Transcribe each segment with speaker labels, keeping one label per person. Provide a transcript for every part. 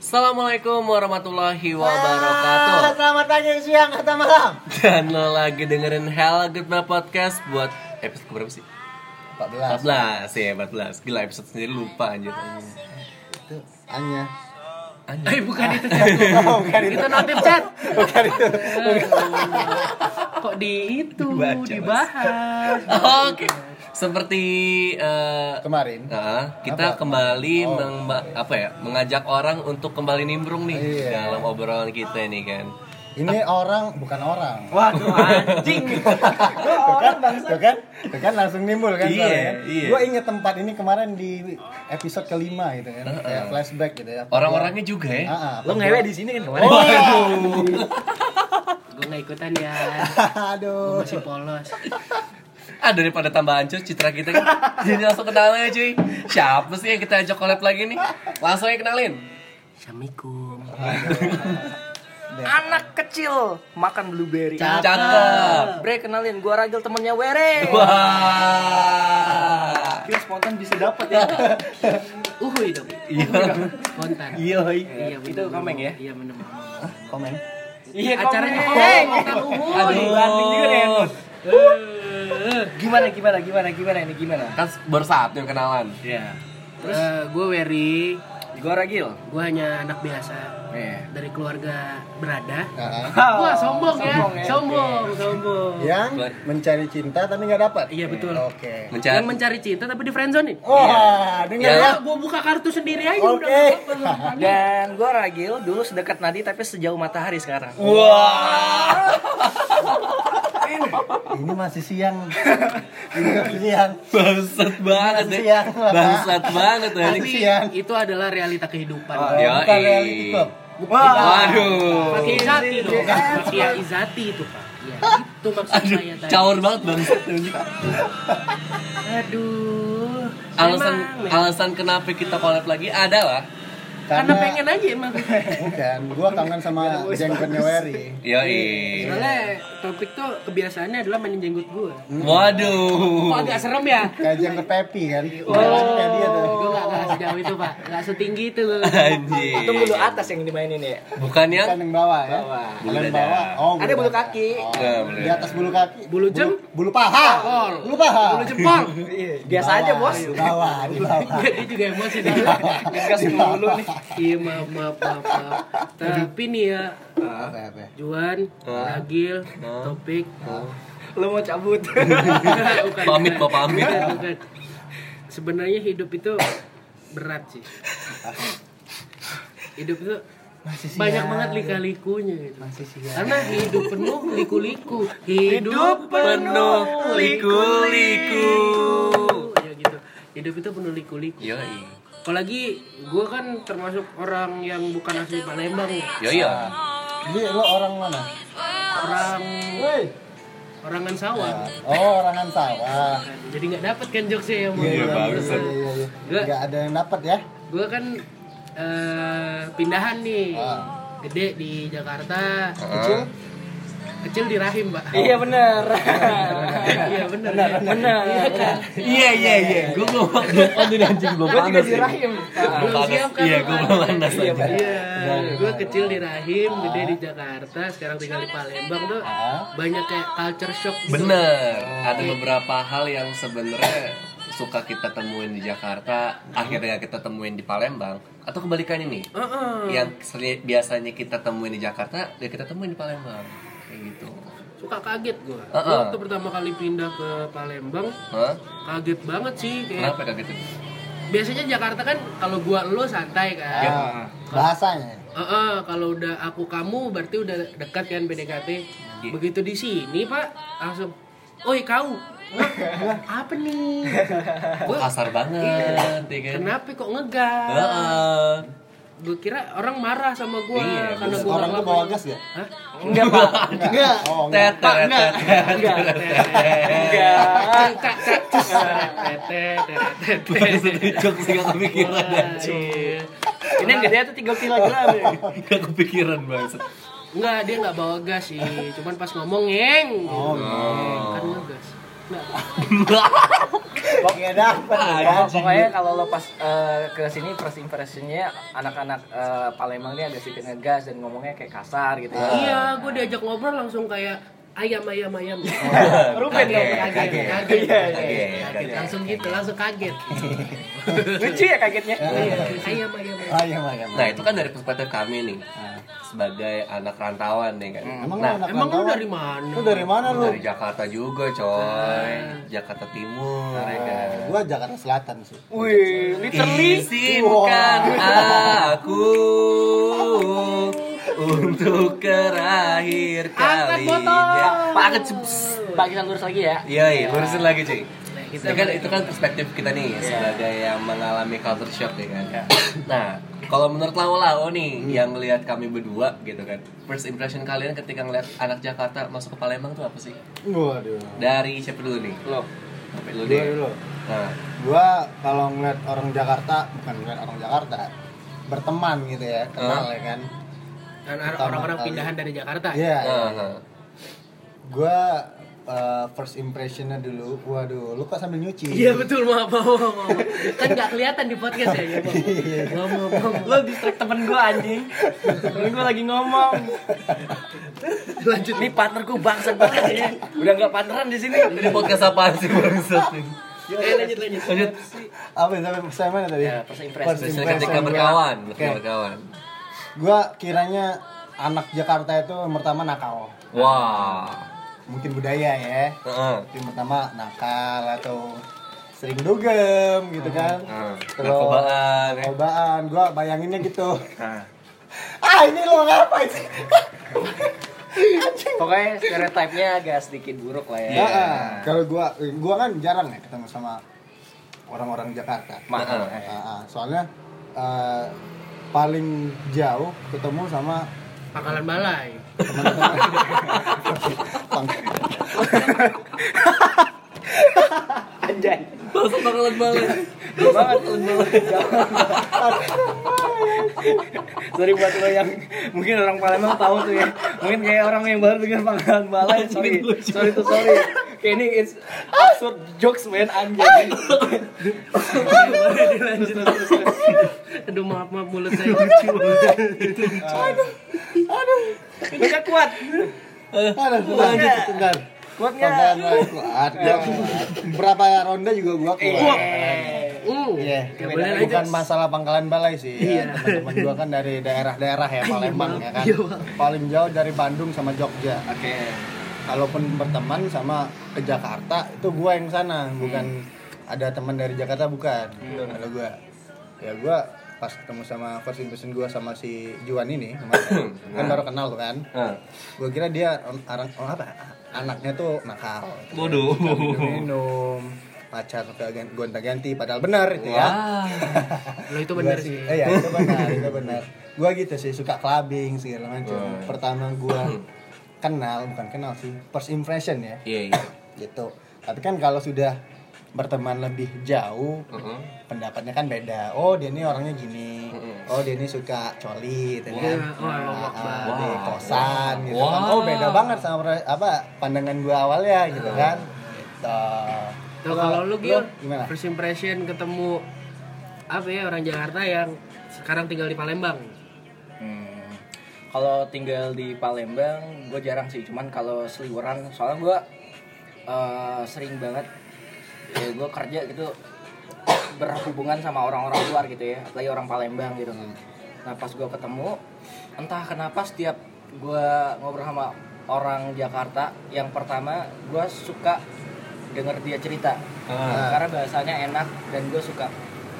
Speaker 1: Assalamualaikum warahmatullahi
Speaker 2: Ah,
Speaker 1: wabarakatuh
Speaker 2: Selamat pagi, siang, atau malam.
Speaker 1: Dan lo lagi dengerin Hell Good Night Podcast buat episode keberapa sih?
Speaker 2: 14
Speaker 1: 14 ya 14 Gila episode sendiri lupa anjir Anjir.
Speaker 2: itu hanya.
Speaker 3: Eh bukan itu chat
Speaker 2: Oh, bukan
Speaker 3: itu notif chat.
Speaker 2: Bukan itu.
Speaker 3: Kok di itu
Speaker 1: Baca, Mas.
Speaker 3: dibahas.
Speaker 1: Oke Seperti eh,
Speaker 2: Kemarin.
Speaker 1: nah, Kita kembali
Speaker 2: Oh.
Speaker 1: meng- apa ya, mengajak orang untuk kembali nimbrung nih
Speaker 2: Iya.
Speaker 1: Dalam obrolan kita nih kan
Speaker 2: Ini orang bukan orang.
Speaker 3: Waduh anjing. Gua orang bangsa.
Speaker 2: Tuh kan, tuh kan langsung nimbul kan
Speaker 1: Iya,
Speaker 2: soalnya kan?
Speaker 1: iya.
Speaker 2: Gua inget tempat ini kemarin di episode kelima gitu kan, kayak flashback gitu ya.
Speaker 1: Orang-orangnya juga ya Oh, iya.
Speaker 2: Ah, ah,
Speaker 4: Lo ngewe di sini kan kemarin?
Speaker 3: Gua nggak ikutan ya. Gua
Speaker 2: Aduh.
Speaker 3: masih polos.
Speaker 1: Ah daripada tambah hancur citra kita kan. Jadi langsung kenalin aja cuy Siapa sih yang kita ajak collab lagi nih? Langsung aja kenalin
Speaker 3: Assalamualaikum.
Speaker 4: Anak kecil makan blueberry.
Speaker 3: Cakep.
Speaker 1: Cakep
Speaker 4: Bre kenalin gua Ragil temennya Were.
Speaker 1: Wah
Speaker 4: Kira spontan bisa dapat ya.
Speaker 3: Uhuy dong.
Speaker 1: Iya
Speaker 3: Kontan.
Speaker 4: Iya,
Speaker 3: Iya bener.
Speaker 4: Itu komeng ya?
Speaker 3: Iya bener.
Speaker 4: Komen. Iya,
Speaker 3: Acaranya
Speaker 4: komeng.
Speaker 3: komeng. Kontan Uhuy.
Speaker 4: Aduh, banding juga ya, deh.
Speaker 3: Eh,
Speaker 4: Gimana gimana gimana gimana ini gimana?
Speaker 1: Kan baru satu yang kenalan
Speaker 4: Iya.
Speaker 3: eh, gua Wery.
Speaker 4: Gua Ragil.
Speaker 3: Gua hanya anak biasa
Speaker 4: Iya.
Speaker 3: dari keluarga berada.
Speaker 2: Ah, ah.
Speaker 3: Wah sombong ya,
Speaker 4: Oh, ya.
Speaker 3: sombong, sombong.
Speaker 2: Yang mencari cinta tapi nggak dapat.
Speaker 3: Iya, betul.
Speaker 2: Oke.
Speaker 1: Mencari
Speaker 3: Yang mencari cinta tapi di friendzone
Speaker 2: Wah, dengar ya.
Speaker 3: Ya, gue buka kartu sendiri aja
Speaker 2: Oke.
Speaker 3: udah. nggak apa-apa.
Speaker 4: Dan gua Ragil dulu sedekat nadi tapi sejauh matahari sekarang.
Speaker 1: Wah
Speaker 2: Ini masih siang. Ini masih siang.
Speaker 1: Bangsat banget deh
Speaker 4: ya?
Speaker 2: Siang.
Speaker 1: Bangsat banget ya
Speaker 3: Tapi
Speaker 2: Kasihan.
Speaker 3: itu adalah realita kehidupan.
Speaker 1: Yoi.
Speaker 2: Bukan reality club.
Speaker 1: Waduh
Speaker 3: Pak Izati dong, Pak Kiai Izati itu Pak. Ya, itu
Speaker 1: Iya.
Speaker 3: maksud
Speaker 1: Aduh,
Speaker 3: saya tadi.
Speaker 1: caur banget bangsat
Speaker 3: Aduh.
Speaker 1: Alasan
Speaker 3: Emang,
Speaker 1: alasan kenapa kita collab lagi adalah
Speaker 3: karena pengen aja emang.
Speaker 1: Iya.
Speaker 2: Bukan, gua kangen sama jengkotnya Wery.
Speaker 1: Yoi
Speaker 3: Soalnya topik tuh kebiasaannya adalah mainin jenggot gue. Kok
Speaker 1: Waduh.
Speaker 3: agak serem ya?
Speaker 2: Kayak jengkot Pepi kan. Jalannya kayak dia tuh.
Speaker 3: Gue gak, gak sejauh itu Pak, gak setinggi itu loh.
Speaker 1: Anjir.
Speaker 4: Itu bulu atas yang dimainin ya.
Speaker 1: Bukan yang
Speaker 2: Kan yang bawah ya.
Speaker 4: Bawah.
Speaker 2: Kalau yang
Speaker 1: Bulu dada.
Speaker 2: bawah. Oh,
Speaker 4: Ada bulu
Speaker 2: dada.
Speaker 4: kaki.
Speaker 2: Oh,
Speaker 1: Ya, bulu
Speaker 2: di
Speaker 1: dada.
Speaker 2: atas bulu kaki.
Speaker 3: Bulu jem?
Speaker 2: Bulu paha.
Speaker 3: Jempol.
Speaker 2: Bulu paha.
Speaker 3: Bulu jempol.
Speaker 1: Iya.
Speaker 4: Biasa aja, Bos.
Speaker 2: Di bawah, di bawah.
Speaker 3: Dia juga emosi dah.
Speaker 1: Iya.
Speaker 4: Gas mulu nih.
Speaker 3: Iya maaf maaf maaf. maaf. Tapi nih ya,
Speaker 2: Apa, apa?
Speaker 3: Juan,
Speaker 1: Ah.
Speaker 3: Agil, Topik,
Speaker 4: Lu mau cabut.
Speaker 3: bukan,
Speaker 1: Pamit,
Speaker 3: bukan.
Speaker 1: Pak, pamit.
Speaker 3: Bukan, bukan. Sebenarnya hidup itu berat sih. Hidup itu banyak banget lika-likunya gitu. Karena hidup penuh liku-liku. Hidup
Speaker 1: penuh liku-liku.
Speaker 3: Ya gitu. Hidup itu penuh liku-liku.
Speaker 1: Yoi.
Speaker 3: Apalagi gue kan termasuk orang yang bukan asli Palembang ya.
Speaker 1: Yoi. ya.
Speaker 2: Jadi lo orang mana?
Speaker 3: Orang
Speaker 2: Woi.
Speaker 3: orangan sawah.
Speaker 2: Oh, orangan sawah.
Speaker 3: Jadi nggak dapet kan jokesnya yang
Speaker 1: Iya, Ah. bagus.
Speaker 2: Iya, iya, iya.
Speaker 3: Gua-
Speaker 2: Nggak ada yang dapat ya.
Speaker 3: Gue kan eh, pindahan nih.
Speaker 2: Ah.
Speaker 3: Gede di Jakarta,
Speaker 2: Kecil?
Speaker 3: kecil di rahim, Pak.
Speaker 4: Iya bener.
Speaker 3: Iya benar. Benar. Iya kan.
Speaker 1: Iya iya iya. Gue belum belum on ini anjing belum
Speaker 4: Gue juga
Speaker 1: panas.
Speaker 4: di rahim.
Speaker 1: Belum
Speaker 3: Belum
Speaker 1: panas.
Speaker 3: siap kan,
Speaker 1: Iya
Speaker 3: Pak?
Speaker 1: gue belum panas
Speaker 3: Iya,
Speaker 1: aja.
Speaker 3: gue kecil di rahim, gede di Jakarta, sekarang tinggal di Palembang tuh
Speaker 2: Ah.
Speaker 3: banyak kayak culture shock. gitu.
Speaker 1: Bener. Ada beberapa hal yang sebenarnya suka kita temuin di Jakarta akhirnya kita temuin di Palembang atau kebalikannya nih
Speaker 3: Heeh.
Speaker 1: yang seri- biasanya kita temuin di Jakarta ya kita temuin di Palembang kayak gitu
Speaker 3: Suka kaget gue.
Speaker 1: Ah, ah.
Speaker 3: Waktu pertama kali pindah ke Palembang,
Speaker 1: Hah?
Speaker 3: kaget banget sih. Kayak
Speaker 1: kenapa kayak gitu
Speaker 3: biasanya Jakarta kan kalau gua lo santai kan.
Speaker 1: Iya,
Speaker 2: Ah, Bahasanya.
Speaker 3: Heeh, kalau udah aku kamu berarti udah dekat kan PDKT. Begitu di sini, Pak, langsung Oi kau, Hah? apa nih? Gua,
Speaker 1: kasar banget ya kan
Speaker 3: kenapa kok ngegas?
Speaker 1: Heeh.
Speaker 3: Gue kira orang marah sama gua
Speaker 1: Iya,
Speaker 3: karena gua
Speaker 2: Orang tuh
Speaker 3: nggak
Speaker 2: bawa
Speaker 3: lama-
Speaker 2: gas ya?
Speaker 3: Hah?
Speaker 4: Enggak, Pak.
Speaker 2: Enggak. Oh, enggak.
Speaker 1: Tet, tet, tet, tet.
Speaker 4: Enggak.
Speaker 3: Kak, kak, cus. Tetet, tetet, tetet.
Speaker 1: Maksudnya jokes nggak kepikiran anjing.
Speaker 3: Iya.
Speaker 4: Ini yang gede tuh 3 kilogram ya.
Speaker 1: Gak kepikiran banget
Speaker 3: Enggak, dia nggak bawa gas sih. Cuman pas ngomong ngeng.
Speaker 2: Oh,
Speaker 3: Gitu. Kan ngegas.
Speaker 2: Gak dapet
Speaker 1: Ah, iya.
Speaker 4: Pokok-
Speaker 2: kan?
Speaker 4: pokoknya kalau lo pas eh, ke sini first impressionnya anak-anak eh, Palembang ini agak sedikit ngegas dan ngomongnya kayak kasar gitu ya.
Speaker 3: Iya, gue diajak ngobrol langsung kayak ayam ayam ayam.
Speaker 4: Ruben dong.
Speaker 3: kaget, kaget, kaget, kaget. langsung gitu, langsung kaget. Iya,
Speaker 4: Lucu ya kagetnya.
Speaker 3: Ayam ayam. ayam.
Speaker 2: Ayam ayam.
Speaker 1: Nah itu kan dari perspektif kami nih eh, sebagai anak rantauan nih kan.
Speaker 2: Emang
Speaker 1: nah,
Speaker 2: lu anak
Speaker 3: Emang lu
Speaker 2: rantauan?
Speaker 3: dari mana?
Speaker 2: Lu dari mana lu?
Speaker 1: dari Jakarta juga coy, Jakarta Timur ya kan.
Speaker 2: Gua Jakarta Selatan sih.
Speaker 4: Wih, literally.
Speaker 1: Izinkan aku untuk terakhir
Speaker 3: Angkat botol.
Speaker 1: kalinya. Pak, angkat, ceps.
Speaker 4: Pak kita lurus lagi ya.
Speaker 1: Iya, iya, lurusin lagi cuy.
Speaker 3: Nah,
Speaker 1: Itu
Speaker 3: kita
Speaker 1: kan, itu kan perspektif kita nih sebagai yang mengalami culture shock ya kan. Nah, kalau menurut Lau Lau nih yang ngelihat kami berdua gitu kan. First impression kalian ketika ngelihat anak Jakarta masuk ke Palembang tuh apa sih?
Speaker 2: Waduh.
Speaker 1: Dari siapa dulu nih?
Speaker 4: Lo.
Speaker 1: Sampai dulu
Speaker 2: Gua
Speaker 1: deh.
Speaker 2: dulu.
Speaker 1: Nah,
Speaker 2: Gua kalau ngeliat orang Jakarta, bukan ngeliat orang Jakarta, berteman gitu ya, kenal
Speaker 1: Ah.
Speaker 2: ya kan.
Speaker 3: Dan orang-orang pindahan dari Jakarta.
Speaker 2: Iya.
Speaker 1: nah, nah.
Speaker 2: Gua eh, first impressionnya dulu, waduh, lu kok sambil nyuci?
Speaker 3: Iya betul maaf maaf maaf. maaf. Kan nggak kelihatan di podcast ya. ya, Maaf maaf maaf. maaf.
Speaker 4: Lo distract temen gue anjing. Temen gue lagi ngomong.
Speaker 3: Lanjut.
Speaker 4: Ini partner gue bangsa banget ya. Udah nggak partneran di sini.
Speaker 1: Ini podcast apaan sih barusan?
Speaker 3: Eh lanjut lanjut.
Speaker 1: Lanjut.
Speaker 2: Apa yang sampai saya mana tadi?
Speaker 4: Ya, first impression.
Speaker 2: First
Speaker 1: Misalnya
Speaker 2: impression
Speaker 1: ketika
Speaker 2: gua.
Speaker 1: berkawan,
Speaker 2: ya. Oke.
Speaker 1: ketika berkawan.
Speaker 2: Gua kiranya anak Jakarta itu yang pertama nakal.
Speaker 1: Wah.
Speaker 2: Mungkin budaya ya.
Speaker 1: Heeh.
Speaker 2: Yang pertama nakal atau sering dugem gitu kan.
Speaker 1: Heeh.
Speaker 2: Terus-
Speaker 1: Hmm. Ah, Narkobaan. ya.
Speaker 2: Cobaan, gua bayanginnya gitu.
Speaker 1: Nah.
Speaker 2: ah ini lo ngapain sih?
Speaker 4: Pokoknya stereotipnya agak sedikit buruk lah ya.
Speaker 1: Iya.
Speaker 2: Ah, Kalau gua gua kan jarang ya ketemu sama orang-orang Jakarta.
Speaker 4: Mahal.
Speaker 1: Heeh.
Speaker 2: Ah, ah, soalnya eh, paling jauh ketemu sama
Speaker 3: Pangkalan Balai.
Speaker 2: pang
Speaker 4: Anjay.
Speaker 1: Masuk bakalan balik.
Speaker 4: Jauh banget. Jauh. Sorry buat lo yang mungkin orang Palembang tahu tuh ya. Mungkin kayak orang yang baru dengar pangkalan balai. Sorry, sorry tuh sorry. Kayak ini it's absurd jokes man anjing. Terus, terus, terus, terus.
Speaker 3: Aduh maaf maaf mulut saya lucu.
Speaker 4: Lu nggak kuat.
Speaker 1: Eh.
Speaker 2: Aduh, bentar, bentar.
Speaker 4: Kuat
Speaker 3: Iya.
Speaker 4: nggak?
Speaker 2: Bentar, gua kuat, gua kuat. Berapa ronde juga gua kuat.
Speaker 4: Eh,
Speaker 3: Hmm.
Speaker 2: Iya,
Speaker 3: Iya. Ya, boleh lanjut.
Speaker 2: bukan masalah pangkalan balai sih. Ya. Teman-teman gua kan dari daerah-daerah ya Palembang ya kan.
Speaker 3: Iya, Bang.
Speaker 2: Paling jauh dari Bandung sama Jogja.
Speaker 4: Oke.
Speaker 2: kalaupun berteman sama ke Jakarta itu gua yang sana bukan
Speaker 3: Hmm.
Speaker 2: ada teman dari Jakarta bukan kalau gua ya gua pas ketemu sama first impression gua sama si Juan ini kemarin.
Speaker 3: Hmm.
Speaker 2: kan baru kenal tuh
Speaker 3: Nah.
Speaker 2: kan
Speaker 1: Heeh.
Speaker 2: gua kira dia on- arang oh, apa anaknya tuh nakal
Speaker 1: Waduh.
Speaker 2: minum pacar ke gan- gonta-ganti padahal benar itu ya
Speaker 1: Wah.
Speaker 3: Lo itu
Speaker 2: Gua
Speaker 3: benar
Speaker 2: sih-
Speaker 3: sih.
Speaker 2: eh, ya, itu benar, itu benar. Gua gitu sih suka clubbing segala macam.
Speaker 1: Hmm.
Speaker 2: Pertama gua kenal, bukan kenal sih, first impression ya.
Speaker 1: Iya, iya.
Speaker 2: Gitu. Tapi kan kalau sudah berteman lebih jauh,
Speaker 1: Heeh.
Speaker 2: pendapatnya kan beda. Oh, dia ini orangnya gini. Oh, dia ini suka coli gitu kan.
Speaker 3: Wah, wah,
Speaker 2: Ah,
Speaker 3: wah,
Speaker 2: ah,
Speaker 1: wah.
Speaker 2: di kosan gitu
Speaker 1: Wah.
Speaker 2: kan. Oh, beda banget sama pre- apa pandangan gua awalnya
Speaker 4: Ah.
Speaker 2: gitu kan. Gitu.
Speaker 3: Tuh, kalau lu Gil,
Speaker 2: gimana?
Speaker 3: first impression ketemu apa ya orang Jakarta yang sekarang tinggal di Palembang.
Speaker 4: Hmm. Kalau tinggal di Palembang, gue jarang sih. Cuman kalau seliweran, soalnya gue sering banget ya gue kerja gitu berhubungan sama orang-orang luar gitu ya, apalagi orang Palembang gitu. Nah pas gue ketemu, entah kenapa setiap gue ngobrol sama orang Jakarta, yang pertama gue suka denger dia cerita,
Speaker 2: Iya.
Speaker 1: Ah.
Speaker 4: karena bahasanya enak dan gue suka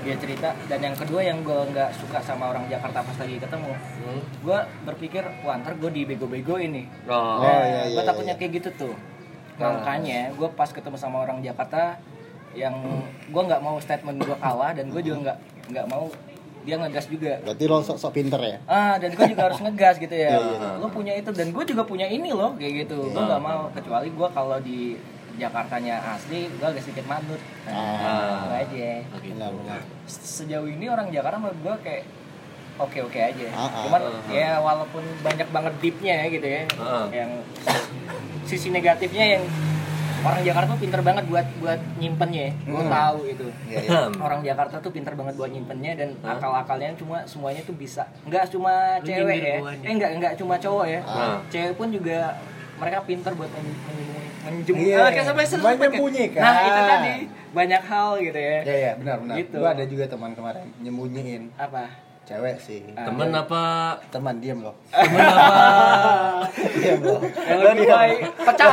Speaker 4: dia cerita. Dan yang kedua yang gue nggak suka sama orang Jakarta pas lagi ketemu,
Speaker 1: Hmm.
Speaker 4: gue berpikir wah ntar gue dibego-bego ini
Speaker 1: Oh.
Speaker 2: Oh, iya, iya, Nah.
Speaker 4: gue takutnya
Speaker 2: iya.
Speaker 4: kayak gitu tuh makanya gue pas ketemu sama orang Jakarta yang gue nggak mau statement gue kalah dan gue juga nggak nggak mau dia ngegas juga
Speaker 2: Berarti lo sok-sok pinter ya?
Speaker 4: ah dan gue juga harus ngegas gitu ya
Speaker 2: Iya, iya.
Speaker 4: lo punya itu dan gue juga punya ini loh kayak gitu gue nggak mau kecuali gue kalau di Jakartanya asli gue agak sedikit manut
Speaker 1: Ah.
Speaker 4: Itu Gitu aja
Speaker 1: Oke.
Speaker 2: Benar, benar.
Speaker 4: sejauh ini orang Jakarta menurut gue kayak oke oke aja
Speaker 2: Ah, ah.
Speaker 4: cuman
Speaker 1: Ah, ah.
Speaker 4: ya walaupun banyak banget deepnya ya gitu ya
Speaker 1: Ah.
Speaker 4: yang sisi negatifnya yang orang Jakarta tuh pinter banget buat buat nyimpennya ya. Gue
Speaker 2: Hmm.
Speaker 4: tahu itu.
Speaker 2: Iya, iya.
Speaker 1: Hmm.
Speaker 4: Orang Jakarta tuh pinter banget buat nyimpennya dan akal-akalnya cuma semuanya tuh bisa. Enggak cuma
Speaker 3: Lu
Speaker 4: cewek
Speaker 3: nyindir
Speaker 4: ya.
Speaker 3: gua nih.
Speaker 4: Eh enggak enggak cuma cowok ya.
Speaker 1: Ah.
Speaker 4: Cewek pun juga mereka pinter buat men- men- menjemput.
Speaker 2: Iya.
Speaker 4: Ah, kayak sampai seru banget.
Speaker 2: Menyembunyikan.
Speaker 4: Nah, itu tadi banyak hal gitu ya.
Speaker 2: Iya iya benar benar.
Speaker 4: Gitu.
Speaker 2: Gua ada juga teman kemarin nyembunyiin
Speaker 4: Apa?
Speaker 2: cewek sih.
Speaker 4: Ah.
Speaker 1: Temen apa?
Speaker 2: Teman diam loh.
Speaker 1: Temen apa?
Speaker 2: Diam loh.
Speaker 4: Yang lebih baik pecah.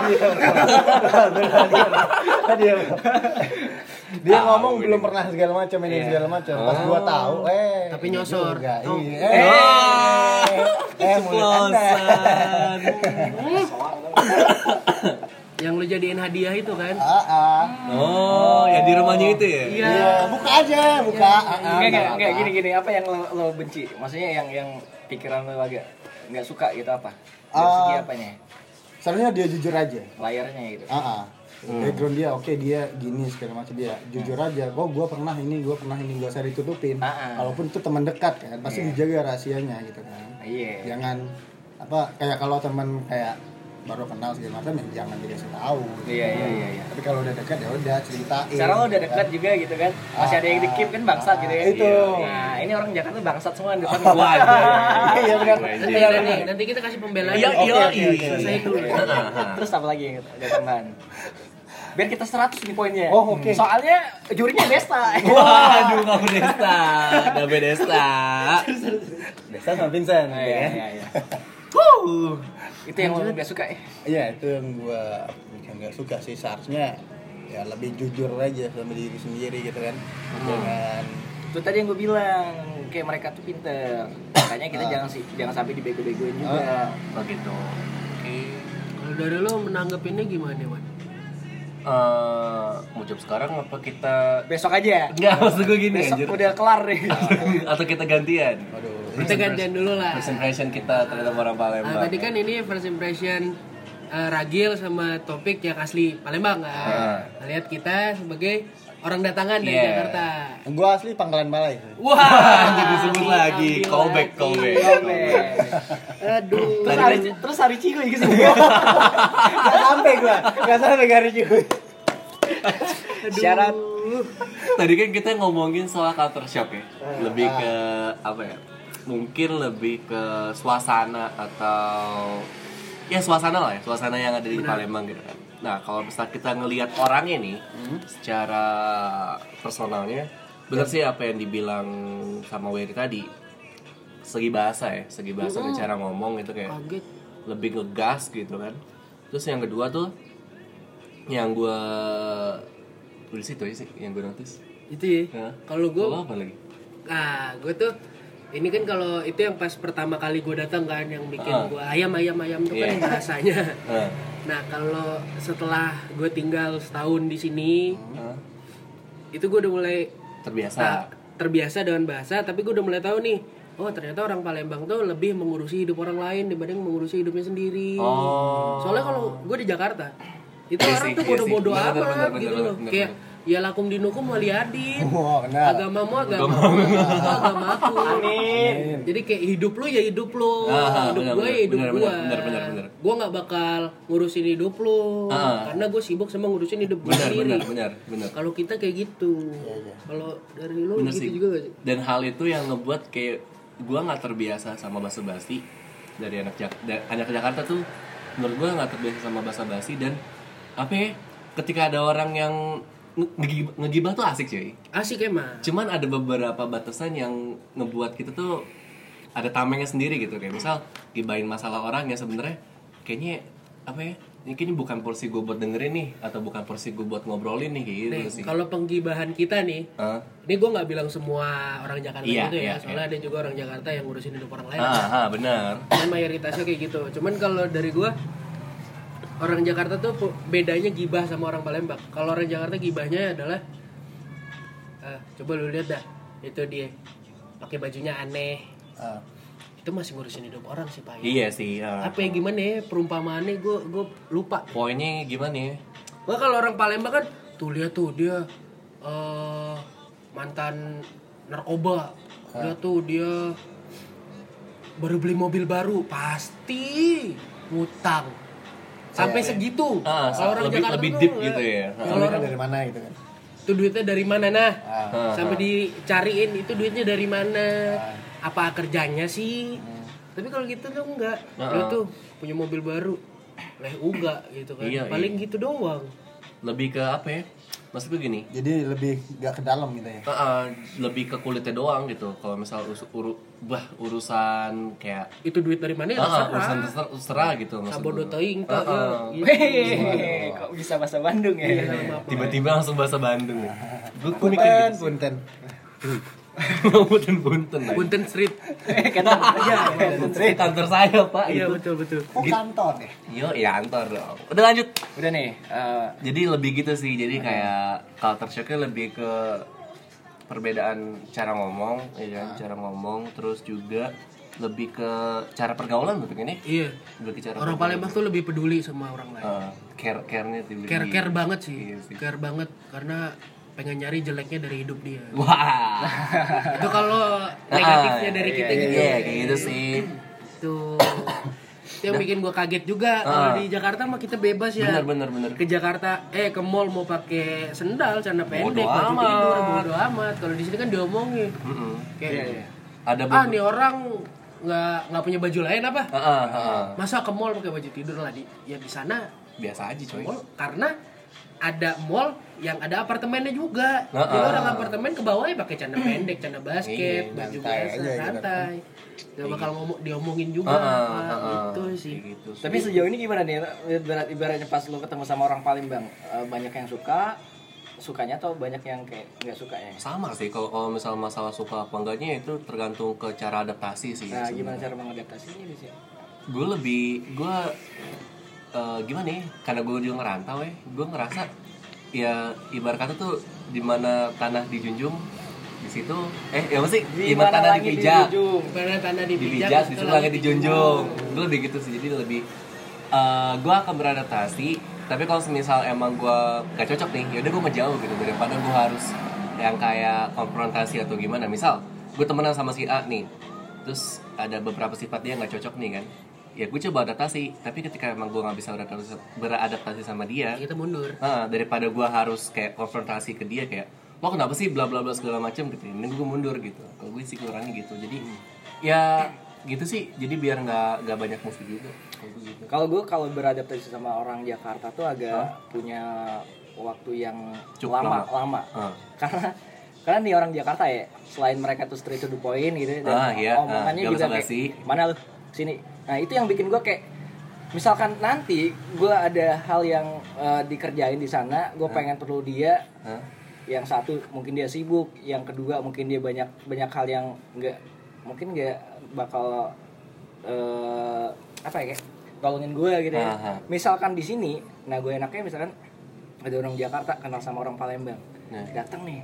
Speaker 2: dia dia
Speaker 1: Tahu
Speaker 2: ngomong
Speaker 1: ini.
Speaker 2: belum pernah segala macam ini
Speaker 4: Iya.
Speaker 2: segala macam pas gua tahu eh
Speaker 3: Tapi
Speaker 2: ini
Speaker 3: nyosor.
Speaker 2: juga,
Speaker 3: Oh.
Speaker 2: iya.
Speaker 1: Oh,
Speaker 2: eh eh mulut Anda.
Speaker 1: keceplosan.
Speaker 3: Yang lu jadiin hadiah itu kan?
Speaker 2: Ah, ah.
Speaker 1: Oh, ya di rumahnya itu ya?
Speaker 3: Iya.
Speaker 2: Iya, buka aja, buka. Ah, ah,
Speaker 4: Enggak, enggak,
Speaker 2: nggak
Speaker 4: enggak,
Speaker 2: apa.
Speaker 4: gini gini apa yang lo, lo benci? Maksudnya yang yang pikiran lo agak nggak suka gitu apa? Dari
Speaker 2: Ah.
Speaker 4: segi apanya?
Speaker 2: Seharusnya dia jujur aja.
Speaker 4: Layarnya gitu.
Speaker 2: Ah, ah. Background dia oke dia gini segala macam dia jujur aja oh gue pernah ini gue pernah ini gak usah ditutupin
Speaker 4: Hmm. Ah, ah.
Speaker 2: walaupun itu teman dekat kan pasti
Speaker 4: Iya.
Speaker 2: dijaga rahasianya gitu kan
Speaker 4: Iya.
Speaker 2: jangan apa kayak kalau teman kayak baru kenal segala macam ya jangan dikasih tahu gitu.
Speaker 4: Iya, iya, iya, iya.
Speaker 2: tapi kalau udah dekat ya udah ceritain
Speaker 4: Sekarang lo udah dekat juga gitu kan. Masih ada yang dikip kan bangsat gitu ya.
Speaker 2: Itu.
Speaker 4: Nah, ini orang Jakarta bangsat semua di depan gua.
Speaker 1: Waduh.
Speaker 2: iya benar
Speaker 1: Wajib.
Speaker 2: benar
Speaker 3: Nanti,
Speaker 2: benar.
Speaker 3: nanti kita kasih pembelaan.
Speaker 1: Iya,
Speaker 2: Oke,
Speaker 1: iya,
Speaker 2: oke,
Speaker 1: iya.
Speaker 2: oke.
Speaker 3: Selesai dulu.
Speaker 4: ya. Terus apa lagi yang ada tambahan? Biar kita 100 nih poinnya.
Speaker 2: Oh, oke.
Speaker 4: Soalnya jurinya Desta.
Speaker 1: Waduh, kamu Desta. Kamu Desta.
Speaker 2: Desa sama Vincent
Speaker 4: Nah, iya,
Speaker 2: ya.
Speaker 4: iya, iya. Itu yang lo nggak suka ya?
Speaker 2: Iya itu yang gue nggak suka sih seharusnya ya lebih jujur aja sama diri sendiri gitu kan
Speaker 4: Hmm.
Speaker 2: jangan
Speaker 4: itu tadi yang gue bilang kayak mereka tuh pinter makanya kita jangan sih jangan sampai dibego-begoin juga
Speaker 2: gitu.
Speaker 1: Begitu. Oke.
Speaker 3: Kalau dari lo menanggapinnya gimana, Wan?
Speaker 1: Eh, mau jawab sekarang apa kita
Speaker 4: besok aja ya.
Speaker 1: Enggak, maksud gue gini
Speaker 4: besok
Speaker 1: anjir. Ah.
Speaker 4: udah kelar nih
Speaker 1: Atau kita gantian
Speaker 2: waduh
Speaker 3: Kita gantian dulu lah.
Speaker 1: First impression kita terhadap orang
Speaker 3: Nah,
Speaker 1: Palembang
Speaker 3: tadi kan ini first impression eh, Ragil sama topik yang asli Palembang kan.
Speaker 1: Ah. Iya.
Speaker 3: Lihat kita sebagai orang datangan dari
Speaker 1: Yeah.
Speaker 3: Jakarta.
Speaker 2: gue asli Pangkalan Balai sih.
Speaker 3: Wah,
Speaker 1: Anjir, disebut Ah,
Speaker 3: Iya,
Speaker 1: lagi.
Speaker 3: diambil
Speaker 1: Callback,
Speaker 3: lagi.
Speaker 1: callback.
Speaker 3: Aduh.
Speaker 4: Iya, terus hari terus hari cigo gitu
Speaker 2: Gak sampai gue gak sampai garis juga
Speaker 4: syarat
Speaker 1: Tadi kan kita ngomongin soal culture shock ya Lebih ke apa ya Mungkin lebih ke suasana atau Ya suasana lah ya Suasana yang ada di Palembang gitu kan Nah kalau misalnya kita ngelihat orangnya nih Secara personalnya Bener sih apa yang dibilang sama Wery tadi Segi bahasa ya Segi bahasa dan cara ngomong gitu kayak
Speaker 3: Kaget.
Speaker 1: lebih ngegas gitu kan terus yang kedua tuh yang gue tulis itu sih yang gue notice
Speaker 3: Itu ya.
Speaker 1: Hah?
Speaker 3: Kalau gue
Speaker 1: Lo apa lagi
Speaker 3: Nah, gue tuh ini kan kalau itu yang pas pertama kali gue datang kan yang bikin
Speaker 1: Ah.
Speaker 3: gue ayam ayam ayam tuh
Speaker 1: Iya.
Speaker 3: kan bahasanya.
Speaker 1: Hah?
Speaker 3: Nah, kalau setelah gue tinggal setahun di sini,
Speaker 1: Hah?
Speaker 3: itu gue udah mulai
Speaker 1: terbiasa
Speaker 3: Nah, terbiasa dengan bahasa, tapi gue udah mulai tahu nih, oh ternyata orang Palembang tuh lebih mengurusi hidup orang lain dibanding mengurusi hidupnya sendiri.
Speaker 1: oh
Speaker 3: Soalnya kalau gue di Jakarta, itu
Speaker 1: Iya
Speaker 3: orang
Speaker 1: sih,
Speaker 3: tuh
Speaker 1: iya
Speaker 3: bodoh-bodoh
Speaker 1: sih. Bener,
Speaker 3: amat
Speaker 1: bener, bener,
Speaker 3: gitu
Speaker 1: bener,
Speaker 3: loh.
Speaker 1: bener,
Speaker 3: Kayak ya lakum dinukum waliadin.
Speaker 2: wah kenal
Speaker 3: Agamamu agamamu, agamaku agamaku.
Speaker 2: Amin.
Speaker 3: Jadi kayak hidup lu ya hidup lu,
Speaker 1: Ah,
Speaker 3: hidup
Speaker 1: benar,
Speaker 3: gue ya
Speaker 1: benar,
Speaker 3: hidup
Speaker 1: benar,
Speaker 3: gue.
Speaker 1: benar, benar, benar.
Speaker 3: Gue nggak bakal ngurusin hidup lu,
Speaker 1: Ah.
Speaker 3: karena gue sibuk sama ngurusin hidup gue
Speaker 1: benar
Speaker 3: sendiri.
Speaker 1: benar benar benar
Speaker 3: Kalau kita kayak gitu, kalau dari Kan lu
Speaker 1: Bener
Speaker 3: gitu
Speaker 1: sih.
Speaker 3: juga gak sih?
Speaker 1: dan hal itu yang ngebuat kayak gue nggak terbiasa sama bahasa basi dari anak Jak da- anak Jakarta tuh menurut gue nggak terbiasa sama bahasa basi dan apa ya ketika ada orang yang nge- ngegib- ngegibah tuh asik cuy
Speaker 3: Asik emang.
Speaker 1: cuman ada beberapa batasan yang ngebuat kita tuh ada tamengnya sendiri gitu kayak misal gibain masalah orang yang sebenarnya kayaknya apa ya ini kayaknya bukan porsi gue buat dengerin nih atau bukan porsi gue buat ngobrolin nih kayak gitu
Speaker 3: Nih, kan.
Speaker 1: sih
Speaker 3: kalau penggibahan kita nih,
Speaker 1: Hah?
Speaker 3: ini gue nggak bilang semua orang Jakarta
Speaker 1: Iya,
Speaker 3: gitu
Speaker 1: iya,
Speaker 3: ya, soalnya ada juga orang Jakarta yang ngurusin hidup orang lain.
Speaker 1: ah, ah benar
Speaker 3: Cuman mayoritasnya kayak gitu. Cuman kalau dari gua orang Jakarta tuh pu- bedanya gibah sama orang Palembang. Kalau orang Jakarta gibahnya adalah eh, coba lu lihat dah itu dia pakai bajunya aneh.
Speaker 2: Ah.
Speaker 3: Itu masih ngurusin hidup orang sih Pak.
Speaker 1: iya sih ah.
Speaker 3: Apa ya gimana ya perumpamaannya gua gua lupa.
Speaker 1: poinnya gimana ya
Speaker 3: Gua kalau orang Palembang kan tuh lihat tuh dia eh mantan narkoba. Lihat tuh dia baru beli mobil baru pasti ngutang. sampai segitu
Speaker 1: Ah,
Speaker 3: Kalau orang
Speaker 1: lebih-
Speaker 3: Jakarta
Speaker 1: lebih
Speaker 3: tuh
Speaker 1: deep
Speaker 3: nggak.
Speaker 1: gitu ya.
Speaker 2: Itu
Speaker 3: Kalau orang-
Speaker 2: duitnya dari mana gitu kan
Speaker 3: itu duitnya dari mana nah
Speaker 2: Ah.
Speaker 1: Ah,
Speaker 3: sampai
Speaker 1: ah.
Speaker 3: dicariin itu duitnya dari mana apa kerjanya sih tapi kalau gitu tuh enggak
Speaker 1: Hmm. Ah,
Speaker 3: lu
Speaker 1: ah.
Speaker 3: tuh punya mobil baru leh uga gitu kan
Speaker 1: Iya,
Speaker 3: paling gitu doang
Speaker 1: lebih ke apa ya maksud gue gini
Speaker 2: jadi lebih gak ke dalam gitu ya
Speaker 1: eh, eh, lebih ke kulitnya doang gitu kalau misal us- uru- bah urusan kayak
Speaker 3: itu duit dari mana ya
Speaker 1: Ah,
Speaker 3: terserah.
Speaker 1: urusan terserah, terserah gitu maksud
Speaker 3: Sabodo
Speaker 1: gue.
Speaker 3: teing
Speaker 1: Ah, ah.
Speaker 3: ya. Iya.
Speaker 4: Hehehe, kok bisa bahasa Bandung ya?
Speaker 1: tiba-tiba langsung bahasa Bandung ya. Gue gue mikir
Speaker 2: punten
Speaker 1: gitu sih.
Speaker 2: punten
Speaker 1: Punten punten. lah.
Speaker 3: Punten Street
Speaker 4: Kata aja.
Speaker 1: Ini kantor saya pak.
Speaker 3: iya
Speaker 1: itu.
Speaker 3: betul betul
Speaker 2: oh kantor ya
Speaker 1: Yo, ya kantor dong. Udah lanjut.
Speaker 4: Udah nih, eh,
Speaker 1: Jadi lebih gitu sih.
Speaker 3: Iya.
Speaker 1: Jadi kayak culture shocknya lebih ke perbedaan cara ngomong, ya
Speaker 3: Ah.
Speaker 1: kan? cara ngomong, terus juga lebih ke cara pergaulan tuh ini.
Speaker 3: iya
Speaker 1: Lebih ke cara
Speaker 3: orang Palembang tuh lebih peduli sama orang lain
Speaker 1: eh, care care-nya tuh lebih-
Speaker 3: care care banget sih
Speaker 1: Iya sih.
Speaker 3: care banget karena pengen nyari jeleknya dari hidup dia
Speaker 1: Iya. Wah.
Speaker 3: itu kalau negatifnya dari kita
Speaker 1: gitu.
Speaker 3: gitu
Speaker 1: Ah, Iya, kayak gitu sih.
Speaker 3: Tuh. Itu yang bikin gua kaget juga kalau di Jakarta mah kita bebas ya.
Speaker 1: Nah. Ah. Bener bener bener.
Speaker 3: Ke Jakarta eh ke mall mau pakai sendal, celana pendek,
Speaker 1: Bodo
Speaker 3: baju
Speaker 1: amat.
Speaker 3: tidur, bodo amat. Kalau di sini kan diomongin.
Speaker 1: Mm-mm.
Speaker 3: Kayak
Speaker 1: iya. Ada
Speaker 3: ah
Speaker 1: beberapa-
Speaker 3: nih orang nggak nggak punya baju lain apa?
Speaker 1: Ah, ah, ah, ah.
Speaker 3: Masa ke mall pakai baju tidur lah di ya di sana
Speaker 1: biasa aja coy.
Speaker 3: mall karena ada mall yang ada apartemennya juga.
Speaker 1: Ah,
Speaker 3: Jadi
Speaker 1: ah.
Speaker 3: orang apartemen ke bawahnya pakai celana pendek, celana basket,
Speaker 1: Hmm. Iya,
Speaker 3: baju
Speaker 2: santai
Speaker 3: biasa,
Speaker 2: aja gitu.
Speaker 3: santai. Gak bakal ngomong diomongin
Speaker 1: Ah,
Speaker 3: juga.
Speaker 1: ah,
Speaker 3: Nah,
Speaker 1: ah, ah.
Speaker 3: gitu sih.
Speaker 1: Kayak gitu.
Speaker 4: tapi sejauh ini gimana nih? Ibarat, ibaratnya pas lo ketemu sama orang Palembang, eh, banyak yang suka, sukanya atau banyak yang kayak nggak suka ya?
Speaker 1: sama sih kalau kalau misal masalah suka apa enggaknya itu tergantung ke cara adaptasi sih
Speaker 4: Nah, gimana cara mengadaptasinya di sini?
Speaker 1: gue lebih gue eh, gimana ya karena gue juga ngerantau ya gue ngerasa ya ibarat kata tuh di mana tanah dijunjung di situ eh ya mesti di mana tanah
Speaker 4: lagi
Speaker 1: dipijak
Speaker 4: dijunjung?
Speaker 3: Ibarat tanah dipijak,
Speaker 1: dipijak
Speaker 3: itu
Speaker 1: di situ
Speaker 3: langit
Speaker 1: langit dijunjung gue lebih gitu sih jadi lebih eh gue akan beradaptasi tapi kalau semisal emang gue gak cocok nih yaudah gue menjauh gitu daripada gue harus yang kayak konfrontasi atau gimana misal gue temenan sama si A nih terus ada beberapa sifat dia nggak cocok nih kan ya gue coba adaptasi tapi ketika emang gue nggak bisa beradaptasi- beradaptasi sama dia
Speaker 3: Kita mundur.
Speaker 1: Ah, daripada gua harus kayak konfrontasi ke dia kayak lo kenapa sih bla bla bla segala macam gitu ini gue mundur gitu kalau gue sih kurangnya gitu jadi ya gitu sih jadi biar nggak nggak banyak musuh juga kalau gue gitu
Speaker 4: Kalau gue kalau beradaptasi sama orang Jakarta tuh agak punya waktu yang
Speaker 1: Cukup
Speaker 4: lama, lama.
Speaker 1: Ah.
Speaker 4: Karena karena nih orang Jakarta ya, selain mereka tuh straight to the point gitu dan
Speaker 1: Ah, iya. Ah,
Speaker 4: omongannya
Speaker 1: nggak
Speaker 4: juga
Speaker 1: basa
Speaker 4: kayak
Speaker 1: basi.
Speaker 4: mana lu sini. Nah, itu yang bikin gue kayak misalkan nanti gue ada hal yang eh, dikerjain di sana, gue pengen perlu dia
Speaker 1: Hah?
Speaker 4: yang satu mungkin dia sibuk yang kedua mungkin dia banyak banyak hal yang nggak mungkin nggak bakal eh apa ya kayak tolongin gue gitu ya
Speaker 1: Aha.
Speaker 4: misalkan di sini nah gue enaknya misalkan ada orang Jakarta kenal sama orang Palembang
Speaker 1: Nah.
Speaker 4: datang nih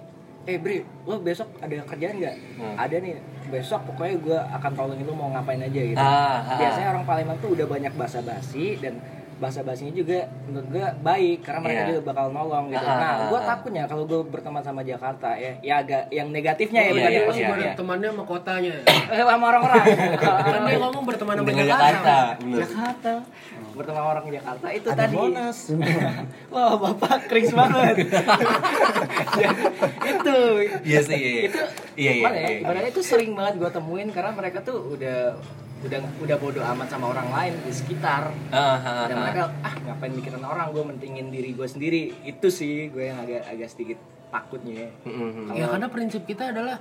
Speaker 4: eh Bri lo besok ada kerjaan nggak
Speaker 1: Hmm.
Speaker 4: ada nih besok pokoknya gue akan tolongin lo mau ngapain aja gitu
Speaker 1: Aha.
Speaker 4: biasanya orang Palembang tuh udah banyak basa-basi dan basa-basinya juga menurut gue baik karena mereka
Speaker 1: Iya.
Speaker 4: juga bakal nolong gitu.
Speaker 1: Ah.
Speaker 4: Nah, gue takutnya kalau gue berteman sama Jakarta ya, ya agak yang negatifnya ya,
Speaker 1: Iya, iya,
Speaker 4: bukan yang
Speaker 3: Lu
Speaker 1: iya.
Speaker 4: positif
Speaker 3: ibarat
Speaker 4: ya.
Speaker 3: temannya sama kotanya.
Speaker 4: Eh, sama orang-orang.
Speaker 3: Kan dia ngomong berteman sama
Speaker 1: dengan
Speaker 3: Jakarta.
Speaker 1: Jakarta
Speaker 3: Nah,
Speaker 1: bener
Speaker 4: Jakarta. Berteman sama orang Jakarta itu
Speaker 2: ada
Speaker 4: tadi.
Speaker 2: bonus
Speaker 4: Wah, Bapak kering banget. Ya, itu.
Speaker 1: iya sih iya iya.
Speaker 4: Itu
Speaker 1: iya iya
Speaker 4: gimana ya,
Speaker 1: iya.
Speaker 4: ibaratnya itu sering banget gue temuin karena mereka tuh udah udah udah bodo amat sama orang lain di sekitar
Speaker 1: Ah, ah, ah,
Speaker 4: dan
Speaker 1: ah.
Speaker 4: mereka ah ngapain mikirin orang gue mentingin diri gue sendiri itu sih gue yang agak agak sedikit takutnya
Speaker 1: Mm, mm,
Speaker 3: Ya karena prinsip kita adalah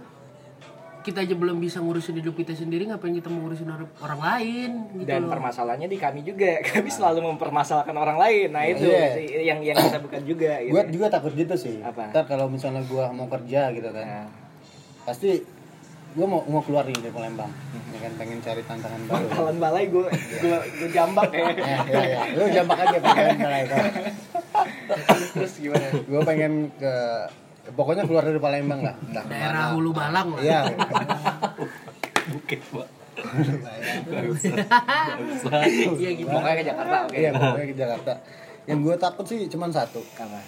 Speaker 3: kita aja belum bisa ngurusin hidup kita sendiri ngapain kita mau ngurusin orang, orang lain gitu
Speaker 4: dan
Speaker 3: loh.
Speaker 4: permasalahannya di kami juga kami selalu mempermasalahkan orang lain nah itu
Speaker 2: Iya.
Speaker 4: sih yang yang kita bukan juga gitu.
Speaker 2: gue juga takut gitu sih
Speaker 4: Apa?
Speaker 2: ntar kalau misalnya gue mau kerja gitu kan
Speaker 4: Nah,
Speaker 2: pasti gue mau mau keluar nih dari Palembang ya kan pengen cari tantangan baru
Speaker 4: bakalan balai gue gue gue jambak ya
Speaker 2: ya ya ya lu jambak aja ya pengen salah itu
Speaker 4: terus, terus gimana
Speaker 2: gue kan. pengen ke pokoknya keluar dari Palembang lah Entah
Speaker 3: daerah
Speaker 2: kemana.
Speaker 3: Hulu Malang lah.
Speaker 2: iya
Speaker 1: Oke, Pak. Nggak usah. Nggak usah.
Speaker 3: Iya gitu.
Speaker 4: pokoknya ke Jakarta oke
Speaker 2: iya pokoknya ke Jakarta yang gue takut sih cuman satu
Speaker 4: Apa?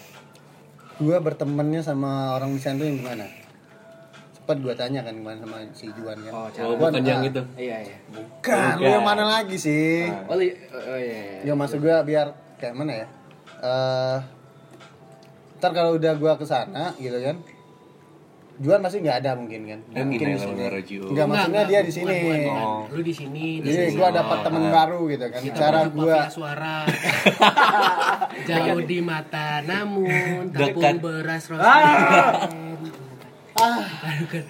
Speaker 2: gue bertemannya sama orang di sana tuh yang gimana sempat gue tanya kan kemarin sama si Juan kan
Speaker 4: Oh,
Speaker 1: Oh, bukan
Speaker 2: Juan, ah,
Speaker 1: yang itu.
Speaker 4: iya iya
Speaker 2: bukan lu yang mana lagi sih
Speaker 4: Ah, oh, li- oh, iya, iya.
Speaker 2: ya maksud gue biar kayak mana ya Eh, ntar kalau udah gua kesana gitu kan Juan masih nggak ada mungkin kan
Speaker 1: Dia pindah
Speaker 2: mungkin di
Speaker 1: ke
Speaker 2: sini.
Speaker 1: Manggarai, Ju.
Speaker 2: nggak maksudnya dia di sini
Speaker 3: bukan, bukan,
Speaker 1: Oh.
Speaker 3: bukan. Lu di sini, di
Speaker 2: jadi
Speaker 3: sini.
Speaker 2: gua dapat temen baru gitu kan
Speaker 3: Kita
Speaker 2: cara
Speaker 3: berjumpa
Speaker 2: gua
Speaker 3: via suara jauh di mata namun tepung
Speaker 1: Dekat.
Speaker 2: Ah.
Speaker 3: beras rosan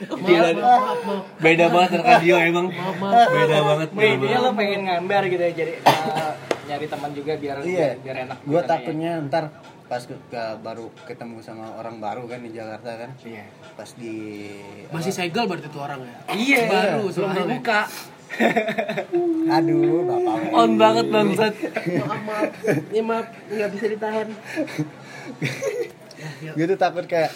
Speaker 1: Gila.
Speaker 3: maaf maaf maaf
Speaker 1: Beda banget radio emang. Beda banget.
Speaker 4: Wih,
Speaker 1: beda
Speaker 4: dia
Speaker 1: banget.
Speaker 4: lo pengen ngambar gitu ya, jadi eh, nyari teman juga biar
Speaker 2: iya
Speaker 4: biar, biar enak.
Speaker 2: gua
Speaker 4: gitu
Speaker 2: takutnya ntar pas ke, ke- baru ketemu sama orang baru kan di Jakarta kan
Speaker 4: nih. Iya.
Speaker 2: pas di
Speaker 3: masih segel berarti tuh orang ya
Speaker 4: Iya.
Speaker 3: baru
Speaker 4: belum
Speaker 3: soalnya
Speaker 4: terbuka.
Speaker 2: aduh bapak
Speaker 1: On banget bangsat.
Speaker 2: Iya.
Speaker 3: maaf maaf ini maaf nggak bisa ditahan
Speaker 2: gue tuh Gitu takut kayak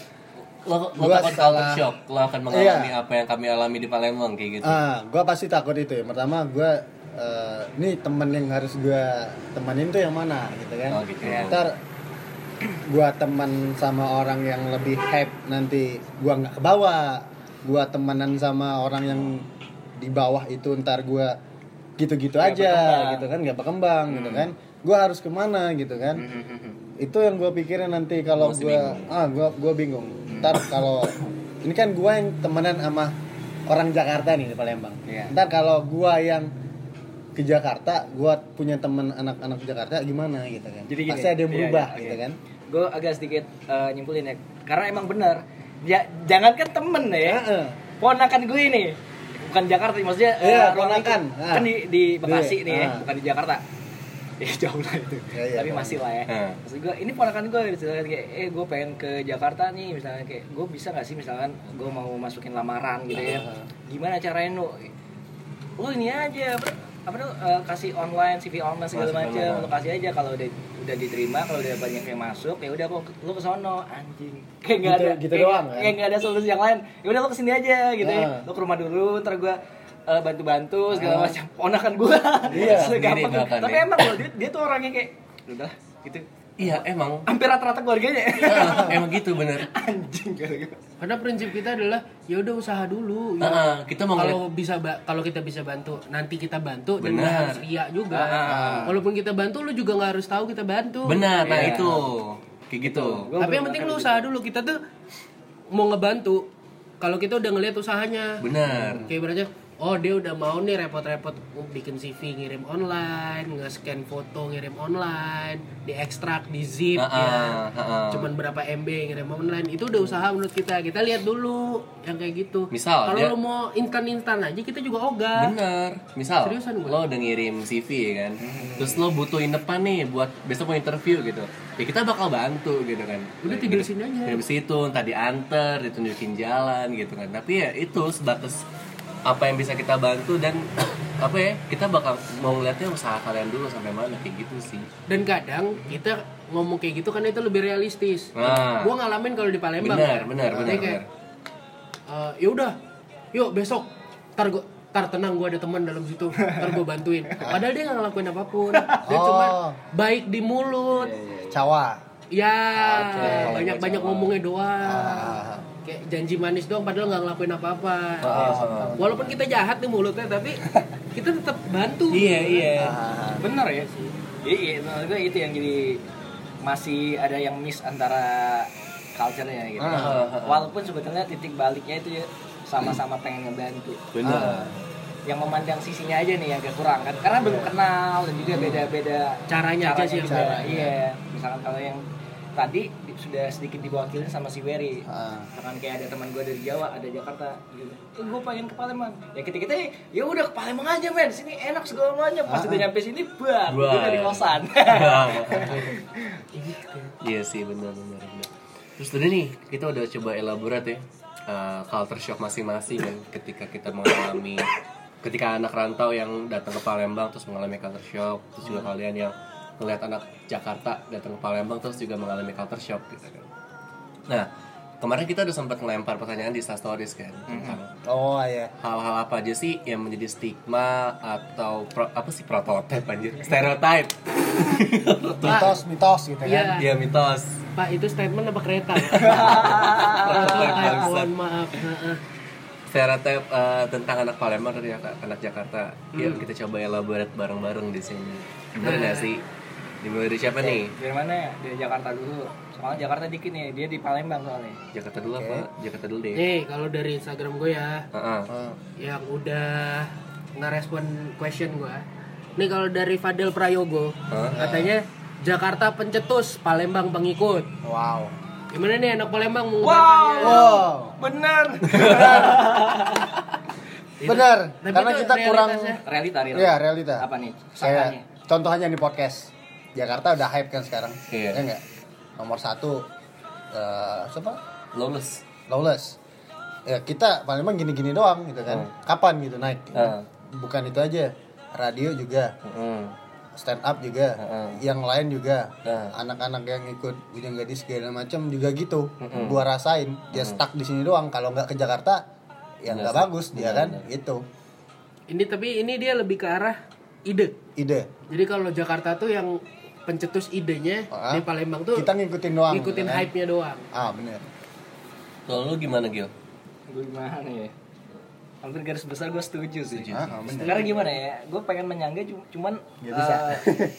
Speaker 1: Lo, lo
Speaker 2: Gua
Speaker 1: takut
Speaker 2: salah.
Speaker 1: culture shock. Lo akan mengalami
Speaker 2: Iya.
Speaker 1: apa yang kami alami di Palembang kayak gitu.
Speaker 2: ah gue pasti takut itu yang pertama gue ini temen yang harus gue temenin tuh yang mana gitu kan
Speaker 1: Oh, gitu.
Speaker 2: ntar gue teman sama orang yang lebih hype nanti gue nggak kebawa gue temenan sama orang yang di bawah itu ntar gue gitu-gitu
Speaker 4: Nggak
Speaker 2: aja
Speaker 4: berkembang.
Speaker 2: gitu kan nggak berkembang gitu kan gue harus kemana gitu kan itu yang gue pikirin nanti kalau
Speaker 1: Masih
Speaker 2: gue ah gue gue bingung ntar kalau ini kan gue yang temenan sama orang Jakarta nih di Palembang
Speaker 4: Iya.
Speaker 2: ntar kalau gue yang ke Jakarta gue punya temen anak-anak Jakarta gimana gitu kan
Speaker 4: Jadi gini,
Speaker 2: pasti ada yang
Speaker 4: iya,
Speaker 2: berubah
Speaker 4: iya,
Speaker 2: gitu
Speaker 4: iya.
Speaker 2: kan
Speaker 4: Gue agak sedikit eh, nyimpulin ya, karena emang benar. Ya, jangankan temen ya,
Speaker 2: Heeh.
Speaker 4: ponakan gue ini bukan Jakarta, maksudnya eh,
Speaker 2: Iya,
Speaker 4: ruangan
Speaker 2: ponakan.
Speaker 4: itu.
Speaker 2: Ah.
Speaker 4: Kan di, di Bekasi
Speaker 2: Di-
Speaker 4: nih, ya,
Speaker 2: ah.
Speaker 4: bukan di Jakarta. Ya jauh lah itu,
Speaker 2: Iya, iya,
Speaker 4: tapi
Speaker 2: paham.
Speaker 4: masih lah ya.
Speaker 1: Ah.
Speaker 4: Maksud gue, ini ponakan gue misalkan kayak, eh gue pengen ke Jakarta nih, misalkan kayak, gue bisa gak sih misalkan gue mau masukin lamaran gitu ya,
Speaker 2: Ah.
Speaker 4: gimana caranya nu? Lu ini aja apa, apa tuh eh, kasih online CV online segala
Speaker 1: Masukin
Speaker 4: macam,
Speaker 1: lamaran.
Speaker 4: lu kasih aja kalau udah udah diterima, kalau udah banyak yang masuk, ya udah kok lu ke sono anjing. Kayak nggak
Speaker 2: Gitu-
Speaker 4: ada
Speaker 2: gitu
Speaker 4: kayak-
Speaker 2: doang, kan?
Speaker 4: kayak nggak ada solusi yang lain ya udah lo kesini aja gitu
Speaker 2: Nah.
Speaker 4: ya lo ke rumah dulu ntar gue bantu-bantu segala macam ponakan gue
Speaker 2: Iya.
Speaker 1: Sendiri
Speaker 4: gampang
Speaker 1: bahkan,
Speaker 4: tapi
Speaker 1: ya.
Speaker 4: emang lo dia, dia tuh orangnya kayak udah gitu
Speaker 1: Iya emang.
Speaker 4: hampir rata-rata keluarganya
Speaker 1: Ah, emang gitu bener.
Speaker 4: anjing gitu
Speaker 3: karena prinsip kita adalah ya udah usaha dulu ya.
Speaker 1: Ah, ah, kita mau ngeliat
Speaker 3: kalau bisa ba- kalau kita bisa bantu nanti kita bantu dan
Speaker 1: Benar. Ah,
Speaker 3: nggak harus ria juga walaupun kita bantu lu juga nggak harus tahu kita bantu
Speaker 1: benar. Nah
Speaker 4: Iya.
Speaker 1: itu kayak gitu.
Speaker 3: tapi yang penting lu usaha dulu kita tuh mau ngebantu kalau kita udah ngelihat usahanya
Speaker 1: Benar.
Speaker 3: kayak ibaratnya oh dia udah mau nih repot-repot bikin CV ngirim online nge-scan foto ngirim online di ekstrak di zip
Speaker 1: Ah,
Speaker 3: ya
Speaker 1: ah, ah, ah.
Speaker 3: cuman berapa MB ngirim online itu udah usaha menurut kita kita lihat dulu yang kayak gitu
Speaker 1: Misal,
Speaker 3: kalau
Speaker 1: dia-
Speaker 3: lu mau instan instan aja kita juga ogah
Speaker 1: Bener. Misal
Speaker 3: Seriusan gue.
Speaker 1: lo udah ngirim CV ya kan. Terus lo butuhin depan nih buat besok mau interview gitu. Ya kita bakal bantu gitu kan.
Speaker 3: Udah
Speaker 1: Gitu.
Speaker 3: tidur sini aja.
Speaker 1: Dari situ entah diantar, ditunjukin jalan gitu kan. Tapi ya itu sebatas apa yang bisa kita bantu dan apa ya kita bakal mau ngeliatnya usaha kalian dulu sampai mana kayak gitu sih.
Speaker 3: dan kadang kita ngomong kayak gitu karena itu lebih realistis
Speaker 1: Nah.
Speaker 3: gue ngalamin kalau di Palembang
Speaker 1: Benar,
Speaker 3: ya.
Speaker 1: benar,
Speaker 3: Jadi
Speaker 1: benar,
Speaker 3: kayak, "Eh, ya udah yuk besok tar gua tar tenang gue ada teman dalam situ tar gue bantuin padahal dia nggak ngelakuin apapun dia cuma
Speaker 2: Oh.
Speaker 3: baik di mulut
Speaker 2: cawa
Speaker 3: ya
Speaker 1: Iya,
Speaker 3: banyak banyak ngomongnya doang kayak janji manis doang padahal nggak ngelakuin apa-apa
Speaker 1: Ah.
Speaker 3: walaupun kita jahat di mulutnya tapi kita tetap bantu Ah.
Speaker 1: Iya, iya.
Speaker 2: Ah,
Speaker 4: bener ya iya iya menurut gue itu yang jadi masih ada yang miss antara culture-nya gitu
Speaker 1: Ah.
Speaker 4: walaupun sebetulnya titik baliknya itu ya sama-sama pengen ngebantu Ah,
Speaker 1: Benar.
Speaker 4: yang memandang sisinya aja nih yang agak kurang kan karena belum kenal dan juga beda-beda
Speaker 3: Caranya aja sih yang
Speaker 4: juga.
Speaker 3: beda.
Speaker 4: iya misalkan kalau yang tadi di- sudah sedikit diwakilin sama si Wery
Speaker 2: Ah.
Speaker 4: misalkan kayak ada teman gue dari Jawa ada Jakarta gitu eh, gue pengen ke Palembang ya kita kita ya udah ke Palembang aja men sini enak segala macam pas udah nyampe sini bah
Speaker 1: Wah.
Speaker 4: gue dari kosan
Speaker 1: Iya sih benar benar benar. Terus tadi nih kita udah coba elaborat ya eh, culture shock masing-masing kan ketika kita mengalami ketika anak rantau yang datang ke Palembang terus mengalami culture shock terus juga kalian yang melihat anak Jakarta datang ke Palembang terus juga mengalami culture shock gitu kan. Nah kemarin kita udah sempat ngelempar pertanyaan di Instastories kan tentang
Speaker 2: oh iya
Speaker 1: hal-hal apa aja sih yang menjadi stigma atau pro- apa sih prototipe anjir stereotype
Speaker 2: mitos mitos gitu kan
Speaker 1: ya
Speaker 3: Iya.
Speaker 1: mitos Ah.
Speaker 3: Pak itu statement apa kereta?
Speaker 1: Prototipe
Speaker 3: Ay,
Speaker 1: bangsat.
Speaker 3: Mohon maaf. Heeh.
Speaker 1: stereotip Iya, eh, tentang anak Iya, Palembang Hmm. Nah. dan anak anak Jakarta. Ya kita coba elaborate bareng-bareng di sini. Bener nggak sih? Dimulai dari siapa nih?
Speaker 4: Dari mana ya? Dari Jakarta dulu. Soalnya Jakarta dikit nih, dia di Palembang soalnya.
Speaker 1: Jakarta dulu apa? Jakarta dulu deh.
Speaker 3: Nih, Eh, kalau dari Instagram gue ya,
Speaker 1: Heeh.
Speaker 2: Ah.
Speaker 3: yang udah ngerespon question gue. Nih kalau dari Fadel Prayogo,
Speaker 1: Hah?
Speaker 3: katanya Jakarta pencetus, Palembang pengikut.
Speaker 2: Wow.
Speaker 3: Gimana nih anak Palembang mau
Speaker 2: Wow.
Speaker 4: Bener. Iya.
Speaker 2: Benar.
Speaker 4: Nah,
Speaker 3: Tapi
Speaker 2: Karena
Speaker 3: itu
Speaker 2: kita kurang
Speaker 3: realitasnya.
Speaker 4: realita, realita.
Speaker 2: Iya, realita.
Speaker 4: Apa nih?
Speaker 2: Saya
Speaker 4: Sangkanya.
Speaker 2: contohnya di podcast. Jakarta udah hype kan sekarang.
Speaker 1: Iya.
Speaker 2: Ya enggak? Nomor satu eh siapa?
Speaker 1: Lawless.
Speaker 2: Lawless. Ya kita paling emang gini-gini doang gitu kan.
Speaker 4: Hmm.
Speaker 2: Kapan gitu naik?
Speaker 1: Heeh.
Speaker 2: Bukan itu aja. Radio juga,
Speaker 1: Heeh.
Speaker 2: stand up juga,
Speaker 4: Hmm.
Speaker 1: Heeh.
Speaker 2: yang lain juga.
Speaker 1: Heeh.
Speaker 2: Anak-anak yang ikut Bujang Gadis segala macam juga gitu.
Speaker 4: Hmm.
Speaker 2: Gua rasain dia stuck di sini doang. Kalau nggak ke Jakarta ya
Speaker 4: Iya
Speaker 2: nggak bagus dia kan gitu.
Speaker 3: Ini tapi ini dia lebih ke arah ide.
Speaker 2: Ide.
Speaker 3: Jadi kalau Jakarta tuh yang pencetus idenya,
Speaker 2: Ah.
Speaker 3: di Palembang tuh
Speaker 2: Kita ngikutin doang.
Speaker 3: ngikutin
Speaker 2: gitu kan.
Speaker 3: hype-nya doang.
Speaker 2: Ah bener.
Speaker 1: Kalau lu gimana Gil?
Speaker 4: Gue gimana ya? Hampir garis besar gue setuju sih.
Speaker 2: Ah, ah, bener.
Speaker 4: Sebenarnya gimana ya? Gue pengen menyangga cu- cuman
Speaker 2: Nggak bisa.
Speaker 4: eh,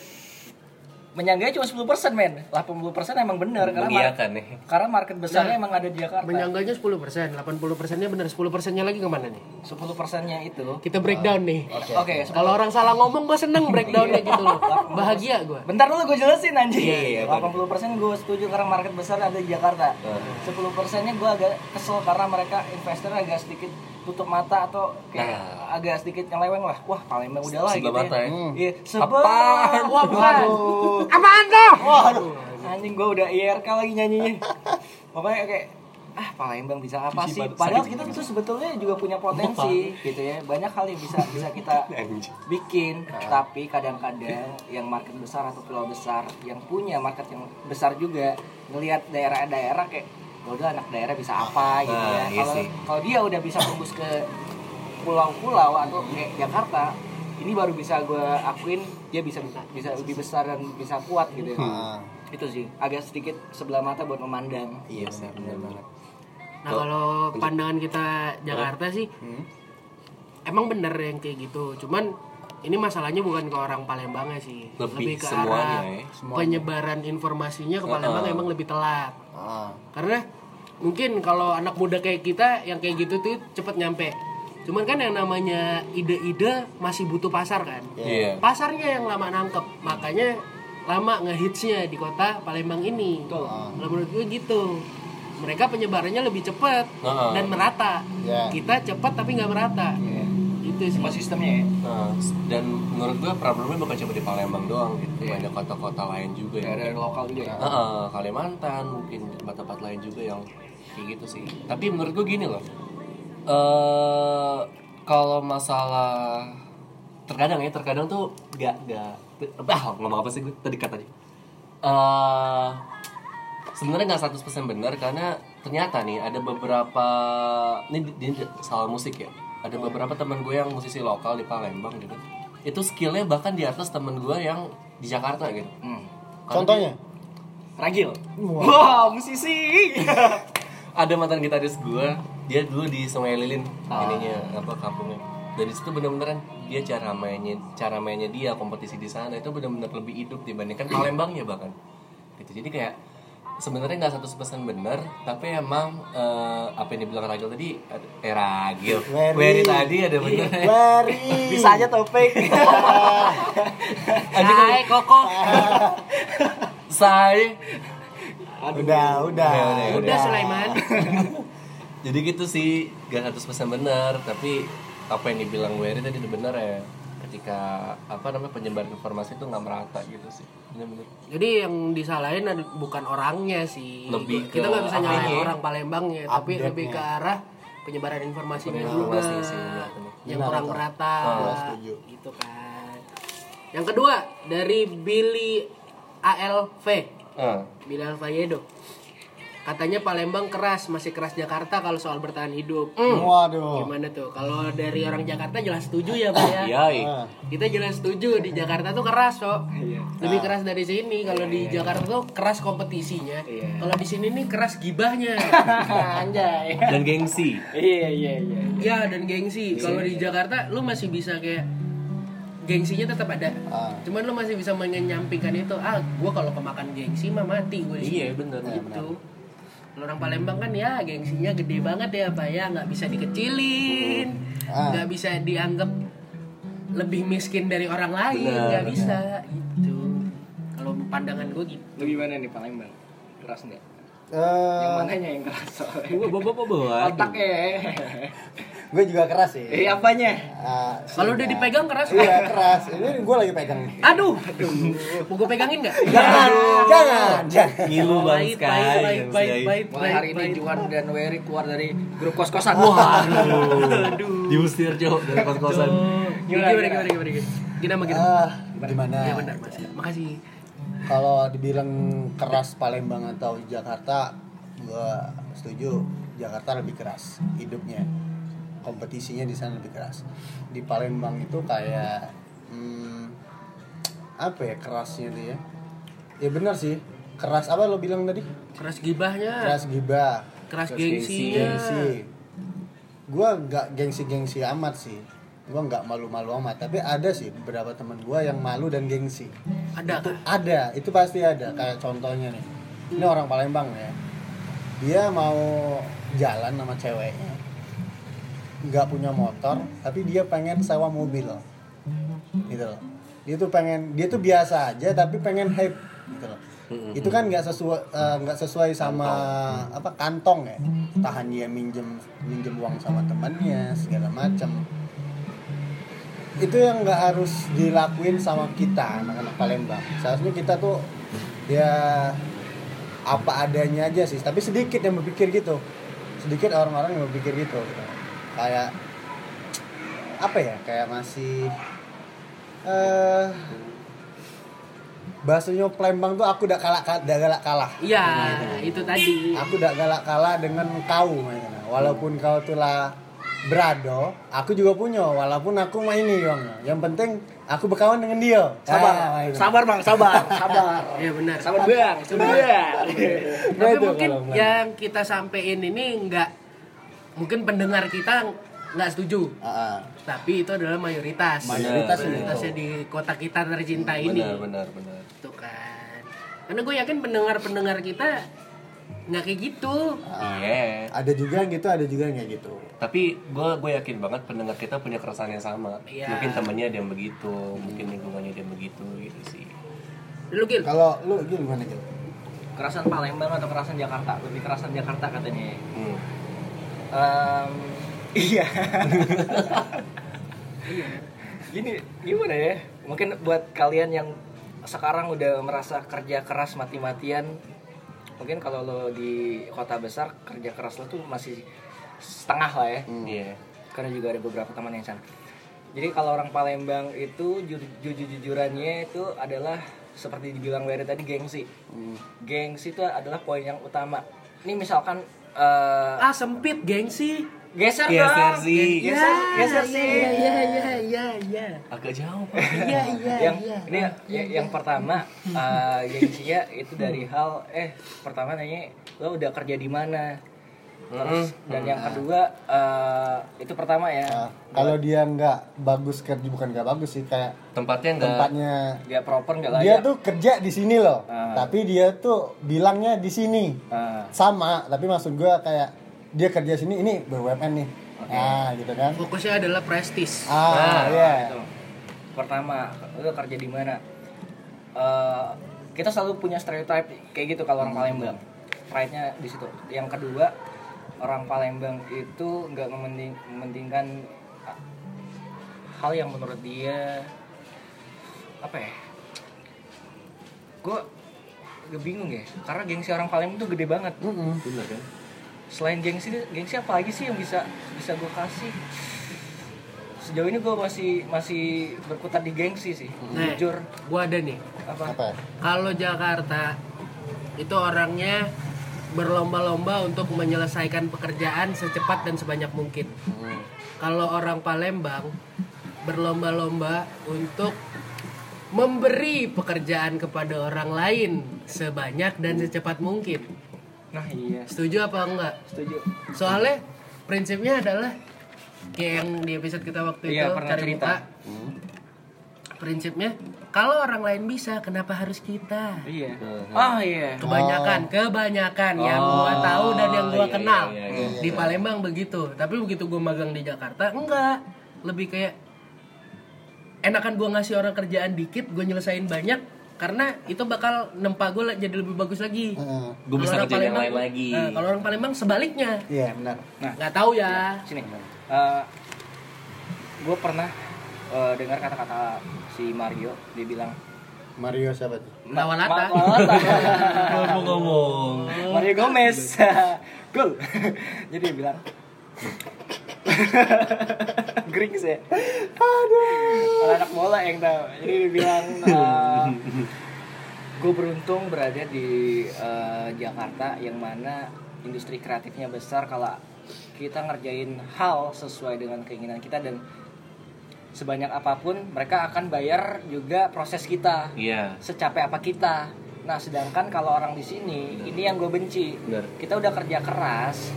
Speaker 4: menyangganya cuma 10% men 80% emang bener karena, mar-
Speaker 1: Mengiyakan nih.
Speaker 4: karena market besarnya emang ada di Jakarta
Speaker 3: Menyangganya 10%, 80%-nya bener, 10%-nya lagi kemana nih?
Speaker 4: 10%nya itu oke
Speaker 3: Kita breakdown nih.
Speaker 2: Oh,
Speaker 4: se-
Speaker 3: Kalau orang salah ngomong gue seneng breakdownnya gitu loh. Bahagia gue.
Speaker 4: bentar dulu gue jelasin anjing
Speaker 1: Iya, iya, iya,
Speaker 4: 80% gue setuju karena market besar ada di Jakarta 10% nya gue agak kesel karena mereka investor agak sedikit tutup mata atau kayak agak sedikit nyeleweng lah wah Palembang udah lah
Speaker 1: Sebelah
Speaker 4: gitu
Speaker 1: Nah. mata
Speaker 4: ya
Speaker 1: ya.
Speaker 4: Iya,
Speaker 1: Apaan?
Speaker 4: Wah, bukan.
Speaker 3: Apaan tuh?
Speaker 4: Waduh, anjing gua udah IRK lagi nyanyinya. Pokoknya kayak ah Palembang bisa apa sih? Padahal kita tuh sebetulnya juga punya potensi gitu ya. Banyak hal yang bisa bisa kita bikin, tapi kadang-kadang yang market besar atau pulau besar yang punya market yang besar juga ngelihat daerah-daerah kayak "Wah, udah anak daerah bisa apa gitu ya.
Speaker 1: Nah, iya
Speaker 4: Kalau
Speaker 1: sih.
Speaker 4: kalau dia udah bisa tembus ke pulau-pulau atau kayak Jakarta, ini baru bisa gua akuin dia bisa bisa lebih besar dan bisa kuat gitu ya
Speaker 2: Ah,
Speaker 4: itu sih agak sedikit sebelah mata buat memandang
Speaker 2: iya benar benar banget.
Speaker 3: Nah kalau pandangan kita Jakarta sih,
Speaker 1: Hmm.
Speaker 3: emang bener yang kayak gitu. Cuman ini masalahnya bukan ke orang Palembangnya sih,
Speaker 1: Lebih
Speaker 3: ke
Speaker 1: semuanya
Speaker 3: arah
Speaker 1: ya.
Speaker 3: penyebaran informasinya ke Palembang emang lebih telat.
Speaker 2: Ah,
Speaker 3: Karena mungkin kalau anak muda kayak kita yang kayak gitu tuh cepet nyampe. Cuman kan yang namanya ide-ide masih butuh pasar kan.
Speaker 1: Iya.
Speaker 3: pasarnya yang lama nangkep makanya lama ngehitsnya di kota Palembang ini
Speaker 1: ah.
Speaker 3: Kalau menurut gue gitu mereka penyebarannya lebih cepat
Speaker 1: Heeh. Iya.
Speaker 3: dan merata
Speaker 2: Ya.
Speaker 3: kita cepat tapi nggak merata itu sih
Speaker 4: Apa sistemnya ya
Speaker 1: Nah, dan menurut gua problemnya bukan cuma di Palembang doang gitu. Ada kota-kota lain juga yang
Speaker 4: daerah lokal juga ya
Speaker 1: Heeh, Kalimantan mungkin tempat-tempat lain juga yang kayak gitu sih tapi menurut gue gini loh eh kalau masalah terkadang ya terkadang tuh gak gak ah ngomong apa sih gue tadi katanya eh sebenarnya nggak 100% benar karena ternyata nih ada beberapa ini di, di- soal musik ya ada beberapa teman gue yang musisi lokal di Palembang gitu itu skillnya bahkan di atas temen gue yang di Jakarta gitu
Speaker 4: hmm.
Speaker 2: Contohnya?
Speaker 4: ragil wah musisi
Speaker 1: ada mantan gitaris gue dia dulu di Sungai Lilin ininya apa kampungnya dan di situ bener-beneran dia cara mainnya cara mainnya dia kompetisi di sana itu bener-bener lebih hidup dibandingkan Palembangnya bahkan gitu jadi kayak sebenarnya nggak 100% bener tapi emang eh, apa yang dibilang Ragil tadi ad- eh Ragil
Speaker 2: Wery.
Speaker 1: Wery tadi ada bener
Speaker 2: iya. Bari.
Speaker 4: bisa aja topik
Speaker 1: Anjing,
Speaker 3: Hai Koko
Speaker 1: say
Speaker 2: udah, Iya, udah.
Speaker 1: Ya, udah,
Speaker 3: udah Sulaiman
Speaker 1: jadi gitu sih gak 100% benar tapi apa yang dibilang Wery tadi itu benar ya ketika apa namanya penyebaran informasi itu nggak merata gitu sih benar-benar
Speaker 3: jadi yang disalahin ad- bukan orangnya sih
Speaker 1: Lebih
Speaker 3: kita
Speaker 1: ke
Speaker 3: nggak bisa nyalahin
Speaker 1: apanya?
Speaker 3: orang Palembangnya tapi
Speaker 2: Update-nya.
Speaker 3: lebih ke arah penyebaran informasinya juga
Speaker 1: Informasi sih, benar. Ah,
Speaker 3: yang kurang merata
Speaker 2: Gua setuju.
Speaker 3: gitu kan yang kedua dari Billy ALV
Speaker 1: Eh,
Speaker 3: Billy Alvayedo katanya Palembang keras masih keras Jakarta kalau soal bertahan hidup
Speaker 2: Hmm. Waduh.
Speaker 3: gimana tuh kalau dari orang Jakarta jelas setuju ya pak ya
Speaker 1: yai.
Speaker 2: Ah,
Speaker 3: kita jelas setuju di Jakarta tuh keras kok lebih keras dari sini kalau di Jakarta tuh keras kompetisinya kalau di sini nih keras gibahnya
Speaker 4: anjay
Speaker 1: dan gengsi
Speaker 4: iya iya iya
Speaker 3: ya dan gengsi kalau di Jakarta lu masih bisa kayak gengsinya tetap ada
Speaker 2: Ah.
Speaker 3: cuman lu masih bisa menyampingkan itu ah gue kalau kemakan gengsi mah mati gue
Speaker 1: Iya, bener. Iya, bener.
Speaker 3: gitu Kalau orang Palembang kan ya gengsinya gede banget ya pak ya nggak bisa dikecilin
Speaker 1: Mm-hmm.
Speaker 2: Ah.
Speaker 3: nggak bisa dianggap lebih miskin dari orang lain
Speaker 1: Bener,
Speaker 3: nggak
Speaker 1: bener.
Speaker 3: bisa gitu kalau pandangan gue gitu
Speaker 4: Lu gimana nih Palembang? Keras nggak? Yang
Speaker 2: Eh,
Speaker 4: mananya Iya, yang keras soalnya? Iya.
Speaker 1: Gua bawa bawa bawa.
Speaker 4: Otaknya.
Speaker 2: gue juga keras sih.
Speaker 4: Eh apanya?
Speaker 2: Ah,
Speaker 3: kalau udah
Speaker 2: sudah.
Speaker 3: dipegang keras
Speaker 2: Iya keras. Ini gue lagi pegang. nih.
Speaker 3: aduh mau gue pegangin nggak
Speaker 2: Jangan, jangan, jangan.
Speaker 1: Ngilu
Speaker 3: Oh,
Speaker 1: bang
Speaker 3: baik,
Speaker 1: Sky.
Speaker 3: baik,
Speaker 1: Bang
Speaker 3: baik, baik,
Speaker 1: Sky.
Speaker 3: baik,
Speaker 4: Mulai
Speaker 3: baik,
Speaker 4: hari ini
Speaker 3: baik.
Speaker 4: Juan dan Wery keluar dari grup kos-kosan.
Speaker 1: Aduh. Diusir Jo dari kos-kosan.
Speaker 3: Gimana, gimana, gimana, gimana, gimana? Gini sama gini.
Speaker 2: Ah, gimana?
Speaker 3: Ya benar, Mas. Makasih.
Speaker 2: Kalau dibilang keras Palembang atau Jakarta, gue setuju. Jakarta lebih keras hidupnya, kompetisinya di sana lebih keras. Di Palembang itu kayak hmm, apa ya kerasnya tuh ya? Ya benar sih, keras apa lo bilang tadi?
Speaker 3: Keras gibahnya,
Speaker 2: Keras
Speaker 3: keras,
Speaker 2: gibah,
Speaker 3: gengsinya.
Speaker 2: gengsi. Gue nggak gengsi-gengsi amat sih. Gue nggak malu-malu amat, tapi ada sih beberapa teman gue yang malu dan gengsi.
Speaker 3: Ada
Speaker 2: itu
Speaker 3: kah?
Speaker 2: ada itu pasti ada kayak contohnya nih ini orang Palembang ya dia mau jalan sama ceweknya nggak punya motor tapi dia pengen sewa mobil gitu loh dia tuh pengen dia tuh biasa aja tapi pengen hype gitu loh itu kan nggak sesuai eh, nggak sesuai sama apa kantong ya tahan dia minjem minjem uang sama temannya segala macam itu yang nggak harus dilakuin sama kita anak-anak Palembang seharusnya kita tuh ya apa adanya aja sih tapi sedikit yang berpikir gitu sedikit orang-orang yang berpikir gitu, gitu. kayak apa ya kayak masih eh bahasanya Palembang tuh aku udah kalah udah galak kalah
Speaker 3: Iya,
Speaker 2: Gitu.
Speaker 3: itu tadi.
Speaker 2: aku udah galak kalah dengan kau mainnya. walaupun kau telah berado aku juga punya walaupun aku mah ini bang yang penting aku berkawan dengan dia
Speaker 4: Sabar,
Speaker 2: Ah, itu.
Speaker 4: sabar bang, sabar, sabar.
Speaker 3: Iya benar.
Speaker 4: Sabar bang, sabar.
Speaker 2: Nah,
Speaker 3: Tapi
Speaker 2: itu
Speaker 3: mungkin
Speaker 2: kalau Belanda.
Speaker 3: yang kita sampein ini nggak mungkin pendengar kita nggak setuju.
Speaker 2: Ah, ah.
Speaker 3: Tapi itu adalah mayoritas.
Speaker 2: Mayoritas
Speaker 1: Benar,
Speaker 3: Mayoritasnya di kota kita tercinta ini.
Speaker 1: Benar benar benar.
Speaker 3: Tuh kan. Karena gue yakin pendengar-pendengar kita nggak kayak gitu.
Speaker 1: Iya.
Speaker 2: ada juga yang gitu ada juga yang kayak gitu
Speaker 1: Tapi gue gue yakin banget pendengar kita punya keresahan yang sama.
Speaker 3: Iya.
Speaker 1: Mungkin temennya ada yang begitu, mungkin lingkungannya ada yang begitu gitu sih.
Speaker 3: Lu Gil,
Speaker 2: kalau lu Gil, gimana gitu
Speaker 4: Kerasan Palembang atau kerasan Jakarta? Lebih kerasan Jakarta katanya.
Speaker 1: Hmm.
Speaker 4: Em, iya. Gini, gimana ya? Mungkin buat kalian yang sekarang udah merasa kerja keras mati-matian, mungkin kalau lo di kota besar kerja keras lo tuh masih setengah lah ya.
Speaker 1: Iya.
Speaker 4: Karena juga ada beberapa teman yang sana. Jadi kalau orang Palembang itu ju- jujur-jujurannya itu adalah seperti dibilang Wery tadi gengsi. Gengsi itu adalah poin yang utama. Ini misalkan eh,
Speaker 3: ah sempit gengsi.
Speaker 4: Geser
Speaker 1: Geser
Speaker 4: dong.
Speaker 1: sih.
Speaker 4: Geser, geser sih.
Speaker 3: Iya, iya, iya, iya, iya.
Speaker 1: Agak jauh. Pak.
Speaker 3: Iya, iya,
Speaker 4: Yang
Speaker 3: iya.
Speaker 4: ini ya- ya- yang pertama eh, gengsinya itu dari hal eh pertama nanya lo udah kerja di mana. Terus dan yang kedua eh, itu pertama ya
Speaker 2: Nah, kalau dia nggak bagus kerja bukan nggak bagus sih kayak
Speaker 1: Tempatnya enggak
Speaker 2: tempatnya
Speaker 4: dia proper nggak
Speaker 2: dia
Speaker 4: layak.
Speaker 2: tuh kerja di sini loh
Speaker 4: Ah.
Speaker 2: tapi dia tuh bilangnya di sini
Speaker 4: Ah,
Speaker 2: sama tapi maksud gua kayak dia kerja sini ini BUMN nih ah gitu kan
Speaker 3: Fokusnya adalah prestis.
Speaker 2: ah iya
Speaker 4: Nah, itu. Pertama lo kerja di mana? Eh, kita selalu punya stereotip kayak gitu kalau orang Palembang. Pride-nya di situ. Yang kedua orang Palembang itu nggak mementing- mementingkan ah, hal yang menurut dia apa ya gue gue bingung ya karena gengsi orang Palembang tuh gede banget
Speaker 1: benar kan?
Speaker 4: selain gengsi gengsi apa lagi sih yang bisa bisa gue kasih sejauh ini gue masih masih berkutat di gengsi sih
Speaker 3: Nah,
Speaker 4: jujur
Speaker 3: gua ada nih.
Speaker 4: apa
Speaker 2: apa
Speaker 3: Kalau Jakarta itu orangnya berlomba-lomba untuk menyelesaikan pekerjaan secepat dan sebanyak mungkin.
Speaker 1: Hmm.
Speaker 3: Kalau orang Palembang berlomba-lomba untuk memberi pekerjaan kepada orang lain sebanyak dan secepat mungkin.
Speaker 4: nah iya
Speaker 3: Setuju apa enggak?
Speaker 4: setuju
Speaker 3: Soalnya prinsipnya adalah kayak yang di episode kita waktu
Speaker 4: Iya,
Speaker 3: itu
Speaker 4: pernah
Speaker 3: cari
Speaker 4: cerita.
Speaker 3: muka. prinsipnya kalau orang lain bisa kenapa harus kita
Speaker 1: Oh.
Speaker 4: Iya. Ah iya.
Speaker 3: kebanyakan kebanyakan yang gua
Speaker 1: Oh,
Speaker 3: tahu dan yang gua
Speaker 1: iya,
Speaker 3: kenal
Speaker 1: iya, iya, iya.
Speaker 3: di Palembang begitu tapi begitu gua magang di Jakarta enggak lebih kayak enakan gua ngasih orang kerjaan dikit gua nyelesain banyak karena itu bakal nempa gua jadi lebih bagus lagi
Speaker 2: Heeh.
Speaker 1: Gua
Speaker 3: Kalau
Speaker 1: bisa
Speaker 3: orang
Speaker 1: kerjain yang
Speaker 3: Palembang-
Speaker 1: lain lagi.
Speaker 3: Eh, kalau orang Palembang sebaliknya
Speaker 2: Iya benar.
Speaker 3: nggak tahu ya
Speaker 4: sini gue pernah eh, dengar kata-kata si Mario dia bilang
Speaker 2: Mario siapa tuh?
Speaker 4: "Ma-
Speaker 3: Lawalata."
Speaker 4: ma- lawalata."
Speaker 1: Mau ngomong.
Speaker 4: Mario Oh. Gomez gol jadi dia bilang Gering ya Aduh Anak bola yang tahu Jadi dia bilang Gue beruntung berada di eh, Jakarta Yang mana industri kreatifnya besar Kalau kita ngerjain hal sesuai dengan keinginan kita Dan sebanyak apapun Mereka akan bayar juga proses kita
Speaker 1: Iya.
Speaker 4: secapek apa kita. Nah, sedangkan kalau orang di sini, ini yang gue benci.
Speaker 1: Bener.
Speaker 4: Kita udah kerja keras,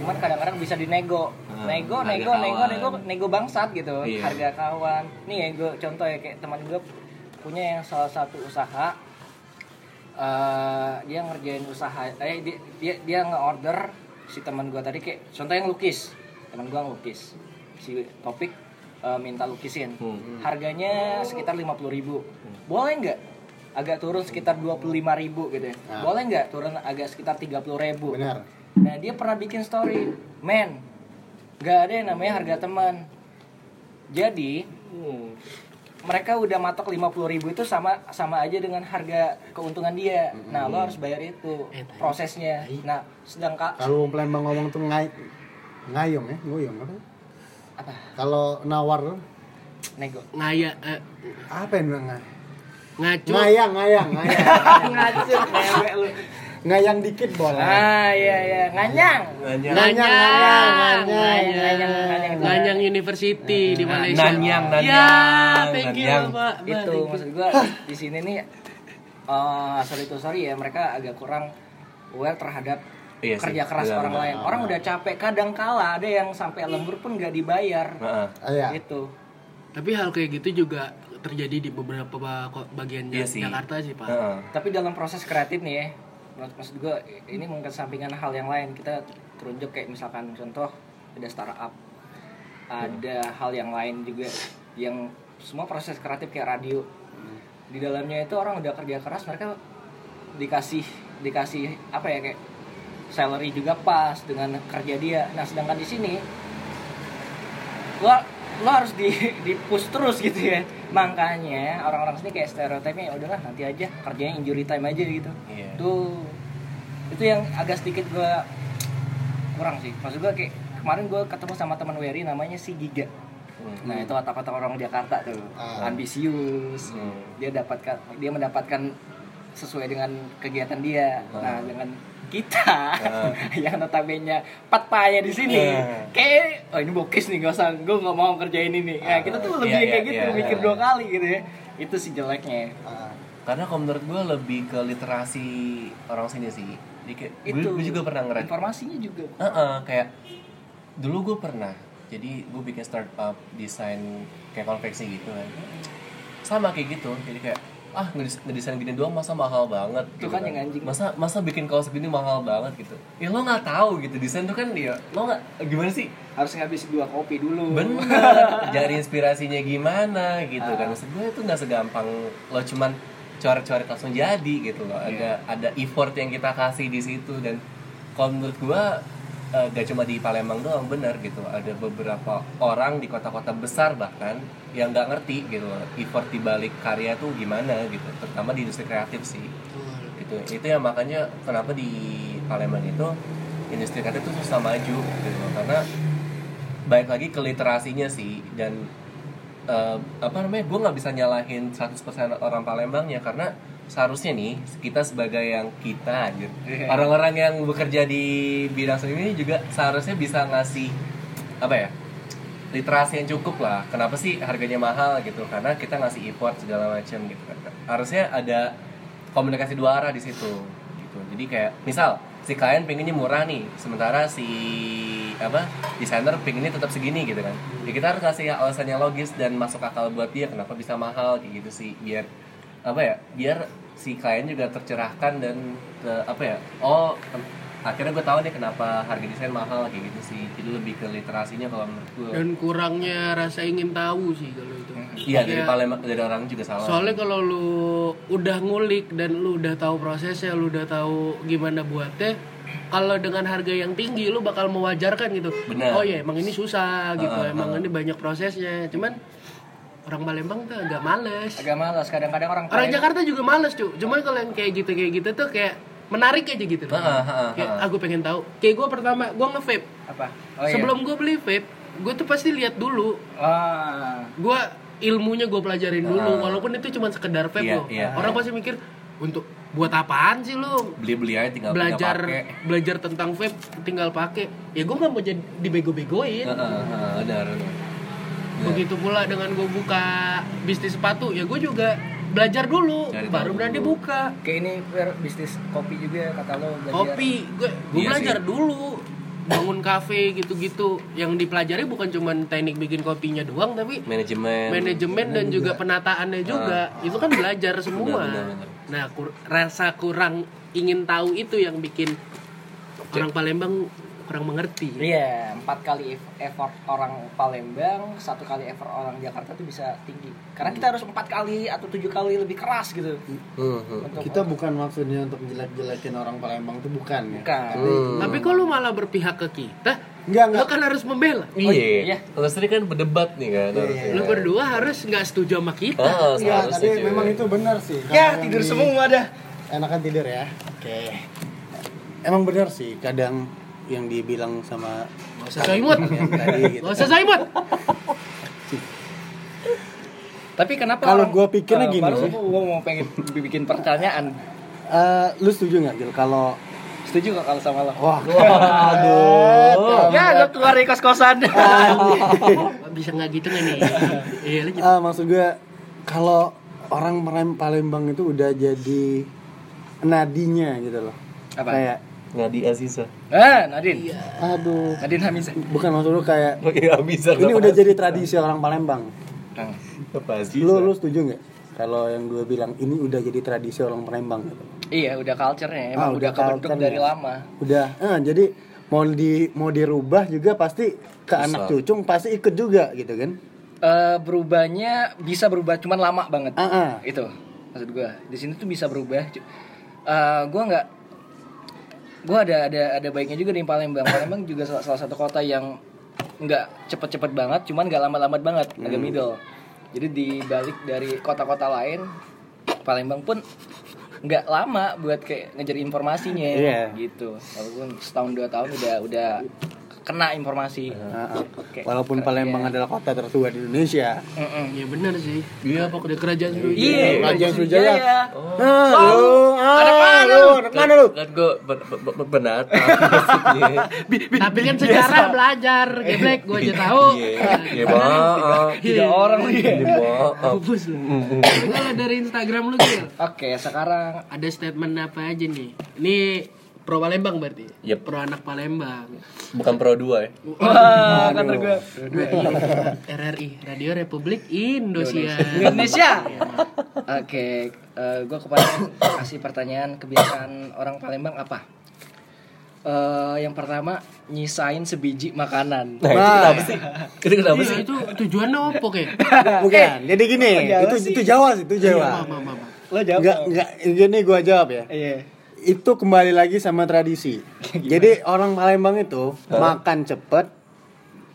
Speaker 4: cuman kadang-kadang bisa dinego.
Speaker 1: Hmm,
Speaker 4: nego,
Speaker 1: harga
Speaker 4: nego,
Speaker 1: kawan.
Speaker 4: nego, nego, nego bangsat gitu.
Speaker 1: Iya.
Speaker 4: Harga kawan. Nih ya gue contoh ya kayak teman gue punya yang salah satu usaha eh dia ngerjain usaha eh dia dia, dia nge-order si teman gua tadi kayak contoh yang lukis teman gua ngelukis si topik eh, minta lukisin
Speaker 1: Hmm.
Speaker 4: harganya sekitar 50.000 boleh nggak agak turun sekitar 25.000 gitu ya
Speaker 2: Nah.
Speaker 4: boleh nggak turun agak sekitar 30.000
Speaker 2: Benar.
Speaker 4: nah dia pernah bikin story men nggak ada yang namanya harga teman jadi mereka udah matok 50.000 itu sama sama aja dengan harga keuntungan dia. Nah, lo harus bayar itu
Speaker 3: Eh, tai.
Speaker 4: prosesnya. Nah, sedangkan
Speaker 2: Kalau orang Palembang ngomong tuh ngay ngayom ya, ngoyong apa?
Speaker 4: apa?
Speaker 2: Kalau nawar
Speaker 4: Nego.
Speaker 3: ngaya eh,
Speaker 2: apa yang bilang ngay?
Speaker 3: ngacu
Speaker 2: Ngayang, ngayang, ngayang.
Speaker 4: Ngacu ngewek lu.
Speaker 2: ngayang dikit boleh.
Speaker 4: Ah, iya iya, nganyang.
Speaker 1: Nanyang.
Speaker 3: Nanyang,
Speaker 2: Nanyang,
Speaker 3: Nanyang,
Speaker 4: Nanyang.
Speaker 3: Nanyang University di Malaysia.
Speaker 1: Nanyang, Nanyang,
Speaker 3: Ya, thank you
Speaker 1: Nanyang.
Speaker 3: Pak. Pak,
Speaker 4: Itu
Speaker 3: thank you.
Speaker 4: maksud gua di sini nih eh sorry itu sorry ya, mereka agak kurang aware terhadap
Speaker 1: Iya sih,
Speaker 4: kerja keras
Speaker 1: benar,
Speaker 4: orang
Speaker 1: benar.
Speaker 4: lain. Orang udah capek, kadang kala ada yang sampai lembur pun nggak dibayar.
Speaker 1: Heeh.
Speaker 2: Ah, ya.
Speaker 4: Gitu.
Speaker 3: Tapi hal kayak gitu juga terjadi di beberapa ba- ko- bagian
Speaker 1: Iya
Speaker 3: Ja-
Speaker 1: sih.
Speaker 3: Jakarta sih Pak.
Speaker 1: Heeh.
Speaker 4: Tapi dalam proses kreatif nih ya, menurut maksud gue ini mengesampingkan hal yang lain. Kita terunjuk kayak misalkan contoh ada startup,
Speaker 1: Hmm.
Speaker 4: ada hal yang lain juga yang semua proses kreatif kayak radio. Di dalamnya itu orang udah kerja keras, mereka dikasih dikasih apa ya kayak salary juga pas dengan kerja dia. Nah, sedangkan di sini lo lo harus di di push terus gitu ya makanya orang-orang sini kayak stereotipnya ya udahlah nanti aja kerjanya injury time aja gitu
Speaker 1: Iya.
Speaker 4: tuh itu yang agak sedikit gua kurang sih maksud gua kayak kemarin gua ketemu sama teman Wery namanya si Giga nah itu kata-kata orang Jakarta tuh
Speaker 2: Ah.
Speaker 4: ambisius
Speaker 1: Hmm.
Speaker 4: dia dapatkan dia mendapatkan sesuai dengan kegiatan dia nah dengan kita
Speaker 1: Ah.
Speaker 4: yang notabene patpaya di sini
Speaker 1: Iya.
Speaker 4: kayak oh ini bokis nih gak usah gue nggak mau kerjain ini nah, kita tuh lebih
Speaker 1: Iya, iya,
Speaker 4: kayak gitu
Speaker 1: iya.
Speaker 4: mikir dua kali gitu ya itu sih jeleknya
Speaker 2: Ah,
Speaker 1: Karena kalau menurut gue lebih ke literasi orang sini sih. Jadi kayak,
Speaker 4: itu
Speaker 1: gue juga pernah ngerasain.
Speaker 4: informasinya juga
Speaker 1: Heeh, kayak dulu gue pernah. Jadi gue bikin startup desain kayak konveksi gitu kan. Sama kayak gitu. Jadi kayak ah ngedis- ngedesain gini doang masa mahal banget gitu
Speaker 4: Tuh kan yang anjing.
Speaker 1: masa masa bikin kaos gini mahal banget gitu ya lo nggak tahu gitu desain tuh kan dia lo nggak gimana sih
Speaker 4: harus ngabis dua kopi dulu
Speaker 1: bener cari inspirasinya gimana gitu kan maksud gue itu nggak segampang lo cuman coret-coret langsung jadi gitu loh ada ada effort yang kita kasih di situ dan kalau menurut gue eh, gak cuma di Palembang doang bener gitu ada beberapa orang di kota-kota besar bahkan yang nggak ngerti gitu loh, effort di balik karya tuh gimana gitu terutama di industri kreatif sih itu itu yang makanya kenapa di Palembang itu industri kreatif itu susah maju gitu karena baik lagi ke literasinya sih dan eh, apa namanya gue nggak bisa nyalahin 100% orang Palembangnya karena seharusnya nih kita sebagai yang kita anjir.
Speaker 4: Iya.
Speaker 1: orang-orang yang bekerja di bidang seni ini juga seharusnya bisa ngasih apa ya literasi yang cukup lah kenapa sih harganya mahal gitu karena kita ngasih import segala macam gitu kan harusnya ada komunikasi dua arah di situ gitu jadi kayak misal si klien pengennya murah nih sementara si apa desainer pengennya tetap segini gitu kan ya kita harus kasih alasan yang logis dan masuk akal buat dia kenapa bisa mahal kayak gitu sih biar apa ya biar si klien juga tercerahkan dan ke apa ya oh em- akhirnya gue tahu nih kenapa harga desain mahal kayak gitu sih jadi lebih ke literasinya kalau menurut gue
Speaker 3: dan kurangnya rasa ingin tahu sih kalau itu
Speaker 1: iya dari
Speaker 3: Kayak-
Speaker 1: Palembang dari orang juga salah
Speaker 3: soalnya kalau lu udah ngulik dan lu udah tahu prosesnya lu udah tahu gimana buatnya kalau dengan harga yang tinggi lu bakal mewajarkan gitu
Speaker 1: Benar.
Speaker 3: oh ya emang ini susah gitu emang ini banyak prosesnya cuman orang Palembang tuh agak males
Speaker 4: agak malas kadang-kadang orang
Speaker 3: orang
Speaker 4: klien-
Speaker 3: Jakarta juga males cuy cuman kalau yang kayak gitu kayak gitu tuh kayak menarik aja gitu loh.
Speaker 1: Ah, ah, ah,
Speaker 3: kayak aku pengen tahu kayak gue pertama gue nge vape
Speaker 4: apa oh iya
Speaker 3: sebelum gue beli vape gue tuh pasti lihat dulu
Speaker 4: Ah,
Speaker 3: gue ilmunya gue pelajarin dulu walaupun itu cuma sekedar
Speaker 1: Ah.
Speaker 3: vape
Speaker 1: Iya,
Speaker 3: loh
Speaker 1: iya.
Speaker 3: orang pasti mikir untuk buat apaan sih lo
Speaker 1: beli beli aja tinggal tinggal
Speaker 3: belajar
Speaker 1: pakai.
Speaker 3: belajar tentang vape tinggal pakai ya gue nggak mau jadi dibego-begoin
Speaker 1: Heeh, heeh, benar Iya. benar.
Speaker 3: begitu pula dengan gue buka bisnis sepatu ya gue juga belajar dulu
Speaker 1: Cari tahu
Speaker 3: baru berani
Speaker 1: dulu.
Speaker 3: buka
Speaker 4: kayak ini Fer, bisnis kopi juga kata lo belajar.
Speaker 3: kopi gue gue
Speaker 1: Iya
Speaker 3: belajar dulu bangun kafe gitu-gitu yang dipelajari bukan cuma teknik bikin kopinya doang tapi
Speaker 1: manajemen
Speaker 3: manajemen dan juga penataannya juga itu kan belajar semua
Speaker 1: Benar, benar, benar.
Speaker 3: nah kur- rasa kurang ingin tahu itu yang bikin orang Palembang kurang mengerti
Speaker 4: Iya, empat kali eff- effort orang Palembang, satu kali effort orang Jakarta tuh bisa tinggi. Karena kita harus empat kali atau tujuh kali lebih keras gitu.
Speaker 1: Hmm, hmm.
Speaker 4: Untuk
Speaker 2: Kita bukan maksudnya untuk jelek-jelekin orang Palembang tuh bukan ya.
Speaker 4: Bukan.
Speaker 3: tapi kok lu malah berpihak ke kita
Speaker 2: Enggak,
Speaker 3: lu
Speaker 2: enggak.
Speaker 3: kan harus membela
Speaker 1: Iya. Kalau sering kan berdebat nih kan.
Speaker 2: Iya.
Speaker 1: harusnya.
Speaker 3: lu berdua harus nggak setuju sama kita
Speaker 1: Ah, seharusnya,
Speaker 2: Enggak, Iya, tapi
Speaker 1: cuy.
Speaker 2: memang itu benar sih.
Speaker 4: Ya,
Speaker 2: Kalau
Speaker 4: tidur
Speaker 2: yang di-
Speaker 4: semua dah.
Speaker 2: Enakan tidur ya. Oke. Emang benar sih kadang yang dibilang sama
Speaker 3: nggak usah soimut
Speaker 2: yang tadi gitu.
Speaker 3: nggak usah soimut
Speaker 4: Tapi kenapa
Speaker 2: Kalau
Speaker 4: orang-
Speaker 2: gua pikirnya
Speaker 4: Eh,
Speaker 2: gini
Speaker 4: baru
Speaker 2: sih.
Speaker 4: gua mau pengen bikin pertanyaan.
Speaker 2: Eh, lu setuju nggak Gil kalau
Speaker 4: Setuju gak kalau sama lo?
Speaker 2: wah aduh
Speaker 4: Ya, lo keluar dari kos-kosan.
Speaker 3: bisa nggak gitu nggak nih iya lu gitu.
Speaker 2: Eh, maksud gue kalau orang Palem- Palembang itu udah jadi nadinya gitu loh
Speaker 4: Apa?
Speaker 2: kayak
Speaker 1: Nadi Aziza.
Speaker 4: ah, Nadine.
Speaker 2: Iya. aduh
Speaker 4: Nadine Hamisa.
Speaker 2: bukan maksud lu kayak
Speaker 1: Iya, bisa.
Speaker 2: ini udah jadi tradisi orang Palembang
Speaker 4: Nah,
Speaker 1: apa Aziza?
Speaker 2: lu lu setuju nggak kalau yang gue bilang ini udah jadi tradisi orang Palembang gitu
Speaker 4: Iya, udah
Speaker 2: Ah,
Speaker 4: culture-nya emang udah kebentuk
Speaker 2: culture-nya.
Speaker 4: dari lama.
Speaker 2: udah eh, jadi mau di mau dirubah juga pasti ke anak cucung pasti ikut juga gitu kan
Speaker 4: Eh, berubahnya bisa berubah cuman lama banget.
Speaker 2: ah ah.
Speaker 4: itu maksud gue di sini tuh bisa berubah Eh gue nggak gue ada ada ada baiknya juga di Palembang Palembang juga salah, salah satu kota yang nggak cepet-cepet banget cuman nggak lambat-lambat banget
Speaker 2: Hmm.
Speaker 4: agak middle jadi dibalik dari kota-kota lain Palembang pun nggak lama buat kayak ngejar informasinya
Speaker 2: Iya.
Speaker 4: gitu walaupun setahun dua tahun udah udah kena informasi
Speaker 2: Ah, ah.
Speaker 4: Oke.
Speaker 2: Walaupun Palembang adalah kota tertua di Indonesia.
Speaker 4: Mm-mm.
Speaker 3: iya benar sih iya pokoknya kerajaan dulu
Speaker 4: Iya,
Speaker 2: Raja
Speaker 4: Sriwijaya.
Speaker 2: Sriwijaya. Ah, lu, ah, lu, anak mana lu?
Speaker 1: Kan gue benat maksudnya.
Speaker 3: tapi kan sejarah belajar geblek gue aja tahu
Speaker 1: Iya, iya, maaf.
Speaker 4: Tiga orang lagi.
Speaker 1: Iya, maaf.
Speaker 3: Hapus lu. Kalau dari Instagram lu Gil,
Speaker 4: Oke, sekarang
Speaker 3: ada statement apa aja nih? Ini pro Palembang berarti.
Speaker 1: Yep.
Speaker 3: Pro anak Palembang.
Speaker 1: Bukan pro 2 ya.
Speaker 4: wah kata gue
Speaker 3: RRI, Radio Republik Indonesia.
Speaker 4: Indonesia.
Speaker 3: Iya.
Speaker 4: Oke, eh, gua gue kemarin kasih pertanyaan kebiasaan orang Palembang apa? Eh, yang pertama nyisain sebiji makanan.
Speaker 1: Nah, itu kenapa sih? Itu kenapa
Speaker 3: Iya,
Speaker 1: sih?
Speaker 3: itu tujuannya apa kayak?
Speaker 2: Bukan. Jadi gini,
Speaker 4: Jawa
Speaker 2: itu itu Jawa sih, itu Jawa.
Speaker 3: Iya, Mama, mama.
Speaker 4: Lo jawab.
Speaker 2: Enggak,
Speaker 4: dong.
Speaker 2: enggak gini gua jawab ya.
Speaker 4: Iya.
Speaker 2: Itu kembali lagi sama tradisi. Jadi orang Palembang itu makan cepet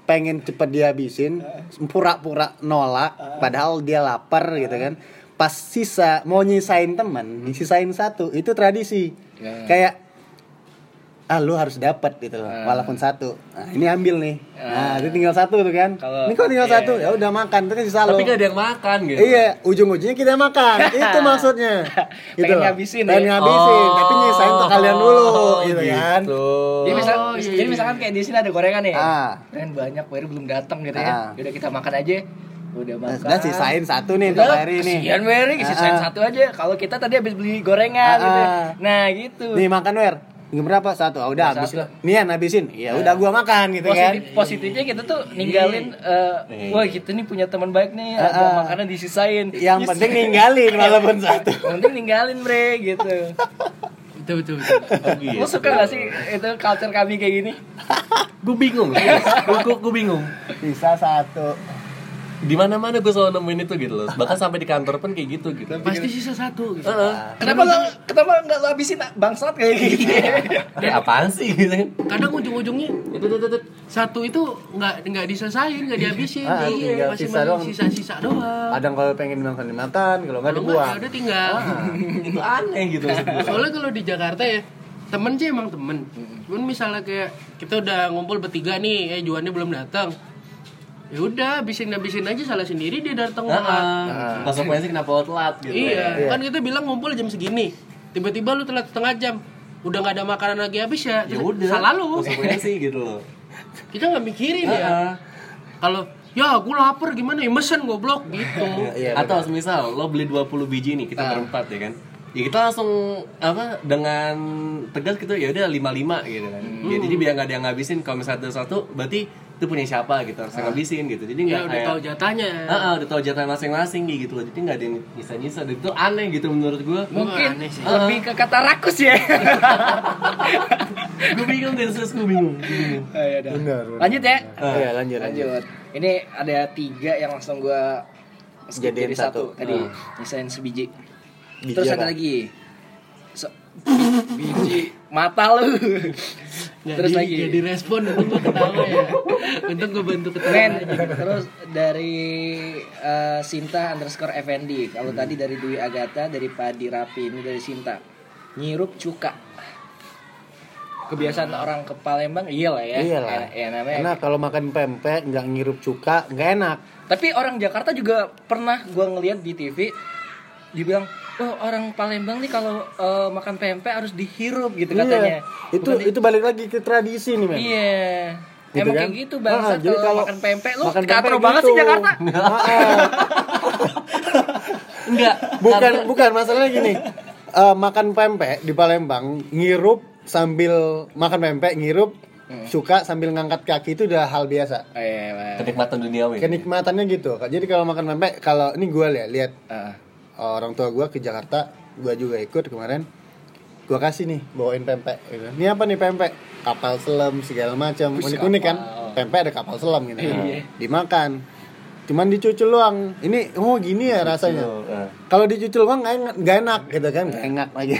Speaker 2: pengen cepet dihabisin, pura-pura nolak, padahal dia lapar gitu kan. Pas sisa mau nyisain teman, disisain satu, itu tradisi.
Speaker 4: Hmm. Ya.
Speaker 2: Kayak ah lu harus dapat gitu loh, walaupun satu. Nah, ini ambil nih. Nah, itu tinggal satu tuh kan.
Speaker 4: Kalau-
Speaker 2: ini kok tinggal
Speaker 4: iya,
Speaker 2: satu, ya udah makan, terus sisa lu.
Speaker 1: Tapi gak ada yang makan gitu.
Speaker 2: Iya, ujung-ujungnya kita makan. itu maksudnya.
Speaker 4: Pengen
Speaker 2: loh.
Speaker 4: ngabisin ya?
Speaker 2: Pengen ngabisin, tapi nyisain untuk kalian dulu
Speaker 1: Oh,
Speaker 2: gitu, kan.
Speaker 4: Jadi, misal,
Speaker 3: iya,
Speaker 4: jadi
Speaker 3: iya.
Speaker 4: misalkan kayak di sini ada gorengan nih.
Speaker 2: Ah.
Speaker 4: Gorengan banyak, baru belum datang gitu
Speaker 2: Ah.
Speaker 4: ya. Udah kita makan aja. Udah
Speaker 2: Nah,
Speaker 4: makan.
Speaker 2: Udah sisain satu nih untuk
Speaker 4: Udah,
Speaker 2: hari ini.
Speaker 4: Kesian Wery, sisain
Speaker 2: Ah.
Speaker 4: satu aja. Kalau kita tadi habis beli gorengan
Speaker 2: Ah,
Speaker 4: gitu.
Speaker 2: ah.
Speaker 4: Nah, gitu.
Speaker 2: Nih makan wer. minggu berapa satu ah udah habis
Speaker 4: Satu. Nah.
Speaker 2: lah Mian habisin ya udah gua makan gitu kan Iya.
Speaker 4: Positif- positifnya kita tuh ninggalin eh,
Speaker 1: Nih.
Speaker 4: wah kita nih punya teman baik nih ada
Speaker 2: Ah, ah.
Speaker 4: makanan disisain
Speaker 2: yang
Speaker 4: Yes.
Speaker 2: penting ninggalin walaupun satu
Speaker 4: Yang penting ninggalin bre gitu
Speaker 3: Betul betul. betul.
Speaker 1: Oh, gitu.
Speaker 4: lo suka gak sih itu culture kami kayak gini
Speaker 1: Gue bingung. Gue gue bingung.
Speaker 2: bisa satu
Speaker 1: Di mana-mana gue selalu nemuin itu gitu loh. Bahkan sampai di kantor pun kayak gitu gitu.
Speaker 3: Pasti sisa satu. Gitu.
Speaker 1: Heeh.
Speaker 4: kenapa lo kenapa nggak lo habisin bangsat kayak gitu
Speaker 1: Ini apaan sih gitu kan?
Speaker 3: Kadang ujung-ujungnya itu, itu, itu, satu itu nggak nggak diselesain nggak dihabisin.
Speaker 2: Ah, tinggal
Speaker 3: Iya masih
Speaker 2: sisa doang.
Speaker 3: sisa-sisa doang.
Speaker 2: kadang kalau pengen makan dimakan kalau nggak
Speaker 3: Kalau nggak
Speaker 2: dibuang
Speaker 3: ya udah tinggal.
Speaker 1: itu aneh gitu maksud gue.
Speaker 3: Soalnya kalau di Jakarta ya temen sih emang temen. Cuman misalnya kayak kita udah ngumpul bertiga nih, eh Juannya belum datang. Ya udah, habisin habisin aja salah sendiri dia datang malah.
Speaker 1: Heeh.
Speaker 2: Nah.
Speaker 1: Konsekuensi kenapa lo telat Ah, gitu.
Speaker 3: Iya, kan kita bilang ngumpul jam segini. Tiba-tiba lu telat setengah jam. Udah nggak ada makanan lagi habis ya.
Speaker 1: Ya udah.
Speaker 3: Salah lu.
Speaker 1: Konsekuensi gitu loh.
Speaker 3: Kita nggak mikirin ya. Kalau ya gue lapar gimana ya mesen goblok gitu.
Speaker 2: Iya, Ah.
Speaker 1: Atau misal lo beli 20 biji nih kita berempat ya kan. Ya kita langsung apa dengan tegas gitu ya udah 55 gitu kan.
Speaker 2: Hmm.
Speaker 1: Ya, jadi biar nggak ada yang ngabisin kalau misalnya ada satu berarti itu punya siapa gitu harus yang
Speaker 2: Ah.
Speaker 1: ngabisin gitu. Jadi nggak
Speaker 3: Ya udah
Speaker 1: kayak-
Speaker 3: tahu jatahnya.
Speaker 1: Heeh, udah tahu jatah masing-masing gitu loh. Jadi nggak ada yang nyisa-nyisa. Dan Itu aneh gitu menurut gue.
Speaker 4: mungkin
Speaker 3: aneh sih.
Speaker 4: lebih ke kata rakus ya
Speaker 1: gue bingung deh, sus gue bingung. Gua bingung. Ah.
Speaker 2: benar benar.
Speaker 4: lanjut ya
Speaker 2: Iya, Oh, lanjut lanjut
Speaker 4: lanjut ini ada tiga yang langsung gua skip
Speaker 2: Jadiin
Speaker 4: jadi satu
Speaker 2: satu. Ah.
Speaker 4: tadi
Speaker 1: Hmm.
Speaker 4: misalnya sebiji
Speaker 2: Biji
Speaker 4: terus
Speaker 2: apa?
Speaker 4: ada lagi So- biji mata lu
Speaker 3: Nggak
Speaker 4: terus
Speaker 3: di-
Speaker 4: lagi
Speaker 3: nggak direspon untung gue ketawa ya. Untung gue bantu ketawa.
Speaker 4: Men,
Speaker 3: aja.
Speaker 4: terus dari eh, Sinta underscore FND
Speaker 2: Hmm.
Speaker 4: Kalau tadi dari Dwi Agata, dari Padi Rapi, ini dari Sinta Nyirup cuka Kebiasaan orang ke Palembang, iyalah ya
Speaker 2: Hmm. iyalah
Speaker 4: Ya, ya namanya.
Speaker 2: Iya karena kalau makan pempek nggak ngirup cuka nggak enak
Speaker 4: Tapi orang Jakarta juga pernah gua ngeliat di TV Dibilang, oh orang Palembang nih kalau eh, makan pempek harus dihirup gitu katanya
Speaker 2: Iya. itu itu balik lagi ke tradisi nih men
Speaker 4: Iya
Speaker 2: Gitu
Speaker 4: Emang
Speaker 2: kan?
Speaker 4: kayak gitu bangsa
Speaker 2: Ah, jadi
Speaker 4: kalau
Speaker 2: kalau
Speaker 4: makan pempek lu
Speaker 2: makan
Speaker 4: katro
Speaker 2: pempek
Speaker 4: banget sih
Speaker 2: gitu.
Speaker 4: Jakarta
Speaker 2: Ah,
Speaker 1: Enggak.
Speaker 2: bukan bukan masalahnya gini Eh, makan pempek di Palembang ngirup sambil makan pempek ngirup
Speaker 4: Hmm.
Speaker 2: suka sambil ngangkat kaki itu udah hal biasa
Speaker 4: Oh, iya, Bang.
Speaker 1: Kenikmatan
Speaker 4: Oh, iya.
Speaker 1: duniawi.
Speaker 2: kenikmatannya gitu jadi kalau makan pempek kalau ini gue lihat lihat Eh,
Speaker 4: Ah.
Speaker 2: orang tua gue ke Jakarta gue juga ikut kemarin gue kasih nih bawain pempek gitu. ini apa nih pempek kapal selam segala macam unik unik kan pempek ada kapal selam gitu kan. dimakan cuman dicucul doang ini oh gini ya rasanya
Speaker 1: Tuh, eh.
Speaker 2: kalau dicucul doang nggak enak, nggak enak gitu kan nggak enak lagi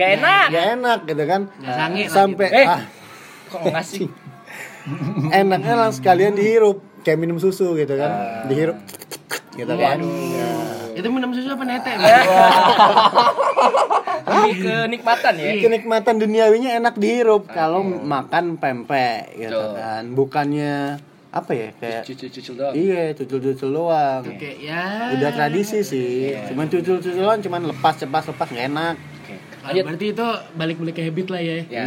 Speaker 4: Gak enak.
Speaker 2: nggak enak gitu kan
Speaker 3: Nggak sange lagi.
Speaker 2: sampai
Speaker 4: Eh.
Speaker 2: ah,
Speaker 4: Kok ngasih?
Speaker 2: enaknya langsung sekalian dihirup kayak minum susu gitu kan dihirup gitu kan
Speaker 3: Itu minum susu apa nete?
Speaker 4: Iya. Lebih kenikmatan ya.
Speaker 2: Eh, kenikmatan duniawinya enak dihirup kalau makan pempek gitu
Speaker 4: Betul.
Speaker 2: kan bukannya apa ya kayak
Speaker 4: Cucul-cucul doang.
Speaker 2: iya cucul-cucul doang
Speaker 3: Oke ya.
Speaker 2: udah tradisi sih cuman cucul-cuculan cuman lepas lepas lepas nggak enak
Speaker 4: Oke.
Speaker 3: Ah,
Speaker 4: Lanjut.
Speaker 3: Berarti itu balik-balik ke habit lah ya.
Speaker 4: Ya.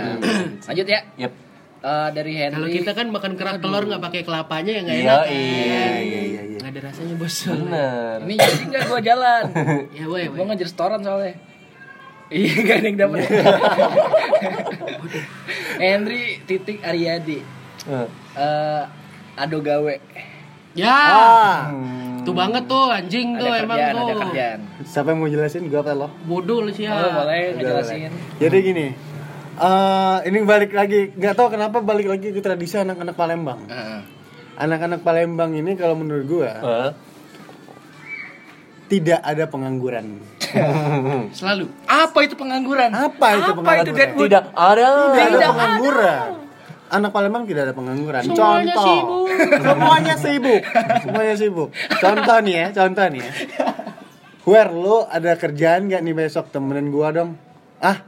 Speaker 4: Lanjut ya.
Speaker 1: Yep.
Speaker 4: Eh, dari
Speaker 3: Kalau
Speaker 4: Henry.
Speaker 3: kita kan makan kerak telur nggak pakai kelapanya ya nggak
Speaker 1: Iya,
Speaker 3: enak.
Speaker 1: iya,
Speaker 2: iya iya iya
Speaker 3: Nggak ada rasanya bos.
Speaker 1: Bener.
Speaker 4: Ini jadi nggak gua jalan.
Speaker 3: Ya woi,
Speaker 4: Gua
Speaker 3: woi.
Speaker 4: ngejar setoran soalnya. Iya gak ada yang dapet Henry titik Ariadi
Speaker 1: Eh.
Speaker 4: Eh, Ado gawe
Speaker 3: Ya,
Speaker 2: ah
Speaker 3: tuh banget tuh anjing
Speaker 4: Ada
Speaker 3: tuh emang
Speaker 4: kerjaan,
Speaker 3: tuh.
Speaker 4: ada kerjaan
Speaker 2: siapa yang mau jelasin gua apa lo
Speaker 3: Bodoh lu sih ya.
Speaker 1: Oh,
Speaker 4: Lo boleh ngejelasin
Speaker 2: jadi gini eh ini balik lagi nggak tahu kenapa balik lagi ke tradisi anak-anak Palembang
Speaker 4: Heeh.
Speaker 2: anak-anak Palembang ini kalau menurut gua
Speaker 1: Eh.
Speaker 2: tidak ada pengangguran
Speaker 3: Selalu.
Speaker 4: Apa itu pengangguran?
Speaker 2: Apa itu pengangguran?
Speaker 4: Deadwood?
Speaker 1: Tidak ada.
Speaker 2: tidak ada pengangguran. Anak Palembang tidak ada pengangguran.
Speaker 3: Semuanya
Speaker 2: contoh.
Speaker 3: sibuk.
Speaker 2: Semuanya sibuk. Semuanya sibuk. Contoh nih ya, contoh nih ya. Where lu ada kerjaan gak nih besok temenin gua dong? Ah,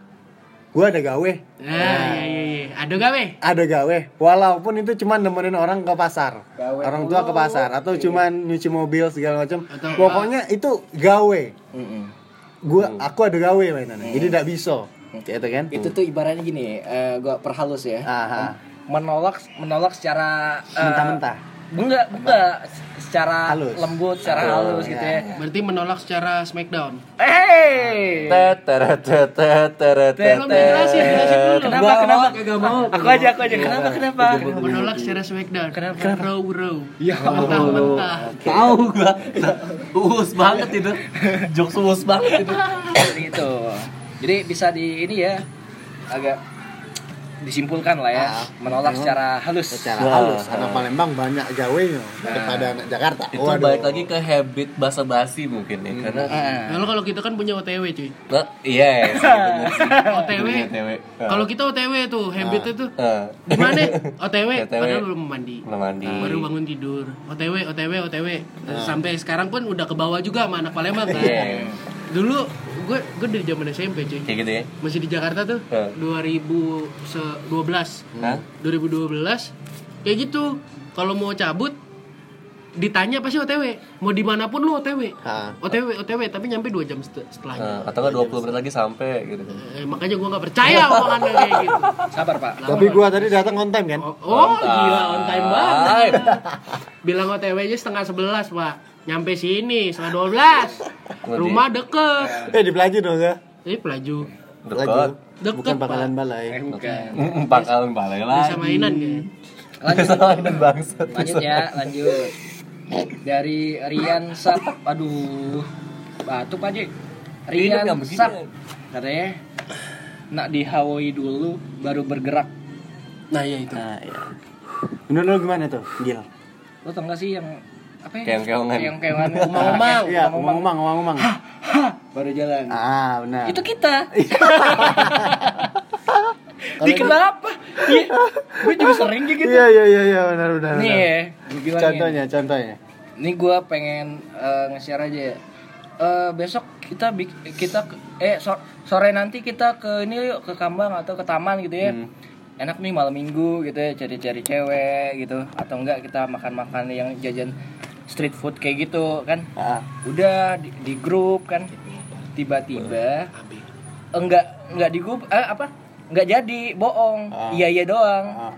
Speaker 2: gua ada gawe.
Speaker 1: Ya.
Speaker 3: Nah, iya iya iya. Aduh gawe.
Speaker 2: Ada gawe. Walaupun itu cuman nemenin orang ke pasar.
Speaker 4: Gawe Iya.
Speaker 2: orang tua ke pasar atau cuman nyuci mobil segala macam.
Speaker 3: Atau-
Speaker 2: Pokoknya itu gawe.
Speaker 4: Mm-mm.
Speaker 2: Gua aku ada gawe mainannya. Jadi tidak bisa. Gitu kan?
Speaker 4: Hmm. itu tuh ibaratnya gini eh, gua perhalus ya
Speaker 2: Aha.
Speaker 4: menolak menolak secara eh,
Speaker 2: Mentah-mentah.
Speaker 4: enggak enggak secara
Speaker 2: Halus. Iya,
Speaker 4: lembut secara halus gitu ya Eh,
Speaker 3: Berarti menolak secara smackdown.
Speaker 4: hey
Speaker 3: Belum dijelasin, jelasin dulu.
Speaker 4: kenapa kenapa
Speaker 3: Kagak mau.
Speaker 4: aku aja aku aja kenapa kenapa
Speaker 1: Iya,
Speaker 3: Menolak secara smackdown.
Speaker 4: Kenapa?
Speaker 3: Row row. Ya mentah
Speaker 1: Oh.
Speaker 3: mentah.
Speaker 1: Tahu gua. Uus banget itu. Jokes uus banget itu.
Speaker 4: Seperti itu gitu. jadi bisa di ini ya agak disimpulkan lah ya menolak secara halus
Speaker 2: secara
Speaker 1: Wah.
Speaker 2: halus anak Palembang banyak gawainya daripada anak Jakarta
Speaker 1: Itu balik lagi ke habit basa basi mungkin ya karena
Speaker 4: Ah.
Speaker 3: Lalu kalau kita kan punya OTW cuy.
Speaker 1: Nah, iya sih, bener sih.
Speaker 3: OTW.
Speaker 1: Punya OTW. Ah.
Speaker 3: Kalau kita OTW tuh habitnya tuh
Speaker 1: Ah.
Speaker 3: gimana? OTW
Speaker 1: OTW.
Speaker 3: padahal belum mandi. Ah,
Speaker 1: Belum mandi. Ah.
Speaker 3: Baru bangun tidur. OTW, OTW, OTW. Sampai sekarang pun udah ke bawah juga sama anak Palembang kan.
Speaker 1: Iya.
Speaker 3: Dulu gue gue dari zaman SMP cuy.
Speaker 1: Kayak gitu ya.
Speaker 3: Masih di Jakarta tuh
Speaker 1: Ah.
Speaker 3: 2012.
Speaker 1: Hah?
Speaker 3: 2012 kayak gitu. Kalau mau cabut ditanya pasti OTW. Mau dimanapun lu OTW.
Speaker 2: Ah.
Speaker 3: OTW, OTW tapi nyampe 2 jam set-
Speaker 1: Ah,
Speaker 3: setelahnya.
Speaker 1: atau enggak 20 menit lagi sampai gitu kan.
Speaker 3: Eh, makanya gue nggak percaya omongannya kayak gitu.
Speaker 4: sabar pak
Speaker 2: tapi gua tadi datang on time kan
Speaker 3: Oh, oh,
Speaker 1: time.
Speaker 3: gila on time banget. Bilang OTW aja setengah sebelas pak, nyampe sini setengah dua belas. Rumah deket.
Speaker 2: eh di pelaju dong ya
Speaker 3: Ini pelaju.
Speaker 1: Dekat.
Speaker 3: Deket,
Speaker 2: bukan
Speaker 3: Pak.
Speaker 2: bakalan
Speaker 4: eh
Speaker 2: balai
Speaker 4: bukan
Speaker 1: Empat kali balik
Speaker 3: Bisa
Speaker 1: lagi.
Speaker 3: mainan kan?
Speaker 4: lanjut
Speaker 1: Kesalahan bangsa.
Speaker 4: lanjut ya lanjut dari Rian Sap aduh batuk aja Rian
Speaker 1: Minum yang begini.
Speaker 4: Sap katanya nak di Hawaii dulu baru bergerak
Speaker 3: Nah ya itu.
Speaker 2: Ah, iya. menurut lu gimana tuh gil
Speaker 4: lo tau gak sih yang apa ya
Speaker 1: Keong-keongan.
Speaker 4: yang keongan omong-omong
Speaker 2: iya ngomong ngomong ngomong ngomong
Speaker 4: baru jalan
Speaker 2: ah benar
Speaker 4: itu kita di kenapa Iya, gue juga sering kayak gitu
Speaker 2: iya iya iya iya benar benar
Speaker 4: nih
Speaker 2: benar.
Speaker 4: ya gue bilangin.
Speaker 2: contohnya contohnya
Speaker 4: Ini gue pengen eh, nge-share aja ya. Eh, besok kita bik- kita ke- eh so- sore nanti kita ke ini yuk ke Kambang atau ke taman gitu ya. Enak nih malam Minggu gitu ya cari-cari cewek gitu atau enggak kita makan-makan yang jajan street food kayak gitu kan.
Speaker 2: Ah.
Speaker 4: Udah di, di grup kan. Tiba-tiba enggak enggak di grup eh, apa? Enggak jadi, bohong.
Speaker 2: Ah.
Speaker 4: Iya iya doang
Speaker 2: Ah.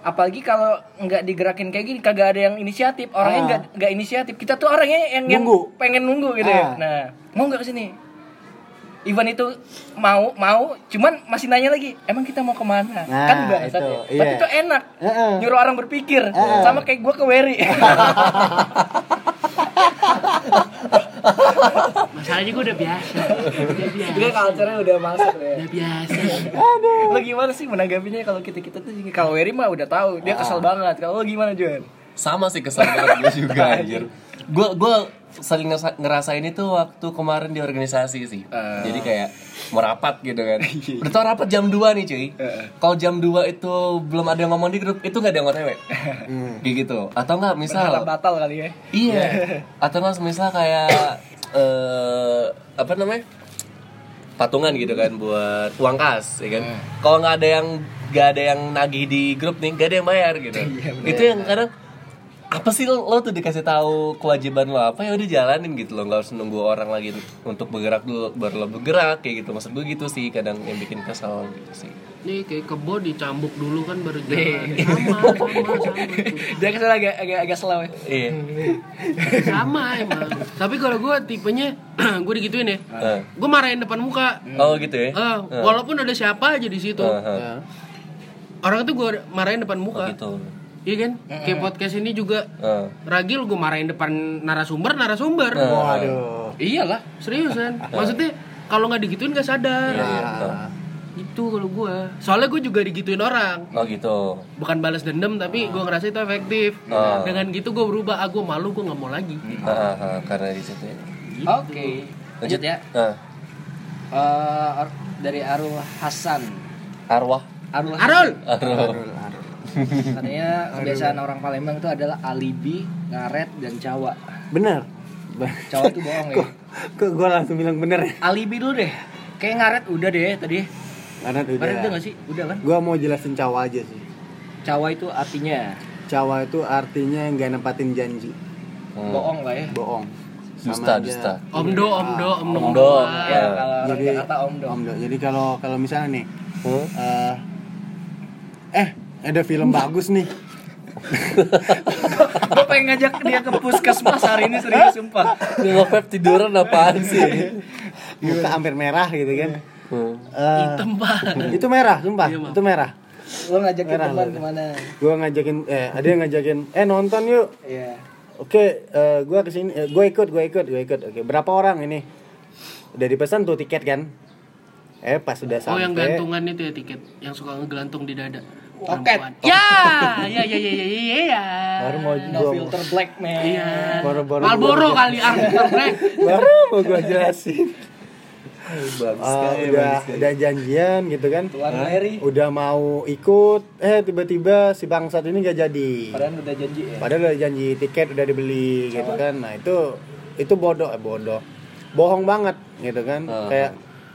Speaker 4: apalagi kalau nggak digerakin kayak gini kagak ada yang inisiatif orangnya
Speaker 2: Ah.
Speaker 4: nggak nggak inisiatif kita tuh orangnya yang, yang
Speaker 2: Nunggu.
Speaker 4: pengen nunggu gitu
Speaker 2: Ah.
Speaker 4: ya nah mau nggak kesini Ivan itu mau mau cuman masih nanya lagi emang kita mau kemana
Speaker 2: Nah,
Speaker 4: kan
Speaker 2: itu,
Speaker 4: bangsat ya. tapi
Speaker 2: iya.
Speaker 4: itu enak
Speaker 2: Heeh.
Speaker 4: nyuruh orang berpikir
Speaker 2: Heeh.
Speaker 4: sama kayak gua ke Wery
Speaker 3: Masalahnya gue udah biasa. Udah biasa.
Speaker 4: juga culture-nya udah masuk ya
Speaker 3: Udah biasa.
Speaker 4: lo gimana sih menanggapinya kalau kita kita tuh kalau Wery mah udah tahu dia kesel banget kalau lo gimana Juan
Speaker 1: sama sih kesel banget gue juga anjir gue gue sering ngesa- ngerasain itu waktu kemarin di organisasi sih jadi kayak mau rapat gitu kan udah tau rapat jam 2 nih cuy kalau jam 2 itu belum ada yang ngomong di grup itu nggak ada yang otw kayak gitu atau nggak misal
Speaker 4: Berharap batal kali ya
Speaker 1: iya atau nggak misal kayak eh apa namanya patungan gitu kan buat uang kas ya kan kalau nggak ada yang nggak ada yang nagih di grup nih nggak ada yang bayar gitu itu yang kadang apa sih lo, lo tuh dikasih tahu kewajiban lo apa ya udah jalanin gitu lo nggak harus nunggu orang lagi untuk bergerak dulu baru lo bergerak kayak gitu maksud gue gitu sih kadang yang bikin kesel gitu sih
Speaker 3: Nih kayak kebo dicambuk dulu kan baru jalan. Sama, sama, sama.
Speaker 4: dia kesel agak agak agak slow ya
Speaker 1: iya
Speaker 3: sama emang tapi kalau gue tipenya gue digituin ya
Speaker 1: Eh.
Speaker 3: gue marahin depan muka
Speaker 1: oh gitu ya
Speaker 3: Eh, walaupun ada siapa aja di situ
Speaker 1: Eh, eh.
Speaker 3: orang tuh gue marahin depan
Speaker 1: Oh,
Speaker 3: muka
Speaker 1: gitu
Speaker 3: iya kan kayak podcast ini juga
Speaker 1: Eh.
Speaker 3: ragil gue marahin depan narasumber narasumber
Speaker 2: waduh
Speaker 4: iyalah
Speaker 3: seriusan maksudnya kalau nggak digituin gak sadar
Speaker 1: Iya, iya, betul.
Speaker 3: itu kalau gue soalnya gue juga digituin orang
Speaker 1: oh gitu
Speaker 3: bukan balas dendam tapi gue ngerasa itu efektif
Speaker 1: Ah.
Speaker 3: dengan gitu gue berubah ah gue malu gue nggak mau lagi
Speaker 1: Ah, ah, ah, karena di situ. ya.
Speaker 4: Oke, lanjut ya.
Speaker 1: Ah.
Speaker 4: Eh, Ar- dari Arul Hasan.
Speaker 1: Arwah.
Speaker 4: Arul
Speaker 3: Arul
Speaker 1: Arwah.
Speaker 4: katanya kebiasaan orang Palembang itu adalah alibi, ngaret dan cawa.
Speaker 2: benar
Speaker 4: Cawa itu bohong ya.
Speaker 2: kok gua langsung bilang bener ya
Speaker 4: Alibi dulu deh. Kayak ngaret udah deh tadi.
Speaker 2: karena tuh
Speaker 4: Ngaret udah gak sih? Udah kan?
Speaker 2: gua mau jelasin cawa aja sih
Speaker 4: Cawa itu artinya
Speaker 2: cawa itu artinya nggak nepatin janji
Speaker 1: Hmm.
Speaker 4: bohong lah ya.
Speaker 2: bohong
Speaker 1: Dusta,
Speaker 2: aja.
Speaker 1: dusta.
Speaker 3: Omdo, omdo, omdo,
Speaker 1: Omdo.
Speaker 3: Wah.
Speaker 4: Ya kalau orang
Speaker 2: Jadi-
Speaker 4: Jakarta om dong.
Speaker 2: Om Do. Jadi kalau kalau misalnya nih,
Speaker 1: Hmm?
Speaker 2: eh, eh ada film bagus nih. Ya.
Speaker 5: gue pengen ngajak dia ke puskesmas hari ini serius sumpah
Speaker 1: Ngevap tiduran apaan sih?
Speaker 2: muka hampir merah gitu kan
Speaker 1: Hmm.
Speaker 2: Eh,
Speaker 5: hitam banget
Speaker 2: itu merah sumpah
Speaker 5: Iya, Mak.
Speaker 2: itu merah
Speaker 4: Lo ngajakin
Speaker 2: Merah,
Speaker 4: teman
Speaker 2: merah.
Speaker 4: kemana?
Speaker 2: gue ngajakin eh ada yang ngajakin eh nonton yuk
Speaker 4: Iya.
Speaker 2: Oke, eh, gua gue kesini, gue ikut, gue ikut, gue ikut. Oke, berapa orang ini? Udah dipesan tuh tiket kan? Eh, pas udah
Speaker 3: Oh
Speaker 2: sampai.
Speaker 3: yang gantungan itu ya tiket yang suka ngegelantung di dada.
Speaker 4: Pocket.
Speaker 3: Perempuan. Ya, ya ya ya ya ya. ya.
Speaker 2: Baru mau
Speaker 4: No
Speaker 2: gua,
Speaker 4: filter black man.
Speaker 3: Iya.
Speaker 2: Baru-baru
Speaker 3: Malboro
Speaker 2: gua-
Speaker 3: kali ah, Arthur Black.
Speaker 2: baru mau gue jelasin.
Speaker 1: Bagus
Speaker 2: Eh,
Speaker 1: sekali,
Speaker 2: udah,
Speaker 1: bagus sekali.
Speaker 2: udah janjian gitu kan?
Speaker 4: Tuan Mary.
Speaker 2: Udah mau ikut, eh tiba-tiba si bangsat ini gak jadi.
Speaker 4: Padahal udah janji ya.
Speaker 2: Padahal udah janji tiket udah dibeli gitu kan. Nah, itu itu bodoh, eh, bodoh. Bohong banget gitu kan.
Speaker 1: Ah.
Speaker 2: Kayak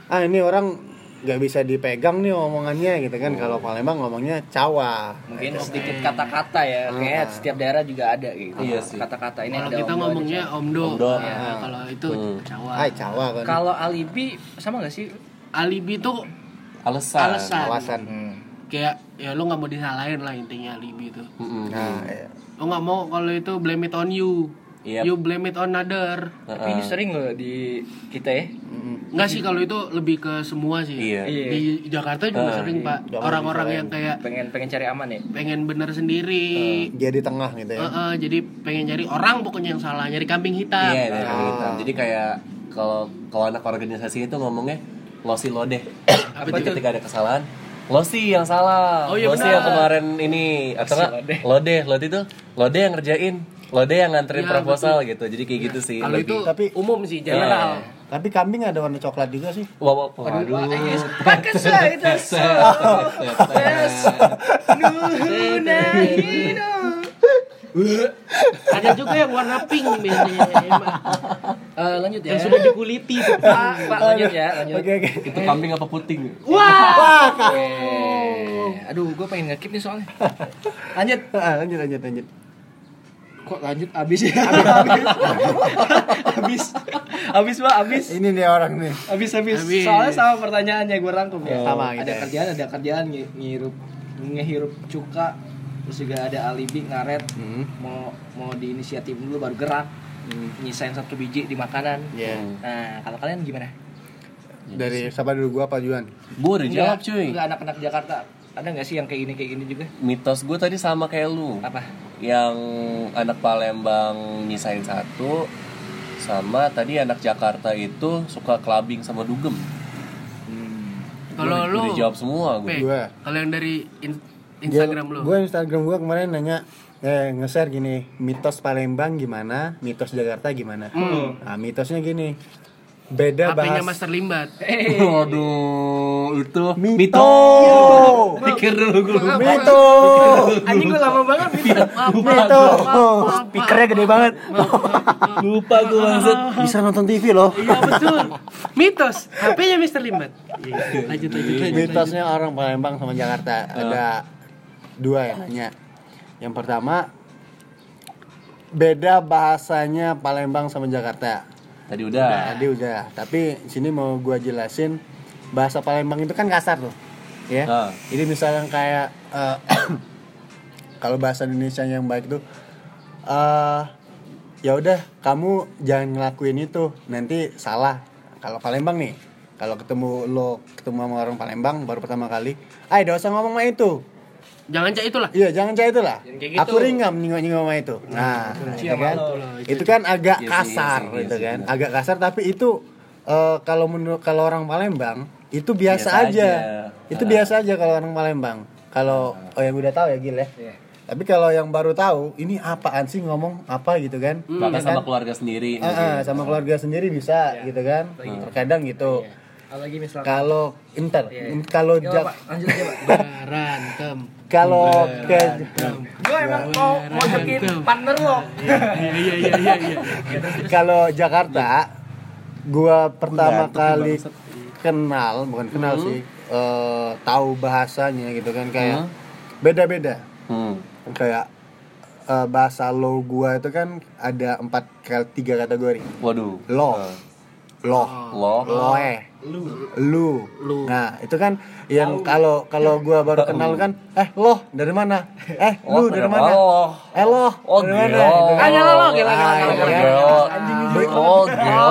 Speaker 2: ah ini orang nggak bisa dipegang nih omongannya gitu kan. Kalau Palembang ngomongnya cawa.
Speaker 4: Mungkin sedikit kata-kata ya. Kayaknya setiap daerah juga ada gitu.
Speaker 1: Iya sih.
Speaker 4: Kata-kata ini
Speaker 3: Kalau
Speaker 4: ada
Speaker 3: kita
Speaker 4: omdo, ada
Speaker 3: ngomongnya Omdo.
Speaker 1: Omdo.
Speaker 3: Ya,
Speaker 4: Ah.
Speaker 3: kalau itu
Speaker 1: Hmm.
Speaker 3: Jawa.
Speaker 2: Ah, cawa
Speaker 4: cowok.
Speaker 2: kan.
Speaker 4: Kalau alibi sama gak sih?
Speaker 3: Alibi tuh
Speaker 1: Alasan.
Speaker 3: alasan.
Speaker 2: Alasan.
Speaker 3: Kayak ya lu nggak mau disalahin lah intinya alibi itu.
Speaker 1: Mm-mm.
Speaker 2: Nah, iya.
Speaker 3: Lu nggak mau kalau itu blame it on you.
Speaker 1: Yep.
Speaker 3: You blame it on other.
Speaker 1: Ah,
Speaker 4: Tapi ini sering loh di kita ya.
Speaker 3: Nggak sih kalau itu lebih ke semua sih.
Speaker 1: Iya. Ah,
Speaker 3: Di Jakarta juga sering Pak orang-orang yang kayak
Speaker 4: Pengen pengen cari aman ya.
Speaker 3: pengen bener sendiri.
Speaker 2: Jadi tengah
Speaker 1: Ah,
Speaker 2: gitu
Speaker 1: iya.
Speaker 2: ya.
Speaker 3: Heeh, jadi pengen nyari orang pokoknya yang salah, nyari kambing hitam.
Speaker 1: Iya, dari hitam. Jadi kayak kalau kalau anak organisasi itu ngomongnya lo sih lo deh.
Speaker 3: Apa
Speaker 1: Jadi
Speaker 3: itu?
Speaker 1: ketika ada kesalahan, lo sih yang salah.
Speaker 3: Oh,
Speaker 1: lo
Speaker 3: iya
Speaker 1: sih yang
Speaker 3: benar.
Speaker 1: kemarin ini atau enggak lo deh, lo deh itu lo deh yang ngerjain, lo deh yang nganterin
Speaker 3: Iya,
Speaker 1: proposal gitu. Jadi kayak gitu sih. Iya.
Speaker 3: Kalau itu ya,
Speaker 2: Tapi-
Speaker 3: umum sih general.
Speaker 2: Tapi kambing ada warna coklat juga sih.
Speaker 1: Wah, wah, wah, waduh.
Speaker 4: Pakai saya itu. nah,
Speaker 3: Ada juga yang warna pink biasanya. emang.
Speaker 4: Eh, lanjut ya.
Speaker 3: yang sudah diguliti tuh,
Speaker 4: Pak,
Speaker 3: Pak.
Speaker 4: Pak, lanjut ya, lanjut.
Speaker 2: Oke, oke.
Speaker 1: Itu kambing apa puting?
Speaker 3: Wah.
Speaker 4: Eh, Aduh, gue pengen ngekip nih soalnya. Lanjut.
Speaker 2: Ah, lanjut lanjut lanjut.
Speaker 4: Kok lanjut abis ya? Abis. Abis, Pak, abis.
Speaker 2: Ini nih orang nih.
Speaker 4: Habis, habis
Speaker 3: Habis.
Speaker 4: Soalnya sama pertanyaannya gue rangkum ya.
Speaker 2: Sama gitu
Speaker 4: ada
Speaker 2: ya.
Speaker 4: kerjaan, ada kerjaan ngi- ngirup ngehirup cuka terus juga ada alibi ngaret
Speaker 2: Hmm.
Speaker 4: mau mau diinisiatif dulu baru gerak nyisain satu biji di makanan
Speaker 2: Iya.
Speaker 4: nah kalau kalian gimana
Speaker 2: Dari siapa dulu gua apa Juan?
Speaker 1: Gue udah jawab
Speaker 4: Enggak-
Speaker 1: cuy.
Speaker 4: enggak anak-anak Jakarta ada nggak sih yang kayak gini kayak gini juga
Speaker 1: Mitos gue tadi sama kayak lu.
Speaker 4: apa
Speaker 1: yang anak Palembang nyisain satu sama tadi anak Jakarta itu suka clubbing sama dugem
Speaker 3: Kalau
Speaker 1: Udah-
Speaker 3: lu
Speaker 1: udah jawab semua gue
Speaker 3: Pe,
Speaker 2: Gua.
Speaker 3: kalau yang dari in- Instagram lu.
Speaker 2: Gue Instagram gue kemarin nanya eh nge-share gini, mitos Palembang gimana, mitos Jakarta gimana. Nah, mitosnya gini. Beda
Speaker 3: Hmm. HP-nya
Speaker 2: bahas
Speaker 3: Master Limbat.
Speaker 1: waduh itu
Speaker 2: Mito.
Speaker 1: mito pikir dulu gue
Speaker 2: Mito.
Speaker 3: Anjing gue lama banget gitu.
Speaker 2: Mito. Oh, Speakernya gede banget.
Speaker 1: lupa gue maksud
Speaker 2: Bisa nonton TV loh.
Speaker 3: Iya betul. Mitos, HP-nya Mr. Limbat. Iya, Lanjut lanjut lanjut.
Speaker 2: Mitosnya orang Palembang sama Jakarta ada dua yang nanya. Yang pertama beda bahasanya Palembang sama Jakarta.
Speaker 1: tadi udah
Speaker 2: Tadi udah, tapi sini mau gua jelasin bahasa Palembang itu kan kasar tuh. Ya.
Speaker 1: Ah.
Speaker 2: Jadi misalnya kayak eh, kalau bahasa Indonesia yang baik tuh eh ya udah kamu jangan ngelakuin itu, nanti salah. Kalau Palembang nih, kalau ketemu lo ketemu sama orang Palembang baru pertama kali, "Ay, enggak usah ngomong sama itu."
Speaker 3: Jangan cak itulah.
Speaker 2: Iya, jangan cah itu lah.
Speaker 3: Jangan kayak gitu.
Speaker 2: Aku ringam nyinggung-nyinggung sama itu. Nah, itu kan, itu kan agak kasar gitu kan. Agak kasar tapi itu eh, kalau menurut kalau orang Palembang itu biasa,
Speaker 1: Biasa
Speaker 2: aja.
Speaker 1: aja.
Speaker 2: Itu biasa aja kalau orang Palembang. Kalau oh yang udah tahu ya Gil ya.
Speaker 4: Iya.
Speaker 2: Tapi kalau yang baru tahu, ini apaan sih ngomong apa gitu kan?
Speaker 1: Hmm. bahkan sama keluarga sendiri
Speaker 2: Eh, eh, sama keluarga sendiri bisa gitu kan. Terkadang gitu.
Speaker 4: Iya. lagi misalnya
Speaker 2: Kalau inter, kalau Jak-
Speaker 4: lanjut aja Iya, pak
Speaker 3: Berantem.
Speaker 2: kalau ke
Speaker 4: gue emang mau mau jokin partner lo
Speaker 3: Iya iya iya iya. iya.
Speaker 2: kalau Jakarta gua pertama kali kenal bukan kenal sih eh, tahu bahasanya gitu kan kayak beda-beda
Speaker 1: hmm.
Speaker 2: kayak eh, bahasa lo gua itu kan ada empat kal- tiga kategori
Speaker 1: waduh
Speaker 2: lo loh
Speaker 1: Loh.
Speaker 2: loe lu. nah itu kan yang kalau kalau gua baru kenal kan eh loh dari mana eh
Speaker 1: Loh,
Speaker 2: lu dari
Speaker 1: dari
Speaker 2: mana
Speaker 1: mana? Loh.
Speaker 2: eh loh
Speaker 1: Oh,
Speaker 2: dari
Speaker 1: gelo.
Speaker 2: mana Itu kan.
Speaker 3: Ah, gelo, lo, gelo,
Speaker 2: Ah,
Speaker 3: gelo,
Speaker 2: iya
Speaker 3: gelo,
Speaker 2: kan?
Speaker 3: gelo.
Speaker 1: Oh, gelo.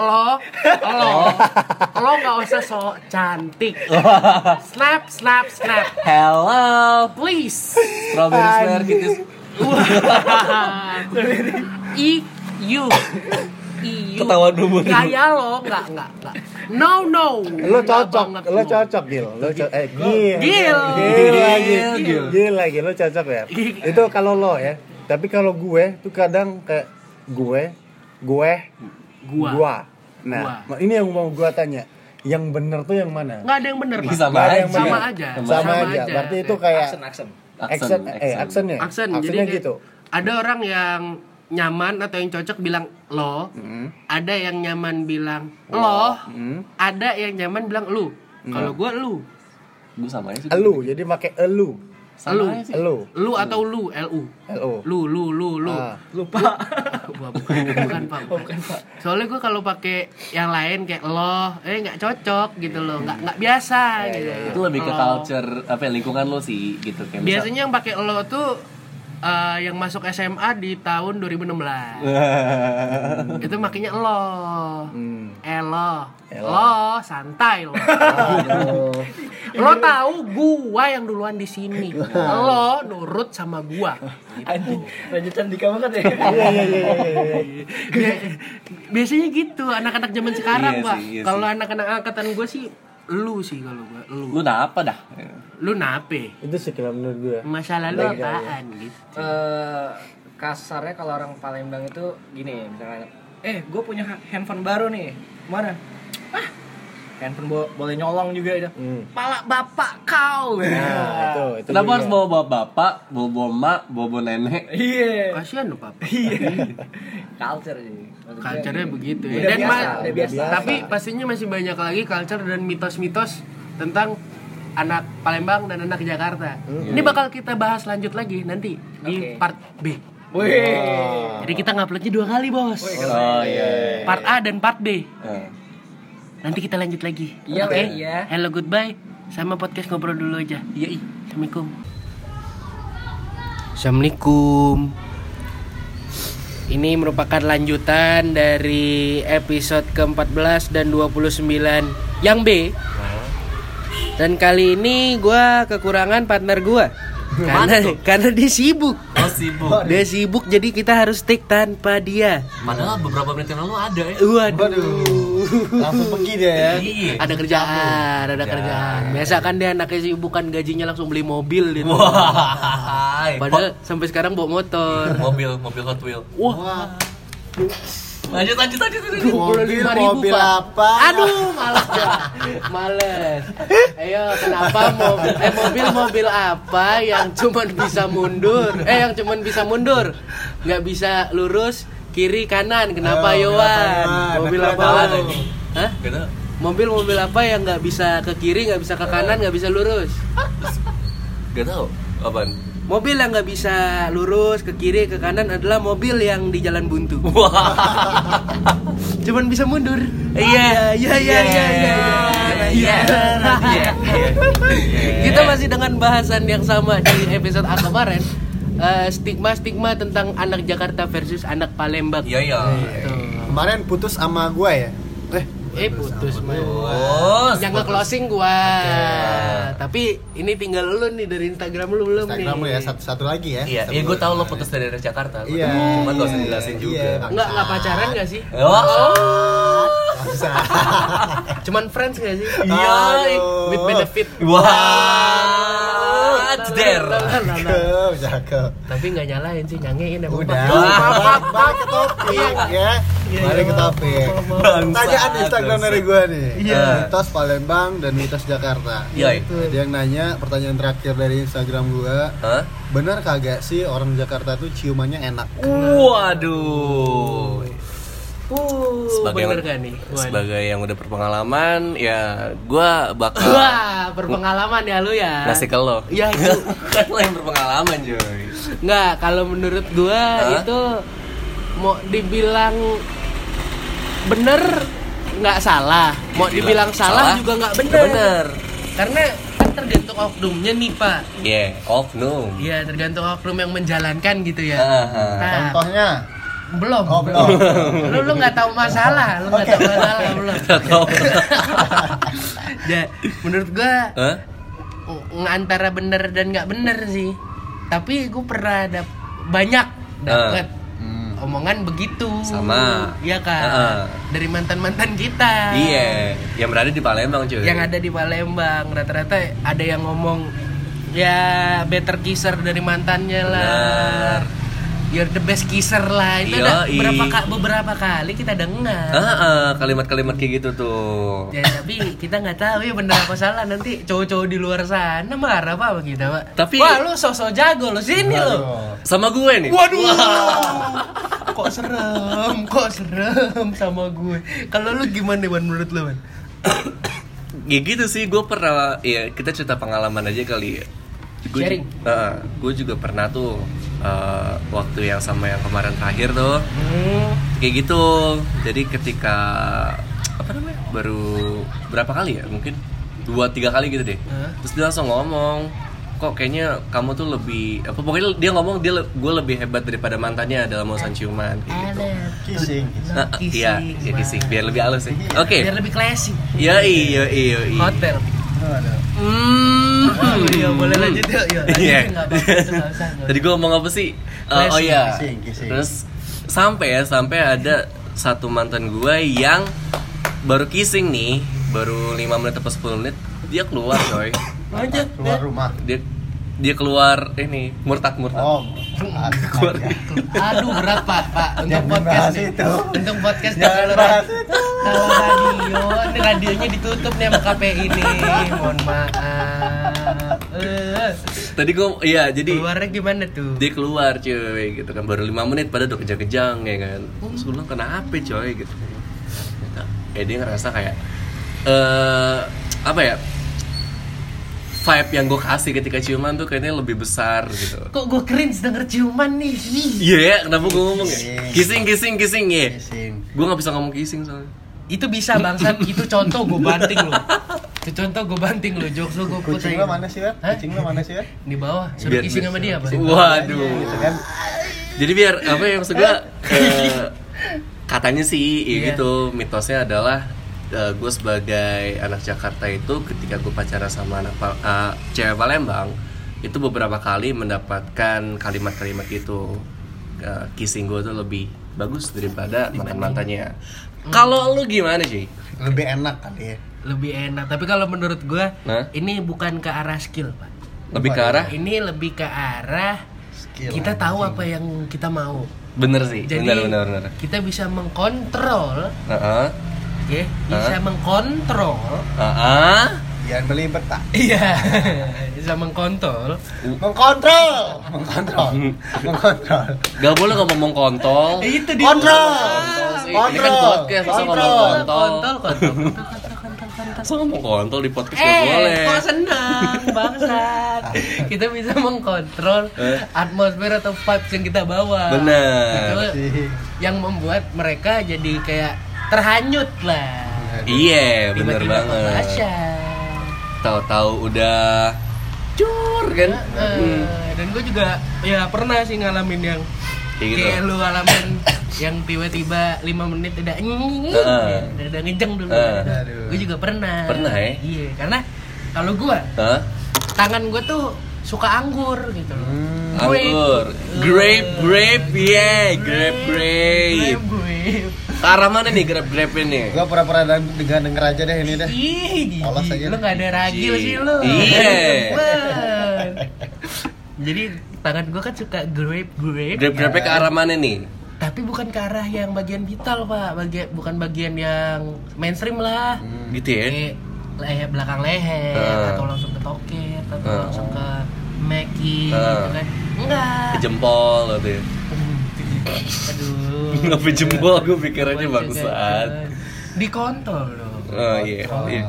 Speaker 3: lo lo lo nggak usah sok cantik snap snap snap
Speaker 1: Hello.
Speaker 3: please
Speaker 1: Strawberry gitu. Slayer Kitties.
Speaker 3: i you i you
Speaker 1: Ketawa dulu.
Speaker 3: gaya lo nggak nggak nggak no no
Speaker 2: Lo cocok,
Speaker 3: Nggak banget,
Speaker 2: lo
Speaker 3: no.
Speaker 2: cocok Gil, lo cocok, eh Gil,
Speaker 3: Gil.
Speaker 2: Gil lagi,
Speaker 1: Gil, Gil.
Speaker 2: Gil lagi, lo cocok ya. Itu kalau lo ya, tapi kalau gue tuh kadang kayak gue, gue,
Speaker 3: Gua.
Speaker 2: Nah, ini yang mau gue tanya, yang bener tuh yang mana?
Speaker 3: nggak ada yang bener pak
Speaker 1: Sama
Speaker 2: Nggak ada
Speaker 1: aja.
Speaker 2: yang
Speaker 3: sama
Speaker 2: bener.
Speaker 3: aja
Speaker 2: Sama,
Speaker 3: sama
Speaker 2: aja.
Speaker 3: aja.
Speaker 2: berarti itu kayak
Speaker 4: Aksen, aksen.
Speaker 2: aksen, eh aksennya,
Speaker 3: aksen jadi
Speaker 2: aksennya
Speaker 3: kayak
Speaker 2: gitu.
Speaker 3: ada orang yang nyaman atau yang cocok bilang lo ada yang nyaman bilang Hmm. lo Hmm. ada yang nyaman bilang lu kalau gue lu
Speaker 1: Gue sama aja sih.
Speaker 2: Elu, jadi pakai elu,
Speaker 1: Sama
Speaker 3: Lu.
Speaker 1: aja sih.
Speaker 2: elu,
Speaker 3: lu atau lu lu
Speaker 2: elu.
Speaker 3: lu lu lu lu
Speaker 2: Ah.
Speaker 4: Lupa.
Speaker 3: Wah, bukan, bukan, Pak, bukan. soalnya gue kalau pakai yang lain kayak lo eh nggak cocok gitu loh nggak nggak biasa gitu
Speaker 1: Itu lebih ke
Speaker 3: Lo.
Speaker 1: culture apa ya, lingkungan lo sih gitu kayak misal-
Speaker 3: biasanya yang pakai lo tuh eh, yang masuk SMA di tahun 2016 itu makanya lo
Speaker 1: Hmm.
Speaker 3: elo
Speaker 1: Eh,
Speaker 3: lo santai lo
Speaker 2: Ah.
Speaker 3: lo tahu gua yang duluan di sini lo nurut sama gua
Speaker 4: Anjing, Raja Candika banget ya.
Speaker 2: Iya iya iya iya, iya.
Speaker 3: Bia- biasanya gitu anak-anak zaman sekarang
Speaker 1: Iya
Speaker 3: pak
Speaker 1: sih, iya
Speaker 3: kalau anak-anak angkatan gue sih lu sih kalau gue lu
Speaker 1: Lu apa dah?
Speaker 3: lu nape
Speaker 2: Itu sih kalau menurut gue.
Speaker 3: masa lalu
Speaker 1: ya,
Speaker 3: apaan gitu
Speaker 4: Eh, kasarnya kalau orang Palembang itu gini, misalnya, eh gue punya ha- handphone baru nih, mana? Ah, handphone bo- boleh nyolong juga ya.
Speaker 2: Hmm.
Speaker 4: Pala bapak kau.
Speaker 2: Nah, itu, itu
Speaker 1: Kenapa
Speaker 2: juga.
Speaker 1: harus bawa bawa bapak, bawa bawa mak, bawa bawa nenek?
Speaker 4: Iya.
Speaker 3: kasihan lo papa
Speaker 4: Iya. Culture sih. Maksudnya gitu.
Speaker 3: culture-nya begitu
Speaker 4: Udah
Speaker 3: ya dan
Speaker 4: biasa,
Speaker 3: ma-
Speaker 4: udah biasa.
Speaker 3: tapi pastinya masih banyak lagi culture dan mitos-mitos tentang anak Palembang dan anak Jakarta
Speaker 4: Mm-hmm.
Speaker 3: ini bakal kita bahas lanjut lagi nanti di
Speaker 4: Oke.
Speaker 3: part B
Speaker 4: Wih.
Speaker 3: jadi kita nguploadnya dua kali bos
Speaker 1: Oh iya.
Speaker 3: part A dan part B
Speaker 1: Eh,
Speaker 3: Nanti kita lanjut lagi.
Speaker 4: Iya,
Speaker 3: Oke?
Speaker 4: Pak, iya.
Speaker 3: Hello goodbye. Sama podcast ngobrol dulu aja. Iya, Assalamualaikum. Assalamualaikum. Ini merupakan lanjutan dari episode ke-14 dan 29 yang B. Dan kali ini gua kekurangan partner gua. Karena, karena dia sibuk.
Speaker 1: Oh sibuk.
Speaker 3: Dia sibuk jadi kita harus stick tanpa dia.
Speaker 1: Padahal beberapa menit yang lalu ada
Speaker 3: Uh.
Speaker 1: ya.
Speaker 3: Waduh.
Speaker 2: langsung pergi dia ya.
Speaker 1: Iya.
Speaker 3: ada kerjaan, ada kerjaan. Biasa kan dia anaknya sih bukan gajinya langsung beli mobil gitu.
Speaker 1: Wah.
Speaker 3: Padahal sampai sekarang bawa motor.
Speaker 1: mobil mobil Hot Wheel.
Speaker 3: Wah,
Speaker 1: Lanjut lanjut lanjut. lanjut.
Speaker 3: Uh.
Speaker 2: Mobil,
Speaker 3: 25.000,
Speaker 2: mobil
Speaker 3: Pak.
Speaker 2: apa?
Speaker 3: Aduh, males ya. Males. Ayo, kenapa mobil eh mobil mobil apa yang cuman bisa mundur? Eh yang cuman bisa mundur. nggak bisa lurus kiri kanan. Kenapa
Speaker 2: Ayo,
Speaker 3: Yowan?
Speaker 2: kenapa, Yowan?
Speaker 3: Mobil
Speaker 2: Kenapa,
Speaker 3: apa?
Speaker 2: Yowan?
Speaker 3: Yowan? Hah?
Speaker 1: Gitu.
Speaker 3: Mobil mobil apa yang nggak bisa ke kiri, nggak bisa ke kanan, nggak bisa lurus?
Speaker 1: Gak tau apaan.
Speaker 3: Mobil yang nggak bisa lurus ke kiri ke kanan adalah mobil yang di jalan buntu. Cuman bisa mundur. Iya, iya, iya, iya, iya, iya. Kita masih dengan bahasan yang sama di episode A kemarin. Eh, stigma-stigma tentang anak Jakarta versus anak Palembang.
Speaker 1: Iya iya.
Speaker 3: Tuh.
Speaker 2: Kemarin putus sama gua ya. Eh,
Speaker 3: Eh putus man.
Speaker 1: Bos.
Speaker 3: Yang nge-closing gua. Tapi ini tinggal lu nih dari Instagram lu belum nih.
Speaker 2: Instagram lu ya satu satu lagi ya.
Speaker 1: Iya,
Speaker 2: Satu
Speaker 1: iya gue
Speaker 2: lagi.
Speaker 1: tau lo putus dari daerah Jakarta. Gua
Speaker 2: Iya.
Speaker 1: tahu. Cuman gak usah
Speaker 2: iya,
Speaker 1: dijelasin
Speaker 2: iya,
Speaker 1: juga.
Speaker 2: Bang.
Speaker 3: Enggak, enggak pacaran gak sih?
Speaker 1: Oh.
Speaker 2: Bangsa.
Speaker 3: Cuman friends gak sih?
Speaker 2: Iya.
Speaker 3: With benefit.
Speaker 1: Wah. Der.
Speaker 2: Cakep, cakep.
Speaker 3: Tapi nggak nyalain sih, nyangein emang.
Speaker 2: Udah,
Speaker 3: Maaf,
Speaker 2: balik, balik ke topik ya.
Speaker 1: Iya,
Speaker 2: Balik ke topik. Pertanyaan Instagram dari gue nih.
Speaker 1: Iya.
Speaker 2: Mitos Palembang dan mitos Jakarta.
Speaker 1: Iya.
Speaker 2: Ada yang nanya pertanyaan terakhir dari Instagram gue.
Speaker 1: Hah?
Speaker 2: Benar kagak sih orang Jakarta tuh ciumannya enak?
Speaker 1: Waduh.
Speaker 3: Uh,
Speaker 1: Sebagai
Speaker 3: bener
Speaker 1: yang,
Speaker 3: gak nih? Waduh.
Speaker 1: sebagai yang udah berpengalaman, ya gua bakal
Speaker 3: Wah, berpengalaman ya lu ya.
Speaker 1: ngasih ke lo.
Speaker 3: Ya, itu.
Speaker 1: kan lo yang berpengalaman, Joy.
Speaker 3: Nggak, kalau menurut gua
Speaker 1: Hah?
Speaker 3: itu mau dibilang bener nggak salah mau
Speaker 1: Dibilang
Speaker 3: dibilang salah,
Speaker 1: salah,
Speaker 3: juga nggak bener.
Speaker 1: Nggak bener.
Speaker 3: karena kan tergantung oknumnya nih pak
Speaker 1: Iya, oknum.
Speaker 3: Iya, tergantung oknum yang menjalankan gitu ya.
Speaker 1: Haha.
Speaker 3: Nah,
Speaker 2: Contohnya,
Speaker 3: belum.
Speaker 2: oh belum.
Speaker 3: Lu lu nggak tahu masalah, lu nggak tahu masalah belum.
Speaker 1: Atau-
Speaker 3: Ya, menurut gua
Speaker 1: Hah?
Speaker 3: ng- antara bener dan nggak bener sih. Tapi gua pernah ada banyak dapet omongan begitu.
Speaker 1: Sama.
Speaker 3: Iya kan.
Speaker 1: Heeh.
Speaker 3: Dari mantan-mantan kita.
Speaker 1: Iya, yang berada di Palembang cuy.
Speaker 3: Yang ada di Palembang rata-rata ada yang ngomong ya better kisser dari mantannya lah.
Speaker 4: Eh.
Speaker 1: Benar.
Speaker 3: You're the best kisser lah.
Speaker 1: iya,
Speaker 3: Itu udah
Speaker 1: Yoi.
Speaker 3: berapa kan?" ka- beberapa kali kita dengar.
Speaker 1: Ah, ah, kalimat-kalimat kayak gitu tuh.
Speaker 3: Ya tapi kita nggak tahu ya bener apa salah nanti cowok-cowok di luar sana marah apa sama kita, Pak.
Speaker 1: Tapi-
Speaker 3: wah lu sosok jago lo sini lo.
Speaker 1: Sama gue nih.
Speaker 3: Waduh. kok serem, kok serem sama gue. Kalau lu gimana, Wan menurut lu, Wan?
Speaker 1: ya gitu sih gue pernah ya kita cerita pengalaman aja kali ya Gua ju-
Speaker 3: Sharing.
Speaker 1: Heeh, gue juga pernah tuh eh, waktu yang sama yang kemarin terakhir tuh
Speaker 3: Hmm.
Speaker 1: kayak gitu jadi ketika apa namanya baru berapa kali ya mungkin dua tiga kali gitu deh terus dia langsung ngomong kok kayaknya kamu tuh lebih apa pokoknya dia ngomong dia gue lebih hebat daripada mantannya dalam
Speaker 3: Eh,
Speaker 1: urusan ciuman kayak gitu
Speaker 2: Kissing.
Speaker 1: Nah, iya
Speaker 3: kissing,
Speaker 1: ya
Speaker 3: Bang.
Speaker 1: kissing biar lebih halus sih oke
Speaker 3: Iya. Biar lebih classy.
Speaker 1: Yoi, yoi, yoi.
Speaker 3: Hotel.
Speaker 2: Aduh.
Speaker 3: Hmm. Iya, boleh lanjut yuk. Yuk, lanjutin,
Speaker 1: Iya.
Speaker 3: nggak apa-apa, itu nggak usah, nggak
Speaker 1: Tadi gua ngomong apa sih? Eh, oh
Speaker 3: Flashing,
Speaker 1: iya.
Speaker 2: kissing, kissing.
Speaker 1: Terus sampai ya sampai ada satu mantan gua yang baru kissing nih, baru 5 menit atau 10 menit dia keluar, coy.
Speaker 2: Keluar rumah.
Speaker 1: Dia dia keluar ini murtad murtad.
Speaker 2: Oh, keluar.
Speaker 3: usah. Aduh, berat Pak, Pak. Untuk
Speaker 2: Jangan
Speaker 3: podcast
Speaker 2: bahas
Speaker 3: nih.
Speaker 2: itu.
Speaker 3: Untuk podcast nih,
Speaker 2: Jangan
Speaker 3: kalau
Speaker 2: bahas
Speaker 3: radio.
Speaker 2: itu.
Speaker 3: Kalau radio, ini radionya ditutup nih sama KPI nih. Mohon maaf. Eh,
Speaker 1: Tadi gua iya, jadi
Speaker 3: keluarnya gimana tuh?
Speaker 1: dia keluar cuy gitu kan baru 5 menit pada udah kejang-kejang ya kan terus gue bilang kenapa coy gitu Nah, ya dia ngerasa kayak eh apa ya vibe yang gue kasih ketika ciuman tuh kayaknya lebih besar gitu
Speaker 3: Kok gue cringe denger ciuman nih? Ih,
Speaker 1: iya ya, kenapa gue ngomong ya kissing kissing kissing ya
Speaker 2: Kissing.
Speaker 1: gue nggak bisa ngomong kissing soalnya
Speaker 3: Itu bisa bangsat, itu contoh gue banting loh. Itu contoh gue banting loh, jokes lo gue
Speaker 2: Kucing lo mana sih, Wer?
Speaker 3: Hah?
Speaker 2: Kucing lo mana sih, Wer?
Speaker 3: Di bawah, suruh
Speaker 1: Biar
Speaker 3: kissing
Speaker 1: bisa.
Speaker 3: sama dia apa?
Speaker 1: waduh
Speaker 2: Gitu kan.
Speaker 1: jadi biar apa ya maksud gue katanya sih ya
Speaker 3: Iya.
Speaker 1: gitu mitosnya adalah gue sebagai anak Jakarta itu ketika gue pacaran sama anak Pal- eh, cewek Palembang itu beberapa kali mendapatkan kalimat-kalimat gitu Eh, kissing gue tuh lebih bagus daripada mantan mantannya kalau lu gimana sih
Speaker 2: Lebih enak kali ya.
Speaker 3: lebih enak tapi kalau menurut gue
Speaker 1: Nah.
Speaker 3: ini bukan ke arah skill pak
Speaker 1: lebih ke arah
Speaker 3: ini lebih ke arah
Speaker 2: Skill
Speaker 3: kita tahu apa yang kita mau
Speaker 1: bener sih
Speaker 3: jadi
Speaker 1: bener bener bener
Speaker 3: kita bisa mengkontrol
Speaker 1: Heeh.
Speaker 3: ya bisa mengkontrol
Speaker 1: Heeh.
Speaker 2: Jangan belibet tak.
Speaker 3: iya bisa mengkontrol
Speaker 2: Mengkontrol, mengkontrol, mengkontrol.
Speaker 1: Gak boleh ngomong kontol.
Speaker 3: Eh, itu
Speaker 2: Oh,
Speaker 3: dia
Speaker 2: Kontrol.
Speaker 1: Ini kan
Speaker 2: Kontrol.
Speaker 1: podcast, masa ngomong
Speaker 2: Kontrol.
Speaker 1: kontol.
Speaker 3: kontol kontol kontol kontol kontol kontol
Speaker 1: Masa ngomong kontol di podcast gak boleh.
Speaker 3: Eh, kok senang bangsat. kita bisa mengkontrol
Speaker 2: Eh.
Speaker 3: atmosfer atau vibes yang kita bawa.
Speaker 1: Bener.
Speaker 3: Itu
Speaker 2: Sih.
Speaker 3: yang membuat mereka jadi kayak terhanyut lah.
Speaker 1: Iya, bener
Speaker 3: Tiba-tiba
Speaker 1: banget.
Speaker 3: kebablasan.
Speaker 1: Tahu-tahu udah cur kan.
Speaker 2: Hmm.
Speaker 3: Eh, dan gue juga ya pernah sih ngalamin yang
Speaker 1: Kayak gitu.
Speaker 3: kayak lu ngalamin yang tiba-tiba 5 menit udah nying,
Speaker 1: Heeh.
Speaker 3: ya, udah ngejeng dulu.
Speaker 1: Heeh.
Speaker 2: Aduh.
Speaker 3: Gue juga pernah.
Speaker 1: Pernah, ya?
Speaker 3: Iya, karena kalau gue
Speaker 1: Hah?
Speaker 3: tangan gue tuh suka anggur gitu loh.
Speaker 1: Hmm.
Speaker 3: Grape.
Speaker 1: Anggur. Grape, grape, yeah, grape, grape.
Speaker 3: Grape, grape.
Speaker 1: Ke arah mana nih grape, grape ini?
Speaker 2: Gua pura-pura dan- dengan denger aja deh ini deh.
Speaker 3: Ih,
Speaker 2: Polos aja
Speaker 3: jijik. lu
Speaker 2: lah.
Speaker 3: gak ada ragil
Speaker 1: Jijik.
Speaker 3: sih lu.
Speaker 1: Iya.
Speaker 3: Bener. Jadi tangan gua kan suka grape grape.
Speaker 1: Grape, grape ke arah mana nih?
Speaker 3: Tapi bukan ke arah yang bagian vital pak, bagian bukan bagian yang mainstream lah.
Speaker 1: Gitu ya.
Speaker 3: Kayak leher belakang leher
Speaker 1: Eh.
Speaker 3: atau langsung ke toket atau
Speaker 1: Eh.
Speaker 3: langsung ke meki
Speaker 1: Eh.
Speaker 3: gitu kan. Enggak.
Speaker 1: Ke jempol gitu ya.
Speaker 3: Aduh.
Speaker 1: Kenapa jempol? Gue pikirannya
Speaker 3: Gua juga
Speaker 1: bangsat.
Speaker 3: kan. Dikontrol dong.
Speaker 1: Oh iya. iya.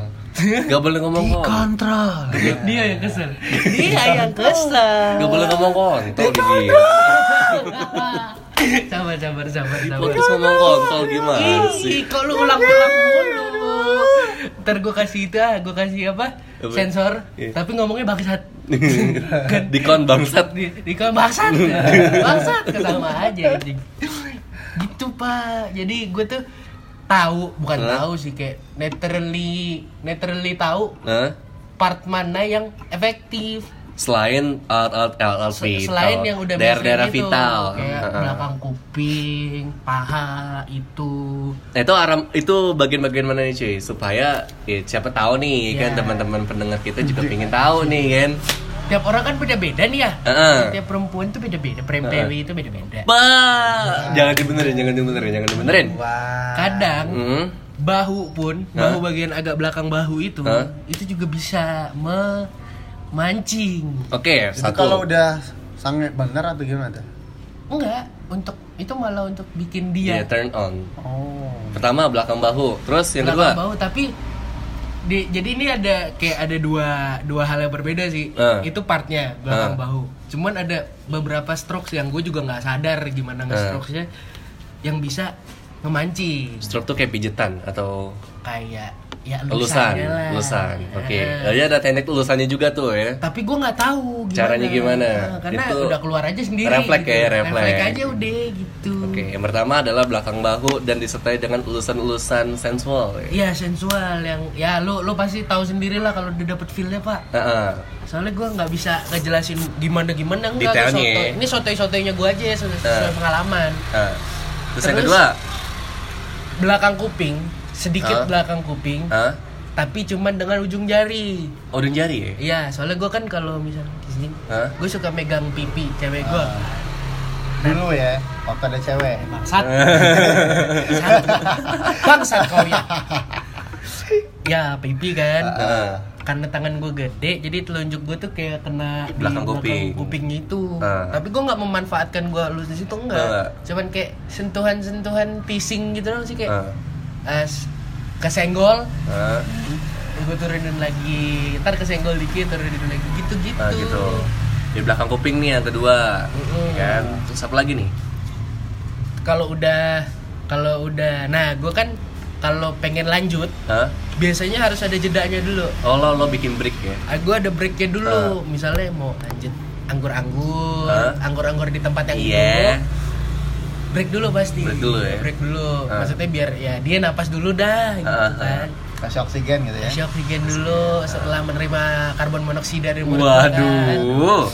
Speaker 1: Gak boleh ngomong kontol.
Speaker 3: dikontrol
Speaker 1: Iya.
Speaker 3: dia yang kesel dia yang kesel
Speaker 1: Gak boleh ngomong kontol di dia.
Speaker 3: sabar sabar sabar sabar
Speaker 1: Fokus ngomong kontol gimana sih?
Speaker 3: Ih, kok lu ulang-ulang mulu? Ntar gue kasih itu ah, gue kasih apa?
Speaker 1: Apa?
Speaker 3: Sensor,
Speaker 1: Iya.
Speaker 3: tapi ngomongnya bangsat.
Speaker 1: Dikon bangsat
Speaker 3: Di, di kalau bangsat, bangsat sama aja anjing. Gitu pak, jadi gue tuh tahu bukan
Speaker 1: Hah?
Speaker 3: tahu sih kayak literally literally tahu
Speaker 1: Hah?
Speaker 3: part mana yang efektif
Speaker 1: Selain alat-alat LLP
Speaker 3: Se- selain yang udah
Speaker 1: Daerah-daerah
Speaker 3: mainstream itu,
Speaker 1: vital
Speaker 3: kayak
Speaker 1: Heeh.
Speaker 3: belakang kuping paha itu
Speaker 1: Nah itu aram itu bagian-bagian mana nih cuy supaya ya, siapa tahu nih kan
Speaker 3: Ya.
Speaker 1: teman-teman pendengar kita juga pengen tahu nih kan.
Speaker 3: tiap orang kan beda-beda nih ya
Speaker 1: Heeh.
Speaker 3: tiap perempuan tuh beda-beda prem
Speaker 1: Heeh.
Speaker 3: itu beda-beda Nah.
Speaker 1: Bah, jangan dibenerin, jangan dibenerin, jangan dibenerin.
Speaker 2: Wah.
Speaker 3: kadang
Speaker 1: Hmm.
Speaker 3: bahu pun
Speaker 1: Hah?
Speaker 3: bahu bagian agak belakang bahu itu
Speaker 1: Hah?
Speaker 3: itu juga bisa memancing
Speaker 1: Oke,
Speaker 2: Itu
Speaker 1: satu.
Speaker 2: kalau udah sangat benar atau gimana tuh?
Speaker 3: enggak untuk itu malah untuk bikin
Speaker 1: dia
Speaker 3: dia
Speaker 1: Ya, turn on.
Speaker 2: Oh.
Speaker 1: Pertama belakang bahu, terus Iya, yang kedua.
Speaker 3: Belakang bahu tapi di- jadi ini ada kayak ada dua dua hal yang berbeda sih
Speaker 1: Eh.
Speaker 3: itu partnya belakang
Speaker 1: Eh.
Speaker 3: bahu cuman ada beberapa strokes yang gue juga nggak sadar gimana nge strokesnya yang bisa memancing
Speaker 1: Stroke tuh kayak pijetan atau
Speaker 3: kayak ya
Speaker 1: elusan,
Speaker 3: elusannya lah.
Speaker 1: elusan. Oke.
Speaker 3: Eh.
Speaker 1: Jadi ada teknik elusannya juga tuh ya.
Speaker 3: tapi gue nggak tahu
Speaker 1: Caranya gimana?
Speaker 3: Nah, karena
Speaker 1: Itu
Speaker 3: udah keluar aja sendiri
Speaker 1: refleks
Speaker 3: gitu.
Speaker 1: ya, refleks.
Speaker 3: refleks aja udah gitu
Speaker 1: Oke, yang pertama adalah belakang bahu dan disertai dengan elusan-elusan sensual. Ya.
Speaker 3: Iya sensual yang ya lu lu pasti tahu sendiri lah kalau udah dapet feelnya pak
Speaker 1: Heeh.
Speaker 3: soalnya gue nggak bisa ngejelasin gimana gimana enggak
Speaker 1: Detailnya
Speaker 3: soto.
Speaker 1: ya.
Speaker 3: ini sotoy sotoynya gue aja ya sesuai
Speaker 1: Eh.
Speaker 3: pengalaman
Speaker 1: Nah, Terus, yang
Speaker 3: Terus?
Speaker 1: kedua,
Speaker 3: belakang kuping sedikit
Speaker 1: Hah?
Speaker 3: belakang kuping
Speaker 1: Hah?
Speaker 3: tapi cuman dengan ujung jari
Speaker 1: Odin jari ya?
Speaker 3: iya soalnya gue kan kalau misalnya di sini
Speaker 1: Hah?
Speaker 3: gue suka megang pipi cewek gue
Speaker 1: Ah.
Speaker 2: Dulu ya, waktu ada cewek.
Speaker 3: bangsat Bangsat. bangsat kau ya ya pipi kan
Speaker 1: Heeh.
Speaker 3: karena tangan gue gede jadi telunjuk gue tuh kayak kena di
Speaker 1: Belakang kuping.
Speaker 3: kuping itu
Speaker 1: Ah.
Speaker 3: tapi gue nggak memanfaatkan gue halus di situ
Speaker 1: Enggak.
Speaker 3: enggak cuman kayak sentuhan sentuhan pising gitu loh sih kayak
Speaker 1: Ah.
Speaker 3: eh, s- kesenggol
Speaker 1: Hah?
Speaker 3: gue turunin lagi ntar kesenggol dikit turunin lagi gitu gitu,
Speaker 1: Ah, gitu. Di belakang kuping nih yang kedua.
Speaker 3: Mm-mm.
Speaker 1: Kan? Terus apa lagi nih?
Speaker 3: kalau udah kalau udah nah gue kan kalau pengen lanjut
Speaker 1: Hah?
Speaker 3: biasanya harus ada jedanya dulu
Speaker 1: Oh, lo, lo bikin break ya?
Speaker 3: gue ada breaknya dulu misalnya mau lanjut anggur-anggur
Speaker 1: Ah.
Speaker 3: anggur-anggur di tempat yang
Speaker 1: Iya.
Speaker 3: itu break dulu pasti
Speaker 1: Break dulu ya?
Speaker 3: break dulu
Speaker 1: Ah.
Speaker 3: maksudnya biar ya dia napas dulu dah gitu
Speaker 1: Ah, ah.
Speaker 3: kan
Speaker 2: Kasih oksigen gitu ya.
Speaker 3: kasih oksigen dulu setelah menerima karbon monoksida dari mulut makan.
Speaker 1: Waduh.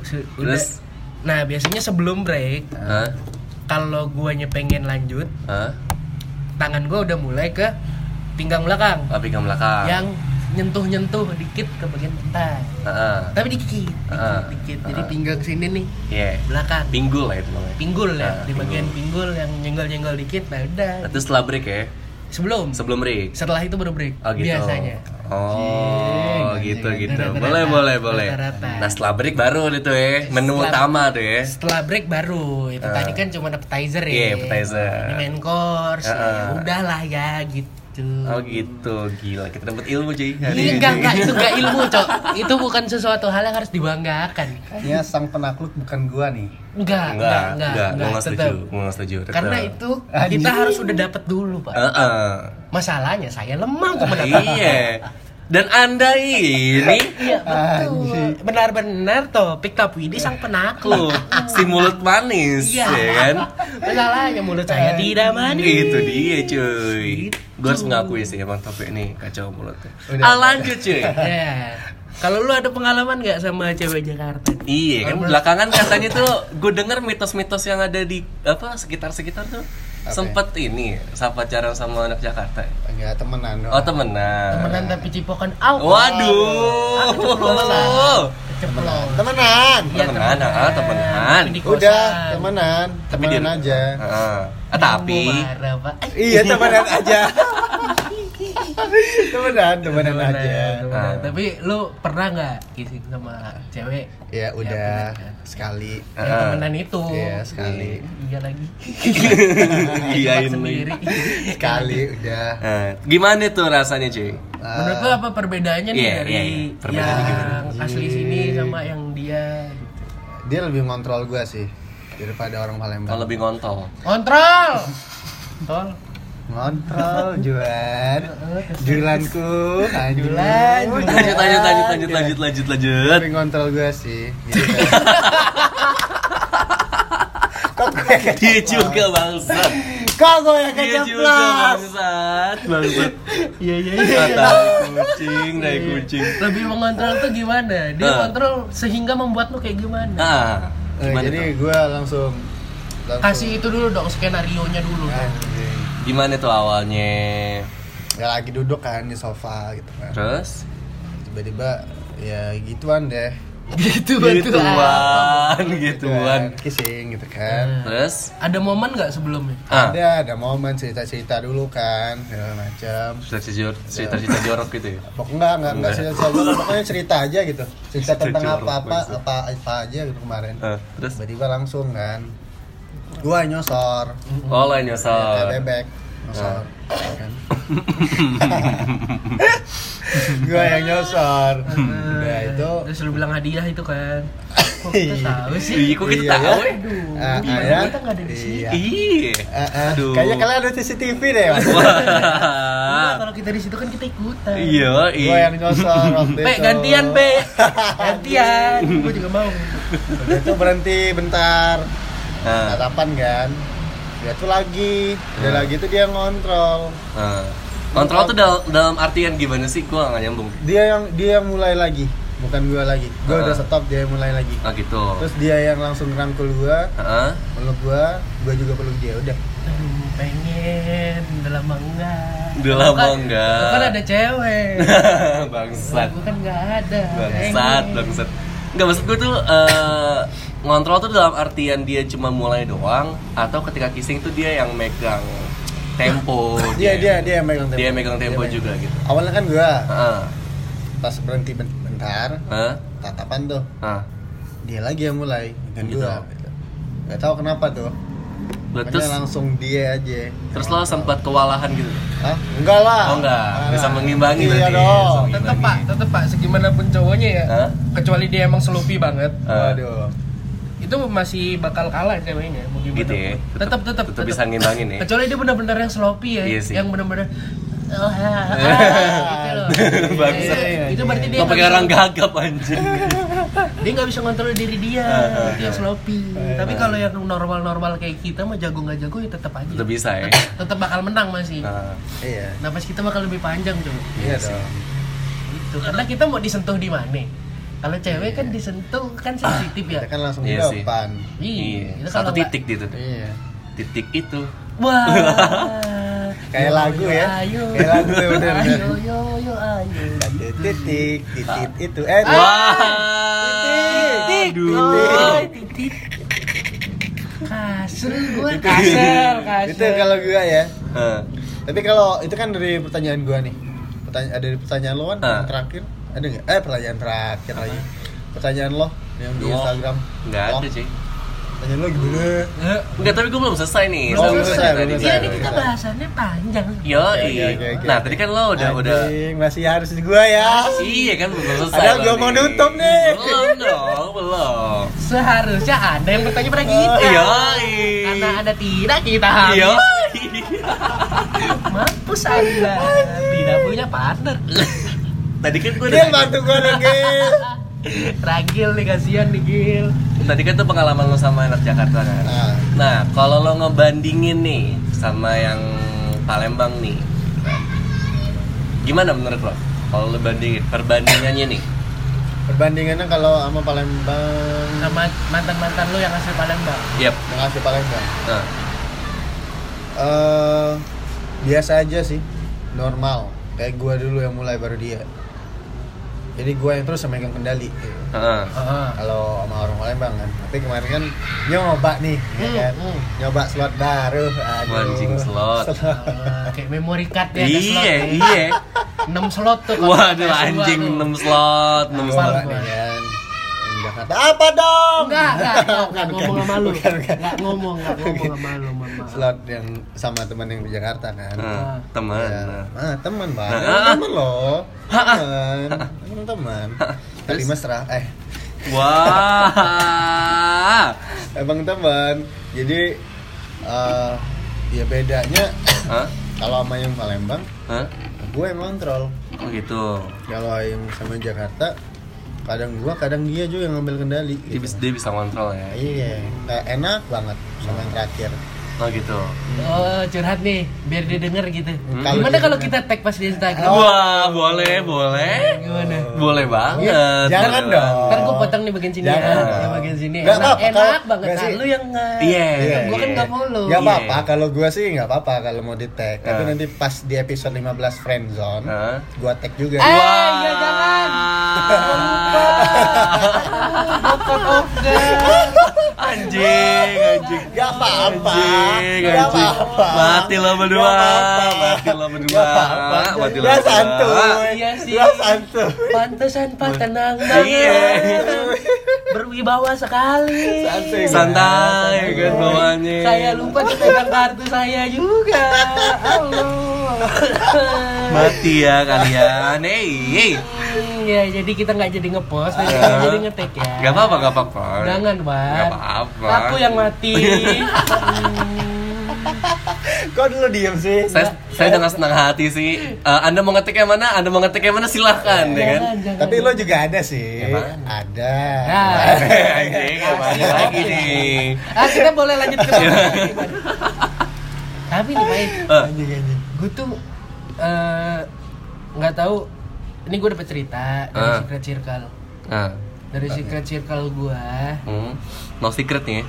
Speaker 3: Su- udah.
Speaker 1: Terus?
Speaker 3: nah biasanya sebelum break
Speaker 1: Hah?
Speaker 3: kalau guanya pengen lanjut
Speaker 1: Hah?
Speaker 3: tangan gua udah mulai ke pinggang belakang
Speaker 1: Ah, pinggang belakang.
Speaker 3: yang nyentuh-nyentuh dikit ke bagian pantai
Speaker 1: Heeh.
Speaker 3: tapi dikit dikit,
Speaker 1: Ah.
Speaker 3: dikit. jadi pinggang sini nih
Speaker 1: Iya.
Speaker 3: belakang
Speaker 1: Pinggul lah itu namanya.
Speaker 3: pinggul
Speaker 1: Ah,
Speaker 3: ya di
Speaker 1: pinggul.
Speaker 3: bagian pinggul yang nyenggol nyenggol dikit nah udah
Speaker 1: Itu setelah break ya?
Speaker 3: sebelum
Speaker 1: Sebelum break?
Speaker 3: setelah itu baru break
Speaker 1: Oh gitu.
Speaker 3: biasanya
Speaker 1: Oh gitu gitu.
Speaker 3: Rata-rata.
Speaker 1: Boleh boleh boleh.
Speaker 3: Rata-rata.
Speaker 1: Nah setelah break baru itu ya menu
Speaker 3: Setelah-
Speaker 1: utama tuh ya.
Speaker 3: setelah break baru itu
Speaker 1: Ah.
Speaker 3: tadi kan cuma appetizer ya
Speaker 1: Iya, appetizer.
Speaker 3: Ini main course
Speaker 1: Ah, ah.
Speaker 3: ya udahlah ya gitu
Speaker 1: Oh iya, gitu gila kita dapat ilmu cuy hari
Speaker 3: Ini
Speaker 1: ini.
Speaker 3: Iya, enggak, enggak, itu enggak ilmu, Cok. Itu bukan sesuatu hal yang harus dibanggakan.
Speaker 2: Kayaknya sang penakluk bukan gua nih.
Speaker 3: Enggak, enggak,
Speaker 1: Enggak
Speaker 3: enggak,
Speaker 1: enggak gua nggak setuju
Speaker 3: tetap.
Speaker 1: gua nggak setuju. tetap.
Speaker 3: Karena itu kita harus udah dapet dulu, Pak.
Speaker 1: Heeh.
Speaker 3: Masalahnya saya lemah gue
Speaker 1: Iya. Dan anda ini
Speaker 3: Iya betul. Benar-benar topik tapi ini sang penakluk.
Speaker 1: tuh si mulut manis
Speaker 3: Iya.
Speaker 1: ya kan? Eh,
Speaker 3: Masalahnya mulut saya tidak manis.
Speaker 1: Itu Gitu dia cuy.
Speaker 3: Gitu.
Speaker 1: Gue harus mengakui sih emang topik ini kacau mulutnya.
Speaker 2: Udah.
Speaker 1: Ah lanjut cuy.
Speaker 3: Ya. Kalau lu ada pengalaman nggak sama cewek Jakarta?
Speaker 1: Iya kan belakangan katanya tuh gue denger mitos-mitos yang ada di apa sekitar-sekitar tuh
Speaker 2: Apa
Speaker 1: sempet ini sama pacaran sama anak Jakarta.
Speaker 2: Enggak Ya, temenan dong.
Speaker 1: Oh temenan.
Speaker 3: Temenan tapi cipokan au.
Speaker 1: Waduh.
Speaker 3: Ceplok.
Speaker 2: Temenan.
Speaker 3: Iya,
Speaker 1: Temenan, ah, temenan.
Speaker 3: Tapi di kosan.
Speaker 2: Udah, temenan.
Speaker 1: Tapi dia-
Speaker 2: Temenan aja.
Speaker 1: Heeh. Ah, tapi
Speaker 3: Mau marah, Pak. Eh,
Speaker 2: Iya, temenan aja. temenan, temenan
Speaker 3: temenan,
Speaker 2: aja.
Speaker 3: temenan.
Speaker 1: Ah.
Speaker 3: Tapi lu pernah nggak kissing sama cewek?
Speaker 2: Ya
Speaker 3: pernah
Speaker 2: udah
Speaker 3: kan?
Speaker 2: sekali.
Speaker 3: Yang
Speaker 1: Ah.
Speaker 3: temenan itu.
Speaker 2: Iya, sekali.
Speaker 3: Iya lagi.
Speaker 1: iya
Speaker 3: Cepat
Speaker 1: ini.
Speaker 3: sendiri.
Speaker 2: Sekali udah.
Speaker 1: Eh, gimana tuh rasanya cuy?
Speaker 3: Menurut lo apa perbedaannya nih
Speaker 1: Iya,
Speaker 3: dari
Speaker 1: iya, iya. Perbedaannya
Speaker 3: yang asli sini sama yang dia? gitu?
Speaker 2: Dia lebih ngontrol gua sih. daripada orang Palembang.
Speaker 1: Kalau lebih ngontol.
Speaker 2: Kontrol. Tol. Ngontrol, Juan. Julanku, Julan.
Speaker 1: Lanjut lanjut lanjut lanjut lanjut lanjut lanjut.
Speaker 2: Tapi ngontrol gue sih. Gitu kan. Kok gue
Speaker 1: Dia juga bangsat.
Speaker 2: Kok gue yang
Speaker 1: Dia juga
Speaker 2: keceplos?
Speaker 1: bangsat. Bangsat.
Speaker 3: Iya iya
Speaker 1: Kata kucing, dari kucing.
Speaker 3: Lebih mengontrol tuh gimana? Dia
Speaker 1: Nah.
Speaker 3: kontrol sehingga membuat lu kayak gimana?
Speaker 1: Ah,
Speaker 2: Eh,
Speaker 1: gimana
Speaker 2: Jadi
Speaker 1: tuh?
Speaker 2: gue langsung, langsung
Speaker 3: Kasih itu dulu dong skenario nya dulu.
Speaker 2: Anjing.
Speaker 1: Gimana tuh awalnya?
Speaker 2: Ya lagi duduk kan di sofa gitu kan.
Speaker 1: Terus?
Speaker 2: Tiba-tiba ya gituan deh.
Speaker 3: Gitu betul.
Speaker 1: ah. Gituan, gituan.
Speaker 2: Kan, Kissing gitu kan.
Speaker 1: Terus?
Speaker 3: Ada momen nggak sebelumnya?
Speaker 1: Ah,
Speaker 2: Ada ada momen cerita-cerita dulu kan, segala macam.
Speaker 1: cerita jor-
Speaker 2: Iya.
Speaker 1: cerita-cerita jorok gitu ya.
Speaker 2: Pokoknya enggak, enggak, enggak cerita soal gua, pokoknya cerita aja gitu. Cerita tentang
Speaker 1: jorok,
Speaker 2: apa-apa,
Speaker 1: maksud.
Speaker 2: apa apa aja gitu kemarin.
Speaker 1: Ah, terus?
Speaker 2: Tiba-tiba langsung kan. Gua nyosor,
Speaker 1: Oh, lain
Speaker 2: kayak
Speaker 1: nyesel.
Speaker 2: bebek, nyosor. Kan? gua yang nyosor. Udah itu
Speaker 3: Terus lu bilang hadiah itu kan? Kok kita
Speaker 1: Iya.
Speaker 3: tahu
Speaker 1: Ih,
Speaker 3: sih?
Speaker 1: kok kita
Speaker 2: Iya,
Speaker 1: tahu
Speaker 2: ya?
Speaker 1: ya?
Speaker 2: eh,
Speaker 3: Gimana
Speaker 2: ayah,
Speaker 3: kita nggak ada di sini?
Speaker 2: iya.
Speaker 1: Ih.
Speaker 2: Eh, eh,
Speaker 1: Aduh.
Speaker 2: Kayaknya kalian ada CCTV deh. Mas.
Speaker 3: Nah,
Speaker 1: Wah.
Speaker 3: kalau kita di situ kan kita ikutan.
Speaker 1: Ah. Iya,
Speaker 2: Gua yang
Speaker 1: iya.
Speaker 2: nyosor waktu
Speaker 3: Be,
Speaker 2: itu.
Speaker 3: gantian be, gantian. Gue juga mau.
Speaker 2: Udah itu berhenti bentar.
Speaker 1: Ah,
Speaker 2: tatapan kan dia tuh lagi dia
Speaker 1: Hmm.
Speaker 2: lagi tuh dia ngontrol
Speaker 1: ah. Kontrol tuh dal- dalam artian gimana sih? Gua nggak nyambung.
Speaker 2: dia yang dia yang mulai lagi bukan gua lagi gua
Speaker 1: Ah.
Speaker 2: udah stop dia yang mulai lagi
Speaker 1: Ah gitu.
Speaker 2: terus dia yang langsung rangkul gua
Speaker 1: Heeh.
Speaker 2: peluk gua gua juga peluk dia udah
Speaker 3: Aduh, pengen, udah lama enggak.
Speaker 1: Udah lama
Speaker 3: Kan-
Speaker 1: enggak.
Speaker 3: Kan ada cewek.
Speaker 1: Bangsat.
Speaker 3: Gue kan enggak ada.
Speaker 1: Bangsat,
Speaker 3: pengen.
Speaker 1: bangsat. Enggak maksud gue tuh eh, ngontrol tuh dalam artian dia cuma mulai doang atau ketika kissing tuh dia yang megang tempo.
Speaker 2: dia Iya, dia Iya, dia yang megang tempo
Speaker 1: Dia yang megang tempo juga gitu.
Speaker 2: awalnya kan gua
Speaker 1: Heeh.
Speaker 2: pas berhenti ben- bentar
Speaker 1: Heeh. Nah,
Speaker 2: tatapan tuh
Speaker 1: Heeh.
Speaker 2: dia lagi yang mulai dan
Speaker 1: Gitu.
Speaker 2: gua gitu. gak tau kenapa tuh
Speaker 1: Lah,
Speaker 2: Pokoknya
Speaker 1: Terus
Speaker 2: langsung dia aja
Speaker 1: terus lo sempat kewalahan gitu.
Speaker 2: Hah? enggak lah
Speaker 1: Oh enggak, bisa mengimbangi berarti.
Speaker 2: iya dong
Speaker 1: Bisa
Speaker 3: Tetep
Speaker 1: mengimbangi.
Speaker 3: pak, tetep pak, segimanapun cowoknya ya.
Speaker 1: Hah?
Speaker 3: Kecuali dia emang sloppy banget,
Speaker 1: Eh,
Speaker 2: waduh
Speaker 3: itu masih bakal kalah ceweknya. Mau gimana?
Speaker 1: Gitu ya.
Speaker 3: Tetep,
Speaker 1: Tetep-
Speaker 3: tetep,
Speaker 1: tetep bisa ngimbangin ya.
Speaker 3: Kecuali dia benar-benar yang sloppy ya,
Speaker 1: Iya sih.
Speaker 3: yang benar-benar. Oh, ha, ha, gitu loh.
Speaker 1: Bangsat.
Speaker 3: Itu- Itu berarti dia
Speaker 1: Lo
Speaker 3: nggak
Speaker 1: pakai
Speaker 3: bisa-
Speaker 1: orang gagap anjing.
Speaker 3: dia nggak bisa ngontrol diri dia
Speaker 1: Ah,
Speaker 3: itu yang sloppy
Speaker 1: Iya.
Speaker 3: tapi kalau yang normal normal kayak kita mah jago nggak jago ya tetap aja
Speaker 1: Tetep bisa ya.
Speaker 3: tetap bakal menang masih
Speaker 1: Nah,
Speaker 2: iya
Speaker 3: napas kita bakal lebih panjang tuh
Speaker 2: iya dong
Speaker 3: itu Gitu. karena kita mau disentuh di mana kalau cewek kan disentuh kan sensitif ya
Speaker 2: Kita Iya. kan langsung
Speaker 1: Iya
Speaker 2: di
Speaker 1: sih.
Speaker 2: depan.
Speaker 1: iya. Satu
Speaker 3: kita kalau nggak-
Speaker 1: titik gitu.
Speaker 2: Iya.
Speaker 1: Titik itu.
Speaker 3: wah
Speaker 2: Kayak
Speaker 3: Yo,
Speaker 2: lagu ya.
Speaker 3: ayo
Speaker 2: Kayak lagu ya, bener, bener.
Speaker 3: ayo yo yo ayo
Speaker 2: Titik, titik, titik itu. Eh,
Speaker 1: Ah. Wah.
Speaker 2: Titik.
Speaker 1: Aduh.
Speaker 3: Oi, titik kasur gua kasur kasur
Speaker 2: Itu kalau gua ya.
Speaker 1: Heeh.
Speaker 2: Tapi kalau itu kan dari pertanyaan gua nih. Pertanyaan dari pertanyaan lo kan
Speaker 1: Ah.
Speaker 2: yang terakhir ada nggak? Eh, pertanyaan terakhir lagi. Pertanyaan lo yang di
Speaker 1: Lo.
Speaker 2: Instagram. Oh.
Speaker 1: Enggak
Speaker 2: Lo.
Speaker 1: ada, cuy.
Speaker 2: Pertanyaan lo gimana?
Speaker 3: Eh,
Speaker 1: Enggak, tapi gue belum selesai nih.
Speaker 2: Belum
Speaker 1: sama
Speaker 2: selesai,
Speaker 1: cerita
Speaker 2: belum
Speaker 1: tadi.
Speaker 2: selesai.
Speaker 3: Iya ini kita bahasannya panjang.
Speaker 1: Yo,
Speaker 2: Oke, oke, oke, oke.
Speaker 1: Nah, tadi kan lo udah udah
Speaker 2: Anjing, masih harus gua ya.
Speaker 1: Iya kan belum selesai.
Speaker 2: Padahal
Speaker 1: lo
Speaker 2: gua mau nutup nih.
Speaker 1: Belum dong, belum.
Speaker 3: Seharusnya ada yang bertanya pada kita.
Speaker 1: Yo.
Speaker 3: Karena ada tidak kita
Speaker 1: Yo.
Speaker 3: habis. Iya.
Speaker 1: Iya.
Speaker 3: Mampus anda. Tidak punya partner.
Speaker 1: Tadi kan gue
Speaker 2: Dia bantu gua dong, Gil.
Speaker 3: Ragil nih kasihan nih Gil.
Speaker 1: Tadi kan tuh pengalaman lo sama anak Jakarta kan.
Speaker 2: Nah,
Speaker 1: Nah, kalau lo ngebandingin nih sama yang Palembang nih. Gimana menurut lo? Kalau lo bandingin perbandingannya nih.
Speaker 2: perbandingannya kalau sama Palembang
Speaker 3: Sama mantan mantan lu yang asli Palembang.
Speaker 1: Yap.
Speaker 2: yang asli Palembang.
Speaker 1: Nah,
Speaker 2: eh biasa aja sih, normal. Kayak gua dulu yang mulai baru dia. Jadi gua yang terus yang megang kendali. gitu.
Speaker 1: heeh.
Speaker 2: Kalau sama orang Palembang kan. Tapi kemarin kan nyoba nih, ya kan?
Speaker 3: Hmm, hmm.
Speaker 2: nyoba slot baru. Aduh.
Speaker 1: Anjing slot.
Speaker 3: Allah, kayak memory card ya ada slot
Speaker 1: Iya,
Speaker 3: ya.
Speaker 1: iya.
Speaker 3: 6 slot tuh kalau
Speaker 1: Waduh
Speaker 3: PS2
Speaker 1: anjing
Speaker 3: tuh.
Speaker 1: 6 slot, 6
Speaker 2: Nyoba
Speaker 1: slot.
Speaker 3: Palembang.
Speaker 2: nih kan. Yang Jakarta. Apa dong?
Speaker 3: Enggak, enggak, enggak, enggak ngomong sama lu.
Speaker 2: bukan, bukan.
Speaker 3: Enggak ngomong, enggak ngomong sama lu, mama.
Speaker 2: Slot yang sama temen yang di Jakarta kan.
Speaker 1: Nah, teman. nah.
Speaker 2: Ah, teman bang,
Speaker 1: Nah,
Speaker 2: Emang
Speaker 1: ah.
Speaker 2: teman loh, teman, teman, teman. Tadi mesra, eh,
Speaker 1: Wah.
Speaker 2: Emang teman. Jadi eh ya bedanya
Speaker 1: Hah?
Speaker 2: kalau sama yang Palembang,
Speaker 1: Hah?
Speaker 2: gue emang kontrol.
Speaker 1: Oh gitu.
Speaker 2: Kalau yang sama Jakarta, kadang gua, kadang dia juga yang ngambil kendali.
Speaker 1: Dia
Speaker 2: gitu.
Speaker 1: bisa, dia bisa kontrol ya.
Speaker 2: Iya, eh, enak banget sama yang terakhir.
Speaker 1: Oh gitu.
Speaker 3: Oh, curhat nih, biar dia denger gitu.
Speaker 2: Hmm. Kalau
Speaker 3: Gimana
Speaker 2: dia
Speaker 3: kalau
Speaker 2: denger.
Speaker 3: kita tag pas di Instagram?
Speaker 2: Oh.
Speaker 1: Wah, boleh, boleh. Gimana? Boleh banget.
Speaker 2: Iya, Jangan
Speaker 1: boleh
Speaker 2: dong.
Speaker 1: banget.
Speaker 3: Ntar gue potong nih bagian sini ya.
Speaker 2: Jangan.
Speaker 3: Yang bagian sini.
Speaker 2: Nggak
Speaker 3: Enak,
Speaker 2: apa-apa,
Speaker 3: enak
Speaker 2: kalau-
Speaker 3: banget.
Speaker 2: nggak
Speaker 3: Nah,
Speaker 2: sih.
Speaker 3: lu yang nge...
Speaker 1: Iya.
Speaker 2: Iya,
Speaker 3: Gue kan
Speaker 1: iya.
Speaker 3: gak follow.
Speaker 2: Gak
Speaker 1: Iya.
Speaker 2: apa-apa, kalau gua sih gak apa-apa kalau mau di tag Tapi
Speaker 1: Ah.
Speaker 2: nanti pas di episode 15 Friendzone,
Speaker 1: Hah?
Speaker 2: gua tag juga
Speaker 3: Eh, ya
Speaker 2: iya,
Speaker 3: jangan.
Speaker 1: Anjing, anjing.
Speaker 2: Gak apa-apa,
Speaker 1: Anjing,
Speaker 2: gak
Speaker 1: anjing.
Speaker 2: apa-apa
Speaker 1: Mati lo berdua,
Speaker 2: Gak apa-apa.
Speaker 1: mati lo berdua,
Speaker 2: Gak apa-apa.
Speaker 1: mati lo
Speaker 2: Lah
Speaker 1: berdua.
Speaker 2: santuy,
Speaker 3: Iya sih.
Speaker 2: lah santuy
Speaker 3: Pantesan Pak tenang
Speaker 2: Iya.
Speaker 1: Iya.
Speaker 3: banget. Berwibawa sekali.
Speaker 2: Santuy,
Speaker 1: Santai kan bawaannya.
Speaker 3: Iya. Saya lupa tuh pegang kartu saya juga. Allah.
Speaker 1: Mati ya kalian. Hey, hey.
Speaker 3: Ya, jadi kita nggak jadi ngepost,
Speaker 2: Iya.
Speaker 3: jadi
Speaker 1: Ah.
Speaker 3: jadi ngetek ya.
Speaker 1: Gak apa-apa, gak apa-apa.
Speaker 3: Jangan, Bang.
Speaker 1: Gak apa-apa. Iya kan?
Speaker 3: Aku yang mati.
Speaker 2: Kok dulu diem sih?
Speaker 1: saya, saya dengan senang hati sih. Eh, anda mau ngetik yang mana? Anda mau ngetik yang mana? Silahkan, ya kan?
Speaker 3: jangan, jangan.
Speaker 2: Tapi lo juga ada sih
Speaker 1: Apaan?
Speaker 2: Ada
Speaker 3: Nah,
Speaker 1: Anjing, kembali lagi nih.
Speaker 3: ah, kita boleh lanjut ke topik. Tapi nih, Pak,
Speaker 1: Iya. Eh,
Speaker 2: Anjing, anjing
Speaker 3: gue tuh eh, nggak tahu. Ini gue dapet cerita dari
Speaker 1: Ah.
Speaker 3: secret circle.
Speaker 1: nah,
Speaker 3: Dari secret circle gue.
Speaker 1: hmm, no secret nih. ya.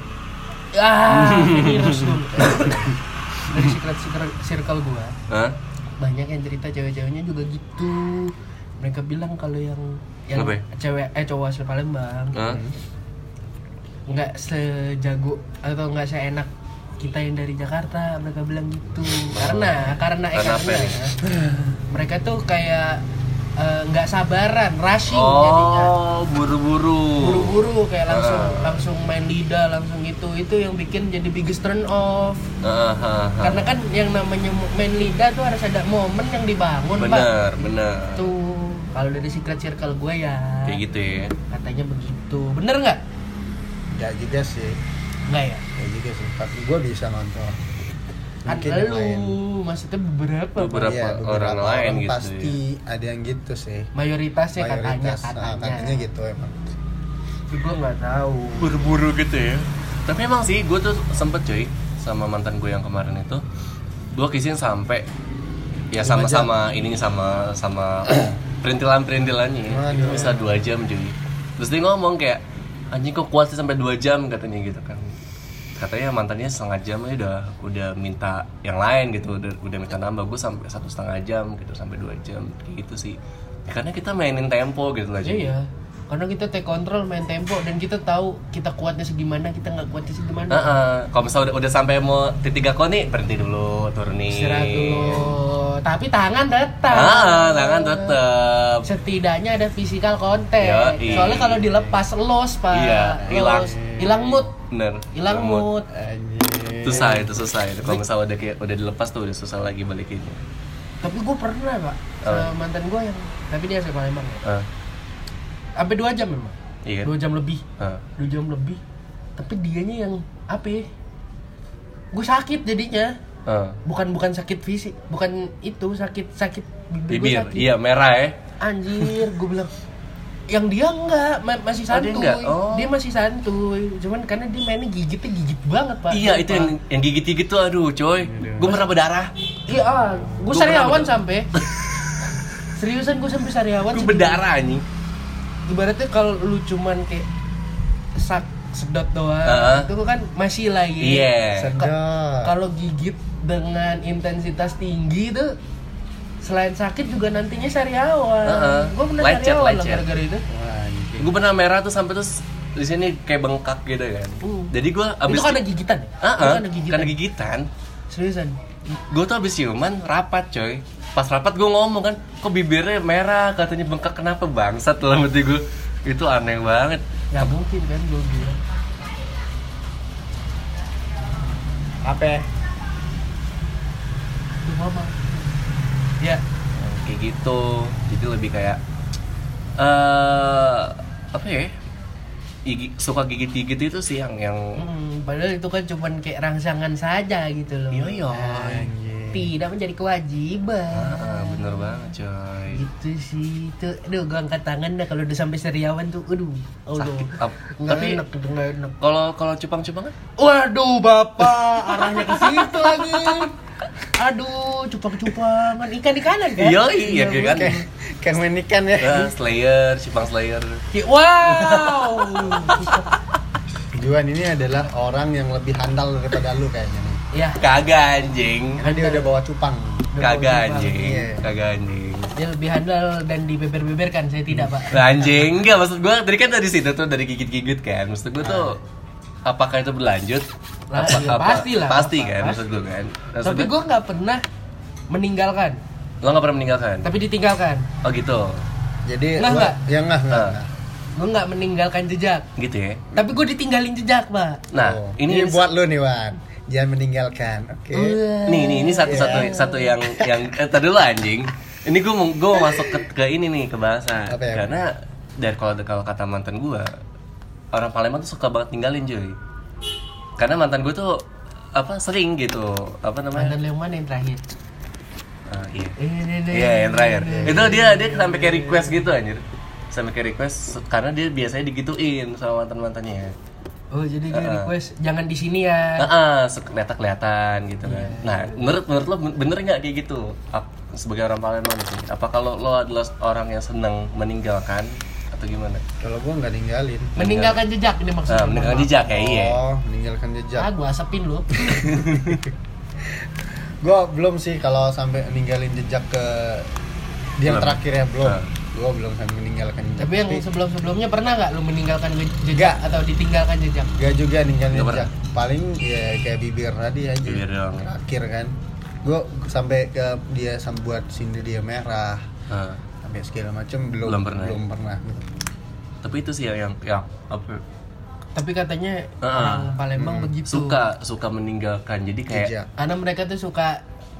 Speaker 3: Ah, ini rusuh. Dari secret circle- circle gue.
Speaker 1: Hah?
Speaker 3: banyak yang cerita cewek-ceweknya juga gitu mereka bilang kalau yang yang
Speaker 1: Apa ya? Ah.
Speaker 3: cewek eh cowok asli Palembang
Speaker 1: Hah?
Speaker 3: nggak sejago atau nggak seenak kita yang dari Jakarta mereka bilang gitu karena karena eh,
Speaker 1: Karena apa
Speaker 3: karena
Speaker 1: ya?
Speaker 3: ya, mereka tuh kayak eh, nggak sabaran rushing jadinya
Speaker 1: Oh, buru-buru.
Speaker 3: Iya, buru-buru kayak langsung
Speaker 1: Ah.
Speaker 3: langsung main lidah langsung gitu itu yang bikin jadi biggest turn off
Speaker 1: Ah, ah, ah.
Speaker 3: karena kan yang namanya main lidah tuh harus ada momen yang dibangun pak
Speaker 1: Bener, bener.
Speaker 3: tuh kalau dari secret circle gue ya
Speaker 1: Kayak gitu ya.
Speaker 3: katanya begitu bener nggak
Speaker 2: Gak juga sih
Speaker 3: nggak ya
Speaker 2: Gak juga sih Tapi gue bisa nonton
Speaker 3: kan
Speaker 2: Mungkin yang lain.
Speaker 3: lu maksudnya beberapa Pak.
Speaker 1: Beberapa orang lain gitu ya. kan
Speaker 2: Pasti ada yang gitu sih
Speaker 3: mayoritasnya
Speaker 2: Mayoritas
Speaker 3: ya, katanya
Speaker 2: ah,
Speaker 3: katanya,
Speaker 2: katanya gitu emang
Speaker 3: tapi gue nggak tahu
Speaker 1: Buru-buru gitu ya. Tapi emang sih, gue tuh sempet cuy sama mantan gue yang kemarin itu, gue kisin sampai ya
Speaker 2: Lima jam.
Speaker 1: sama-sama ini sama sama perintilan-perintilannya ya. itu
Speaker 2: Waduh.
Speaker 1: bisa dua jam cuy. Terus dia ngomong kayak anjing kok kuat sih sampai dua jam katanya gitu kan. Katanya mantannya setengah jam aja udah udah minta yang lain gitu, udah, udah minta nambah gue sampai satu setengah jam gitu sampai dua jam kayak gitu sih. Ya, karena kita mainin tempo gitu lah
Speaker 2: Iya.
Speaker 3: aja
Speaker 1: cuy.
Speaker 3: ya karena kita take control main tempo dan kita tahu kita kuatnya segimana kita nggak kuatnya segimana
Speaker 1: Heeh. Kalau misalnya udah, udah sampai mau titik 3 koni, berhenti dulu, turunin.
Speaker 3: istirahat dulu tapi tangan tetap
Speaker 1: Heeh, tangan tetep.
Speaker 3: setidaknya ada physical contact
Speaker 1: Yoi.
Speaker 3: soalnya kalau dilepas los pak
Speaker 1: Iya, hilang.
Speaker 3: Los. hilang mood
Speaker 1: Bener.
Speaker 3: hilang mood
Speaker 1: Susah itu susah itu. Kalau misalnya udah kayak udah dilepas tuh udah susah lagi balikinnya.
Speaker 3: tapi gue pernah pak sama mantan gue yang tapi dia asli Palembang ya
Speaker 1: Heeh.
Speaker 3: sampai dua jam memang
Speaker 1: Iya. kan?
Speaker 3: dua jam lebih
Speaker 1: Heeh.
Speaker 3: dua jam lebih tapi dianya yang apa ya gue sakit jadinya
Speaker 1: Heeh.
Speaker 3: bukan bukan sakit fisik bukan itu sakit sakit bibir, gua
Speaker 1: Bibir,
Speaker 3: sakit.
Speaker 1: iya merah ya.
Speaker 3: anjir gue bilang yang dia enggak ma-
Speaker 1: Oh,
Speaker 3: masih
Speaker 1: dia
Speaker 3: santuy
Speaker 1: enggak? Oh.
Speaker 3: Dia masih santuy cuman karena dia mainnya gigitnya gigit banget pak
Speaker 1: Iya itu yang yang gigit-gigit tuh aduh coy. Gue merah berdarah.
Speaker 3: iya gue
Speaker 1: Gua
Speaker 3: sariawan
Speaker 1: pernah-
Speaker 3: sampai seriusan gue sampai sariawan
Speaker 1: Gue
Speaker 3: segitu.
Speaker 1: berdarah anjing.
Speaker 3: ibaratnya kalau lu cuman kayak sak sedot doang
Speaker 1: Heeh.
Speaker 3: itu kan masih lagi
Speaker 1: Iya.
Speaker 2: Sedap
Speaker 3: kalau gigit dengan intensitas tinggi tuh selain sakit juga nantinya sariawan
Speaker 1: Heeh.
Speaker 3: gue pernah
Speaker 1: Lecet,
Speaker 3: sariawan lah
Speaker 1: lecet.
Speaker 3: gara-gara itu
Speaker 2: Wah, anjing.
Speaker 1: Gue pernah merah tuh sampai terus di sini kayak bengkak gitu kan.
Speaker 3: Hmm.
Speaker 1: Jadi gue abis
Speaker 3: itu kan ada gigitan ya?
Speaker 1: Heeh,
Speaker 3: Itu kan ada gigitan
Speaker 1: karena gigitan.
Speaker 3: seriusan
Speaker 1: gue tuh abis ciuman rapat coy pas rapat gue ngomong kan kok bibirnya merah katanya bengkak kenapa bangsat dalam hati gue itu aneh banget
Speaker 3: nggak mungkin kan gue bilang
Speaker 2: Apa?
Speaker 3: Duh, mama ya
Speaker 1: kayak gitu jadi lebih kayak eh apa ya igi- suka gigit-gigit itu siang yang
Speaker 3: Hmm, padahal itu kan cuman kayak rangsangan saja gitu loh.
Speaker 1: Yoyo.
Speaker 3: Tidak menjadi kewajiban.
Speaker 1: Ah, bener banget coy
Speaker 3: Gitu sih. Itu aduh gua angkat tangan dah kalau udah sampai seriawan tuh. Aduh. Aduh.
Speaker 1: Sakit. Ap-
Speaker 3: Nggak
Speaker 1: tapi
Speaker 3: enak, nggak enak.
Speaker 1: kalau kalau cupang-cupang kan
Speaker 3: Waduh, Bapak, arahnya ke situ lagi. Aduh, cupang-cupangan ikan di kanan kan?
Speaker 1: iya iya kan
Speaker 2: Kayak kayak main ikan ya.
Speaker 1: Eh, Slayer, cupang Slayer
Speaker 3: Ki- Wow.
Speaker 2: Juan ini adalah orang yang lebih handal daripada lu kayaknya nih.
Speaker 3: ya,
Speaker 1: kagak anjing
Speaker 2: Karena dia udah bawa cupang.
Speaker 1: kagak anjing
Speaker 2: Iya.
Speaker 1: kagak anjing
Speaker 3: dia lebih handal dan dibeber-beberkan. Saya tidak, Pak.
Speaker 1: Lah, anjing enggak maksud gue tadi kan dari situ tuh dari gigit-gigit kan maksud gue tuh apakah itu berlanjut
Speaker 3: Lah, iya, pastilah.
Speaker 1: pasti
Speaker 3: Apa-
Speaker 1: kan
Speaker 3: pasti.
Speaker 1: maksud gue kan Maksud
Speaker 3: Tapi
Speaker 1: gua,
Speaker 3: gue nggak pernah meninggalkan,
Speaker 1: lo nggak pernah meninggalkan
Speaker 3: tapi ditinggalkan.
Speaker 1: oh gitu
Speaker 2: Jadi
Speaker 3: Nah,
Speaker 2: lu-
Speaker 3: nggak.
Speaker 2: ya enggak, enggak.
Speaker 1: Ah.
Speaker 3: Gue nggak meninggalkan jejak,
Speaker 1: gitu ya
Speaker 3: tapi gue ditinggalin jejak, Pak.
Speaker 1: nah
Speaker 2: Oh.
Speaker 1: ini,
Speaker 2: buat lu nih, Wan. Jangan meninggalkan,
Speaker 3: Oh,
Speaker 2: oke?
Speaker 3: Wah.
Speaker 1: nih nih ini satu satu satu yang yang eh, tadi dulu anjing ini gue mau gue mau masuk ke, ke ini nih ke bahasa
Speaker 2: Apa ya?
Speaker 1: karena dari kalau kalau kata mantan gue orang Palembang tuh suka banget ninggalin cuy karena mantan gue tuh apa sering gitu apa namanya
Speaker 3: Mantan lu yang mana yang terakhir? Eh,
Speaker 1: Ah, iya
Speaker 3: Ini nih.
Speaker 1: Iya yang terakhir. Itu dia dia sampai kayak request gitu anjir. Sampai kayak request karena dia biasanya digituin sama mantan mantannya.
Speaker 3: Oh jadi dia
Speaker 1: Uh-uh.
Speaker 3: request jangan di sini ya.
Speaker 1: Nah, kelihatan kelihatan gitu kan. Nah, menurut menurut lo ben- bener nggak kayak gitu? Ap- sebagai orang Palembang sih. Apa kalau lo adalah orang yang senang meninggalkan atau gimana?
Speaker 2: Kalau gua nggak ninggalin.
Speaker 3: Meninggalkan jejak ini
Speaker 1: Nah,
Speaker 3: maksudnya.
Speaker 1: meninggalkan jejak ya iya.
Speaker 2: Oh, meninggalkan
Speaker 3: Ah,
Speaker 2: jejak.
Speaker 3: gue asepin lu.
Speaker 2: Gua belum sih kalau sampai ninggalin jejak ke dia yang
Speaker 1: Belum.
Speaker 2: terakhir ya belum.
Speaker 1: Ah.
Speaker 2: Gua belum sampai meninggalkan jejak.
Speaker 3: Tapi yang sebelum-sebelumnya pernah nggak lu meninggalkan je-
Speaker 2: Nggak.
Speaker 3: jejak atau ditinggalkan jejak?
Speaker 2: Gak juga ninggalin
Speaker 1: Nggak
Speaker 2: jejak. Paling ya kayak bibir tadi aja.
Speaker 1: Bibir doang.
Speaker 2: Terakhir kan. Gue sampai ke dia sam- buat sindir dia merah
Speaker 1: Nah,
Speaker 2: sampai segala macem belum
Speaker 1: Belum pernah.
Speaker 2: belum pernah.
Speaker 1: tapi itu sih yang yang, yang apa
Speaker 3: Tapi katanya
Speaker 1: Uh-uh.
Speaker 3: orang Palembang begitu.
Speaker 1: suka suka meninggalkan. Jadi kayak
Speaker 2: Jejak.
Speaker 3: Karena mereka tuh suka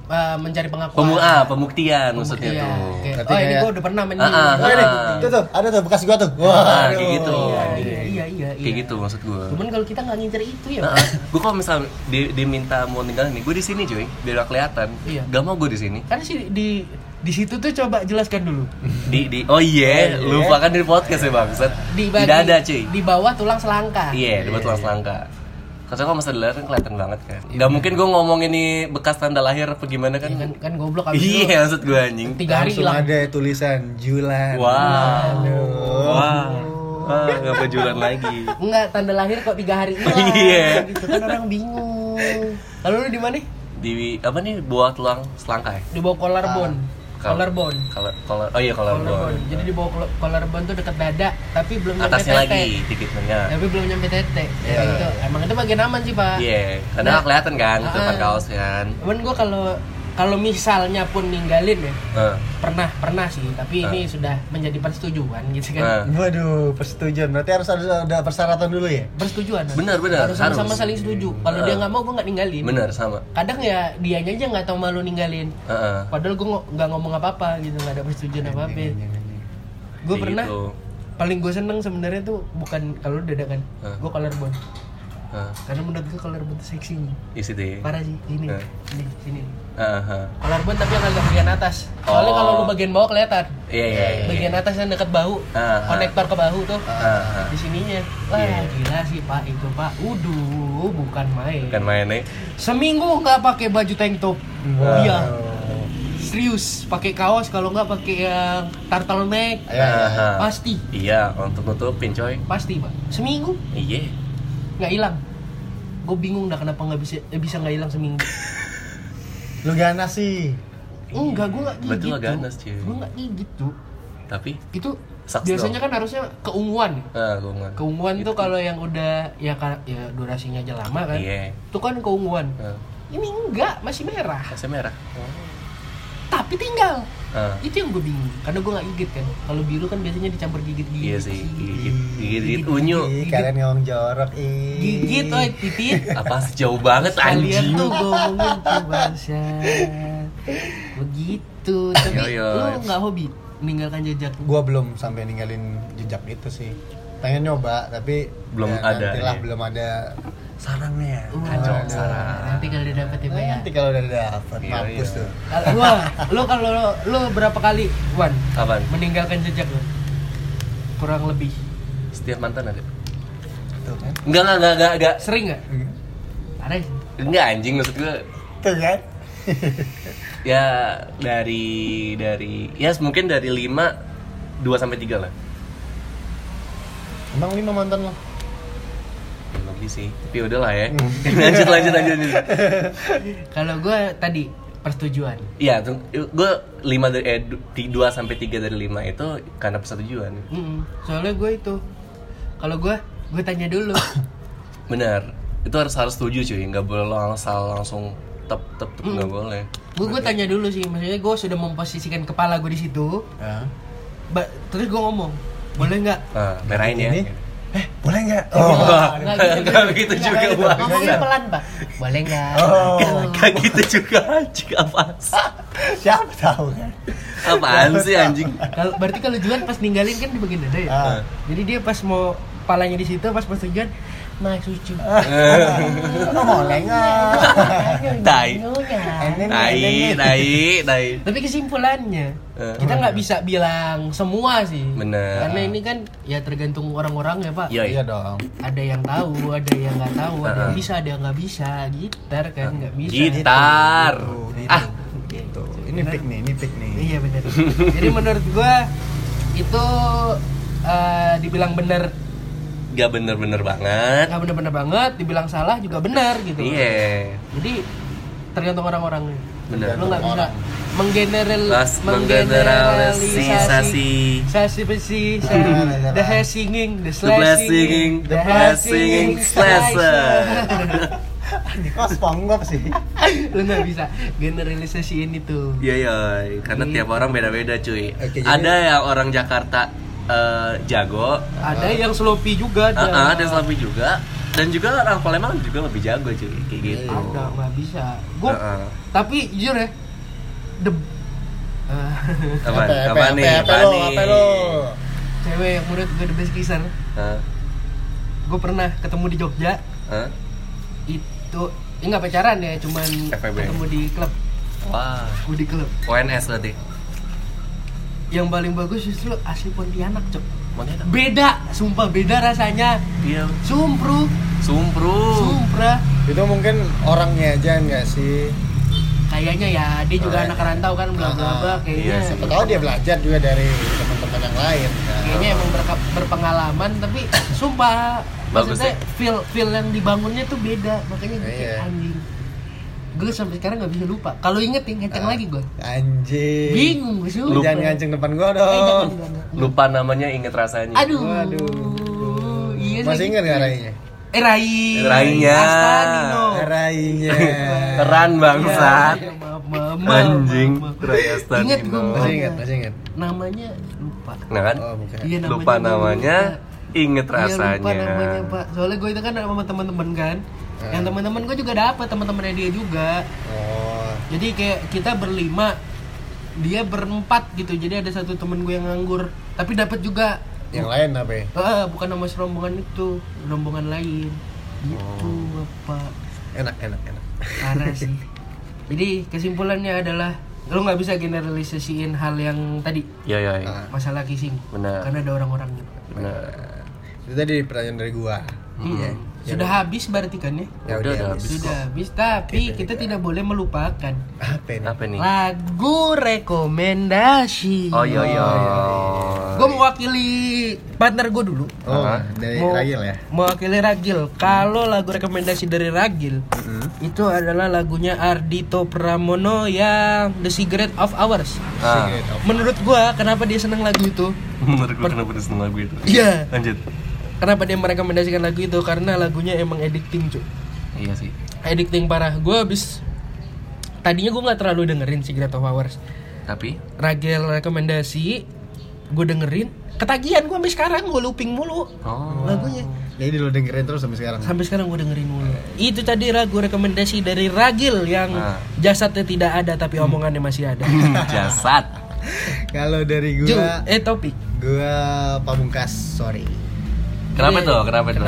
Speaker 3: uh, mencari pengakuan.
Speaker 1: pemu ah, pembuktian maksudnya
Speaker 3: Iya,
Speaker 1: tuh.
Speaker 3: oke.
Speaker 2: Berarti
Speaker 3: Oh ini
Speaker 2: kayak-
Speaker 3: gue udah pernah main
Speaker 1: Ah,
Speaker 3: ini.
Speaker 1: ah,
Speaker 2: Oh, ini, tuh tuh, ada tuh bekas gua tuh. Wah,
Speaker 1: Ah, kayak gitu.
Speaker 3: Iya, iya, iya, iya,
Speaker 1: Kayak
Speaker 3: iya.
Speaker 1: gitu maksud gue.
Speaker 3: Cuman kalau kita nggak ngincer itu ya.
Speaker 1: Nah, gue kalau misalnya di- diminta mau tinggal nih, gue di sini cuy, biar gak kelihatan.
Speaker 3: Iya.
Speaker 1: Gak mau gue di sini.
Speaker 3: Karena sih di di situ tuh coba jelaskan dulu.
Speaker 1: Di di oh iya, lupa kan di podcast ya bangsat.
Speaker 3: Di, Ah.
Speaker 1: Di
Speaker 3: bagi-
Speaker 1: dada cuy.
Speaker 3: Di bawah tulang selangka.
Speaker 1: Iya, di buat tulang selangka. Karena kalau masa di lahir kan kelihatan banget kan. Gak mungkin gue ngomong ini bekas tanda lahir apa gimana kan?
Speaker 3: Ya Iya. kan, kan goblok abis itu
Speaker 1: Iya, maksud gue anjing.
Speaker 3: tiga hari
Speaker 2: Langsung
Speaker 3: hilang.
Speaker 2: ada tulisan Julan.
Speaker 1: Wow.
Speaker 2: Aduh.
Speaker 1: Wah. Wah, gak bajulan lagi.
Speaker 3: Enggak, tanda lahir kok tiga hari hilang.
Speaker 1: Iya.
Speaker 3: Gitu kan orang bingung. Lalu lu di mana?
Speaker 1: Di apa nih buat tulang selangka ya?
Speaker 3: Di bawah collarbone.
Speaker 1: Kal-
Speaker 3: Collarbone.
Speaker 1: Kalau kalau oh iya kalau
Speaker 3: Collarbone. Jadi di bawah col- collarbone tuh dekat dada, tapi belum nyampe
Speaker 1: atasnya
Speaker 3: tete.
Speaker 1: lagi dikit menengah.
Speaker 3: Tapi belum nyampe tete. Ya, gitu. Emang itu bagian aman sih, Pak.
Speaker 1: Iya, karena nggak kelihatan kan
Speaker 3: Ah.
Speaker 1: depan kaos kan.
Speaker 3: Cuman gua kalau kalau misalnya pun ninggalin ya,
Speaker 1: Eh,
Speaker 3: pernah pernah sih, tapi
Speaker 1: Ah.
Speaker 3: ini sudah menjadi persetujuan gitu kan.
Speaker 1: eh.
Speaker 2: Waduh, persetujuan. Berarti harus ada, ada persyaratan dulu ya?
Speaker 3: Persetujuan. harus.
Speaker 1: Benar, benar,
Speaker 3: Harus sama-sama
Speaker 1: harus. Ah.
Speaker 3: saling setuju. Kalau dia nggak mau gua nggak ninggalin.
Speaker 1: Bener sama.
Speaker 3: Kadang ya dianya aja nggak tahu malu ninggalin.
Speaker 1: Eh, eh.
Speaker 3: Padahal gue nggak ngomong apa-apa gitu, nggak ada persetujuan apa-apa. Gue
Speaker 1: Kayak
Speaker 3: pernah
Speaker 1: Iya, gitu.
Speaker 3: paling gue seneng sebenarnya tuh bukan kalau dada kan,
Speaker 1: Hah?
Speaker 3: gue collarbone.
Speaker 1: Eh,
Speaker 3: Karena menurut gue collarbone tuh seksi nih.
Speaker 1: di situ ya.
Speaker 3: Parah sih, ini,
Speaker 1: Hah?
Speaker 3: ini, sini.
Speaker 1: Eh, eh.
Speaker 3: Collarbone tapi yang agak bagian atas. Soalnya
Speaker 1: Oh.
Speaker 3: kalau lu bagian bawah kelihatan.
Speaker 1: Iya, iya, iya.
Speaker 3: Bagian atas yang dekat bahu,
Speaker 1: Hah, hah.
Speaker 3: konektor ke bahu tuh.
Speaker 1: Eh, eh.
Speaker 3: Di sininya. Wah,
Speaker 1: ah. Iya.
Speaker 3: gila sih Pak itu Pak. Uduh, bukan main.
Speaker 1: Bukan main nih.
Speaker 3: Seminggu nggak pakai baju tank top.
Speaker 2: Wow.
Speaker 1: Ah.
Speaker 3: Iya. Serius, pakai kaos kalau nggak pakai yang
Speaker 2: Iya,
Speaker 3: turtleneck.
Speaker 2: iya, iya.
Speaker 1: Eh, eh.
Speaker 3: Pasti,
Speaker 1: Iya, untuk nutupin coy.
Speaker 3: pasti, Pak. Seminggu
Speaker 1: Iya.
Speaker 3: nggak hilang. Gue bingung dah kenapa nggak bisa eh, bisa nggak hilang seminggu.
Speaker 2: Lu ganas sih.
Speaker 3: Iya. Enggak, gue nggak gigit.
Speaker 1: Berarti lo ganas, cuy.
Speaker 3: Gue nggak gigit tuh.
Speaker 1: Tapi
Speaker 3: Itu
Speaker 1: Sucks
Speaker 3: biasanya
Speaker 1: dong.
Speaker 3: kan harusnya keunguan.
Speaker 1: eh, gue nggak.
Speaker 3: Keunguan
Speaker 1: Gitu.
Speaker 3: tuh kalau yang udah ya ka- ya durasinya aja lama kan.
Speaker 1: Iya.
Speaker 3: Itu kan keunguan.
Speaker 1: Eh,
Speaker 3: Ini enggak, masih merah.
Speaker 1: kasih merah.
Speaker 3: Oh. Tapi tinggal.
Speaker 1: Eh,
Speaker 3: itu yang gue bingung karena gue nggak gigit kan kalau biru kan biasanya dicampur gigit gigit
Speaker 1: Iya sih, gigit, gigit,
Speaker 3: Gigit.
Speaker 1: gigit unyu.
Speaker 2: Ih, kalian ngomong jorok, ih.
Speaker 3: gigit oi titit
Speaker 1: Apa sih jauh banget
Speaker 3: kalian
Speaker 1: anjing?
Speaker 3: tuh gue ngomongin tuh bangsa begitu tapi
Speaker 1: Yo, yo.
Speaker 3: lu nggak hobi meninggalkan jejak
Speaker 2: Gua belum sampai ninggalin jejak itu sih. pengen nyoba tapi
Speaker 1: Belum
Speaker 2: ya,
Speaker 1: ada,
Speaker 2: nantilah
Speaker 1: iya.
Speaker 2: belum ada sarangnya
Speaker 3: Hmm,
Speaker 1: Kacau,
Speaker 2: Waduh.
Speaker 1: sarang.
Speaker 3: Nanti kalau udah dapet ya Pak, ya.
Speaker 2: nanti kalau udah dapet
Speaker 1: Iya,
Speaker 2: mampus
Speaker 1: iya.
Speaker 2: tuh
Speaker 3: Kalau- Wah, lu kalau lu, lu berapa kali, Wan?
Speaker 1: Kapan?
Speaker 3: Meninggalkan jejak lu? Kurang lebih.
Speaker 1: Setiap mantan ada.
Speaker 2: tuh kan
Speaker 1: Enggak, enggak, enggak, enggak, enggak.
Speaker 3: Sering nggak? Ada.
Speaker 1: Enggak anjing maksud gue.
Speaker 2: tuh kan
Speaker 1: Ya dari dari ya mungkin dari 5 2 sampai 3 lah.
Speaker 2: emang lima mantan lo
Speaker 1: Belum sih. Tapi udah lah ya.
Speaker 2: Hmm.
Speaker 1: lanjut lanjut lanjut. lanjut.
Speaker 3: Kalau gue tadi persetujuan.
Speaker 1: Iya, gue 5 dari eh 2 sampai 3 dari 5 itu karena persetujuan.
Speaker 3: Mm-mm. Soalnya gue itu, kalau gue, gue tanya dulu.
Speaker 1: Benar. Itu harus harus setuju cuy, nggak boleh lo asal langsung tep tep tep nggak
Speaker 2: Hmm.
Speaker 1: boleh.
Speaker 3: gue gue tanya dulu sih, maksudnya gue sudah memposisikan kepala gue di situ. Ba- terus gue ngomong, boleh nggak?
Speaker 1: Nah, merahin ya.
Speaker 2: ini eh boleh nggak oh
Speaker 1: Wah,
Speaker 3: Nggak gitu,
Speaker 1: nggak begitu juga Wak.
Speaker 3: Ngomongnya pelan pak. Boleh nggak?
Speaker 2: Oh.
Speaker 1: Nggak gitu juga anjing apaan sih?
Speaker 2: siapa tahu kan
Speaker 1: Apaan sih anjing?
Speaker 3: Kalau berarti kalau Juan pas ninggalin kan di bagian dada ya.
Speaker 2: Ah.
Speaker 3: Jadi dia pas mau palanya di situ, pas persetujuan, nah suci.
Speaker 2: lo boleh nggak
Speaker 1: Tai.
Speaker 2: Ini nih,
Speaker 1: Tai,
Speaker 2: ini nih.
Speaker 1: tai, tai.
Speaker 3: Tapi kesimpulannya
Speaker 1: Eh.
Speaker 3: kita nggak bisa bilang semua sih.
Speaker 1: Bener.
Speaker 3: Karena ini kan ya tergantung orang-orang ya pak.
Speaker 1: Yoi.
Speaker 2: iya dong
Speaker 3: Ada yang tahu, ada yang nggak tahu, ada yang
Speaker 1: Eh.
Speaker 3: bisa, ada yang nggak bisa. Gitar kan nggak bisa.
Speaker 1: Gitar.
Speaker 2: Tuh, gitu.
Speaker 1: Ah,
Speaker 2: gitu ini pick nih ini pick nih
Speaker 3: Iya benar. Jadi menurut gua itu eh, dibilang benar
Speaker 1: nggak bener-bener banget.
Speaker 3: nggak benar-benar banget, dibilang salah juga benar gitu.
Speaker 1: Iya.
Speaker 3: Jadi tergantung orang-orangnya.
Speaker 1: Benar.
Speaker 3: Lu nggak bisa menggeneral
Speaker 1: Mas menggeneralisasi.
Speaker 3: Sasi besi, the hair singing, the
Speaker 1: The blessing,
Speaker 3: slashing,
Speaker 1: the blessing, slasher.
Speaker 2: ini kok SpongeBob sih
Speaker 3: Lu nggak bisa generalisasiin itu.
Speaker 1: Iya iya, karena tiap orang beda-beda cuy.
Speaker 2: Hmm. Oke, jadi-
Speaker 1: ada yang orang Jakarta eh, jago,
Speaker 3: Ada yang sloppy juga
Speaker 2: Iya.
Speaker 1: eh, eh, ada yang selfie juga, dan juga orang Palembang juga lebih jago cuy, kayak gitu.
Speaker 2: Iya.
Speaker 3: Ada nggak bisa. Gua
Speaker 1: Heeh.
Speaker 3: tapi jujur ya, the eh,
Speaker 1: Apa,
Speaker 2: Apa, apa,
Speaker 1: apa
Speaker 2: apa,
Speaker 1: nih?
Speaker 2: apa
Speaker 1: Apa
Speaker 2: lo,
Speaker 1: nih?
Speaker 2: apa lo?
Speaker 3: cewek yang menurut gue the best kisar.
Speaker 1: Hah?
Speaker 3: Gue pernah ketemu di Jogja
Speaker 1: Hah?
Speaker 3: itu ini nggak pacaran ya, cuman
Speaker 1: FWB.
Speaker 3: ketemu di klub,
Speaker 1: Wah,
Speaker 3: gue di klub.
Speaker 1: ONS berarti.
Speaker 3: Yang paling bagus justru asli Pontianak cok.
Speaker 1: Makanya kan,
Speaker 3: Beda, sumpah beda rasanya.
Speaker 1: dia
Speaker 3: Sumpru,
Speaker 1: sumpru.
Speaker 3: sumpra.
Speaker 2: itu mungkin orangnya aja nggak sih
Speaker 3: Kayaknya ya
Speaker 2: Oh,
Speaker 3: dia
Speaker 2: iya.
Speaker 3: juga anak rantau kan bla bla
Speaker 2: Ah,
Speaker 3: bla kayaknya.
Speaker 2: siapa iya tahu dia belajar juga dari teman-teman yang lain kan
Speaker 3: kayaknya emang berke- berpengalaman tapi sumpah
Speaker 1: Bagus
Speaker 3: maksudnya
Speaker 1: ya?
Speaker 3: feel feel yang dibangunnya tuh beda makanya gue kayak
Speaker 2: Iya.
Speaker 3: anjing gue sampai sekarang nggak bisa lupa kalau inget nih ngecek lagi gue
Speaker 2: anjing
Speaker 3: bingung gue
Speaker 2: Ah. Lu
Speaker 3: sumpah
Speaker 2: jangan Oh. ngancing depan gua
Speaker 3: Eh, jangan,
Speaker 2: dong
Speaker 3: jangan.
Speaker 1: Lupa namanya inget rasanya.
Speaker 3: aduh
Speaker 2: Waduh.
Speaker 3: iya
Speaker 2: masih
Speaker 3: lagi.
Speaker 2: ingat nggak rainya
Speaker 3: eh Rai
Speaker 1: Rainya.
Speaker 3: Astanino
Speaker 2: rainya
Speaker 1: Ran bangsat.
Speaker 3: Iya, maaf, maaf, maaf,
Speaker 1: Anjing,
Speaker 3: maaf, maaf.
Speaker 1: Ray Astanino.
Speaker 3: Ingat gue
Speaker 2: masih ingat masih ingat
Speaker 3: namanya lupa
Speaker 1: Nah kan?
Speaker 2: oh bukan
Speaker 3: Iya,
Speaker 1: Lupa
Speaker 3: gua
Speaker 1: namanya,
Speaker 3: lupa.
Speaker 1: inget
Speaker 3: Iya, lupa
Speaker 1: rasanya.
Speaker 3: namanya pak soalnya gue itu kan sama teman-teman kan
Speaker 2: Ah.
Speaker 3: yang teman-teman gue juga dapat teman-temannya dia juga
Speaker 2: oh
Speaker 3: jadi kayak kita berlima dia berempat gitu jadi ada satu temen gue yang nganggur tapi dapat juga
Speaker 2: yang lain apa ya
Speaker 3: Ah, bukan nama serombongan itu rombongan lain gitu
Speaker 1: Oh.
Speaker 3: bapak
Speaker 2: enak enak enak
Speaker 3: parah sih jadi kesimpulannya adalah lo nggak bisa generalisasiin hal yang tadi
Speaker 1: Iya iya. iya.
Speaker 2: Nah, Ah.
Speaker 3: masalah kissing
Speaker 1: Benar.
Speaker 3: karena ada orang-orangnya
Speaker 1: Benar.
Speaker 2: itu tadi pertanyaan dari gua iya
Speaker 3: Hmm.
Speaker 1: Ya
Speaker 3: sudah habis berarti kan ya
Speaker 1: Udah,
Speaker 2: ya udah
Speaker 1: udah
Speaker 2: habis.
Speaker 3: Sudah habis, tapi kita tidak boleh melupakan
Speaker 2: apa ini
Speaker 1: Apa nih?
Speaker 3: lagu rekomendasi.
Speaker 1: Oh iya Ah, iya.
Speaker 3: Gue mewakili partner gue dulu.
Speaker 2: oh
Speaker 1: Hah?
Speaker 2: dari
Speaker 3: Mau-
Speaker 2: Ragil ya
Speaker 3: Mewakili Ragil. Kalau lagu rekomendasi dari Ragil
Speaker 1: Hmm.
Speaker 3: itu adalah lagunya Ardito Pramono yang The Cigarette of Hours.
Speaker 1: Ah.
Speaker 3: Menurut gua kenapa dia seneng lagu itu?
Speaker 1: Menurut gue kenapa dia seneng lagu itu?
Speaker 3: Iya.
Speaker 1: Lanjut.
Speaker 3: Kenapa dia merekomendasikan lagu itu? Karena lagunya emang addicting, cuy.
Speaker 1: Iya sih.
Speaker 3: Addicting parah. Gue abis tadinya gue nggak terlalu dengerin Cigarette of Hours.
Speaker 1: Tapi
Speaker 3: Ragil rekomendasi gue dengerin ketagihan gue sampai sekarang gue looping mulu
Speaker 1: oh.
Speaker 3: lagunya
Speaker 2: jadi lu dengerin terus sampai sekarang
Speaker 3: sampai sekarang gue dengerin mulu itu tadi lagu rekomendasi dari Ragil yang
Speaker 1: Ah. Hmm.
Speaker 3: jasadnya tidak ada tapi omongannya masih ada
Speaker 1: Jasad.
Speaker 2: kalau dari
Speaker 3: Ju,
Speaker 2: gua
Speaker 3: eh topik
Speaker 2: gua pamungkas sorry
Speaker 1: Kenapa tuh? Kenapa tuh?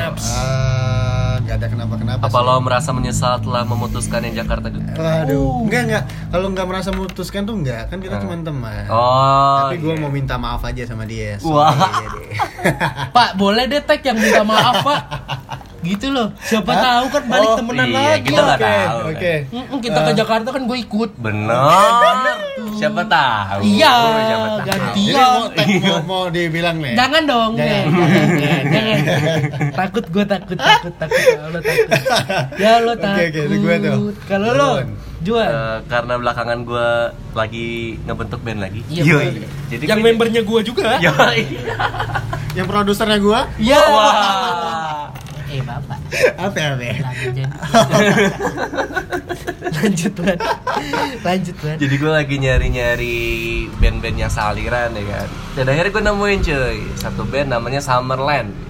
Speaker 2: Ah, nggak ada kenapa-kenapa.
Speaker 1: Apa lo merasa menyesal telah memutuskan yang Jakarta gitu?
Speaker 3: Oh.
Speaker 2: Waduh, enggak enggak. Kalau nggak merasa memutuskan tuh enggak, kan kita
Speaker 1: Ah.
Speaker 2: cuma teman.
Speaker 1: Oh.
Speaker 2: Tapi gue mau minta maaf aja sama dia.
Speaker 1: Wah.
Speaker 2: Sorry, Dede.
Speaker 3: Pak, boleh deh tag yang minta maaf, Pak. Gitu loh. Siapa tahu kan balik
Speaker 1: Oh,
Speaker 3: temenan
Speaker 1: iya,
Speaker 3: lagi.
Speaker 1: Kita nggak
Speaker 2: Oke,
Speaker 1: tahu. kan.
Speaker 2: Oke. Eh,
Speaker 3: Mm-mm, kita ke Jakarta kan gue ikut.
Speaker 1: Bener. Siapa tahu? Oh,
Speaker 3: Iya,
Speaker 1: Siapa tahu? Eh,
Speaker 3: ganti.
Speaker 2: Jadi
Speaker 3: Iya.
Speaker 2: mau, tag, mau, mau dibilang nih.
Speaker 3: Jangan dong,
Speaker 2: Eh. Jangan,
Speaker 3: Nge. jangan, eh. jangan. takut gue takut, takut, takut. Ya lo takut. Ya lo
Speaker 2: Oke,
Speaker 3: takut.
Speaker 2: oke, itu gue tuh.
Speaker 3: Kalau lo,
Speaker 2: Juan.
Speaker 3: Juan.
Speaker 1: Eh, karena belakangan gue lagi ngebentuk band lagi.
Speaker 3: Iya,
Speaker 1: Yoi.
Speaker 3: betul.
Speaker 1: Jadi
Speaker 3: yang
Speaker 1: gua-
Speaker 3: membernya gue juga.
Speaker 1: Yoi.
Speaker 2: Yang produsernya gue
Speaker 1: Iya.
Speaker 3: Ya.
Speaker 1: Wah.
Speaker 3: Eh, Bapak.
Speaker 2: apa ya? Be?
Speaker 3: Lanjut, Wan. Lanjut, Wan.
Speaker 1: Jadi gue lagi nyari-nyari band-band yang sealiran ya kan. Dan akhirnya gue nemuin cuy satu band namanya Summerland.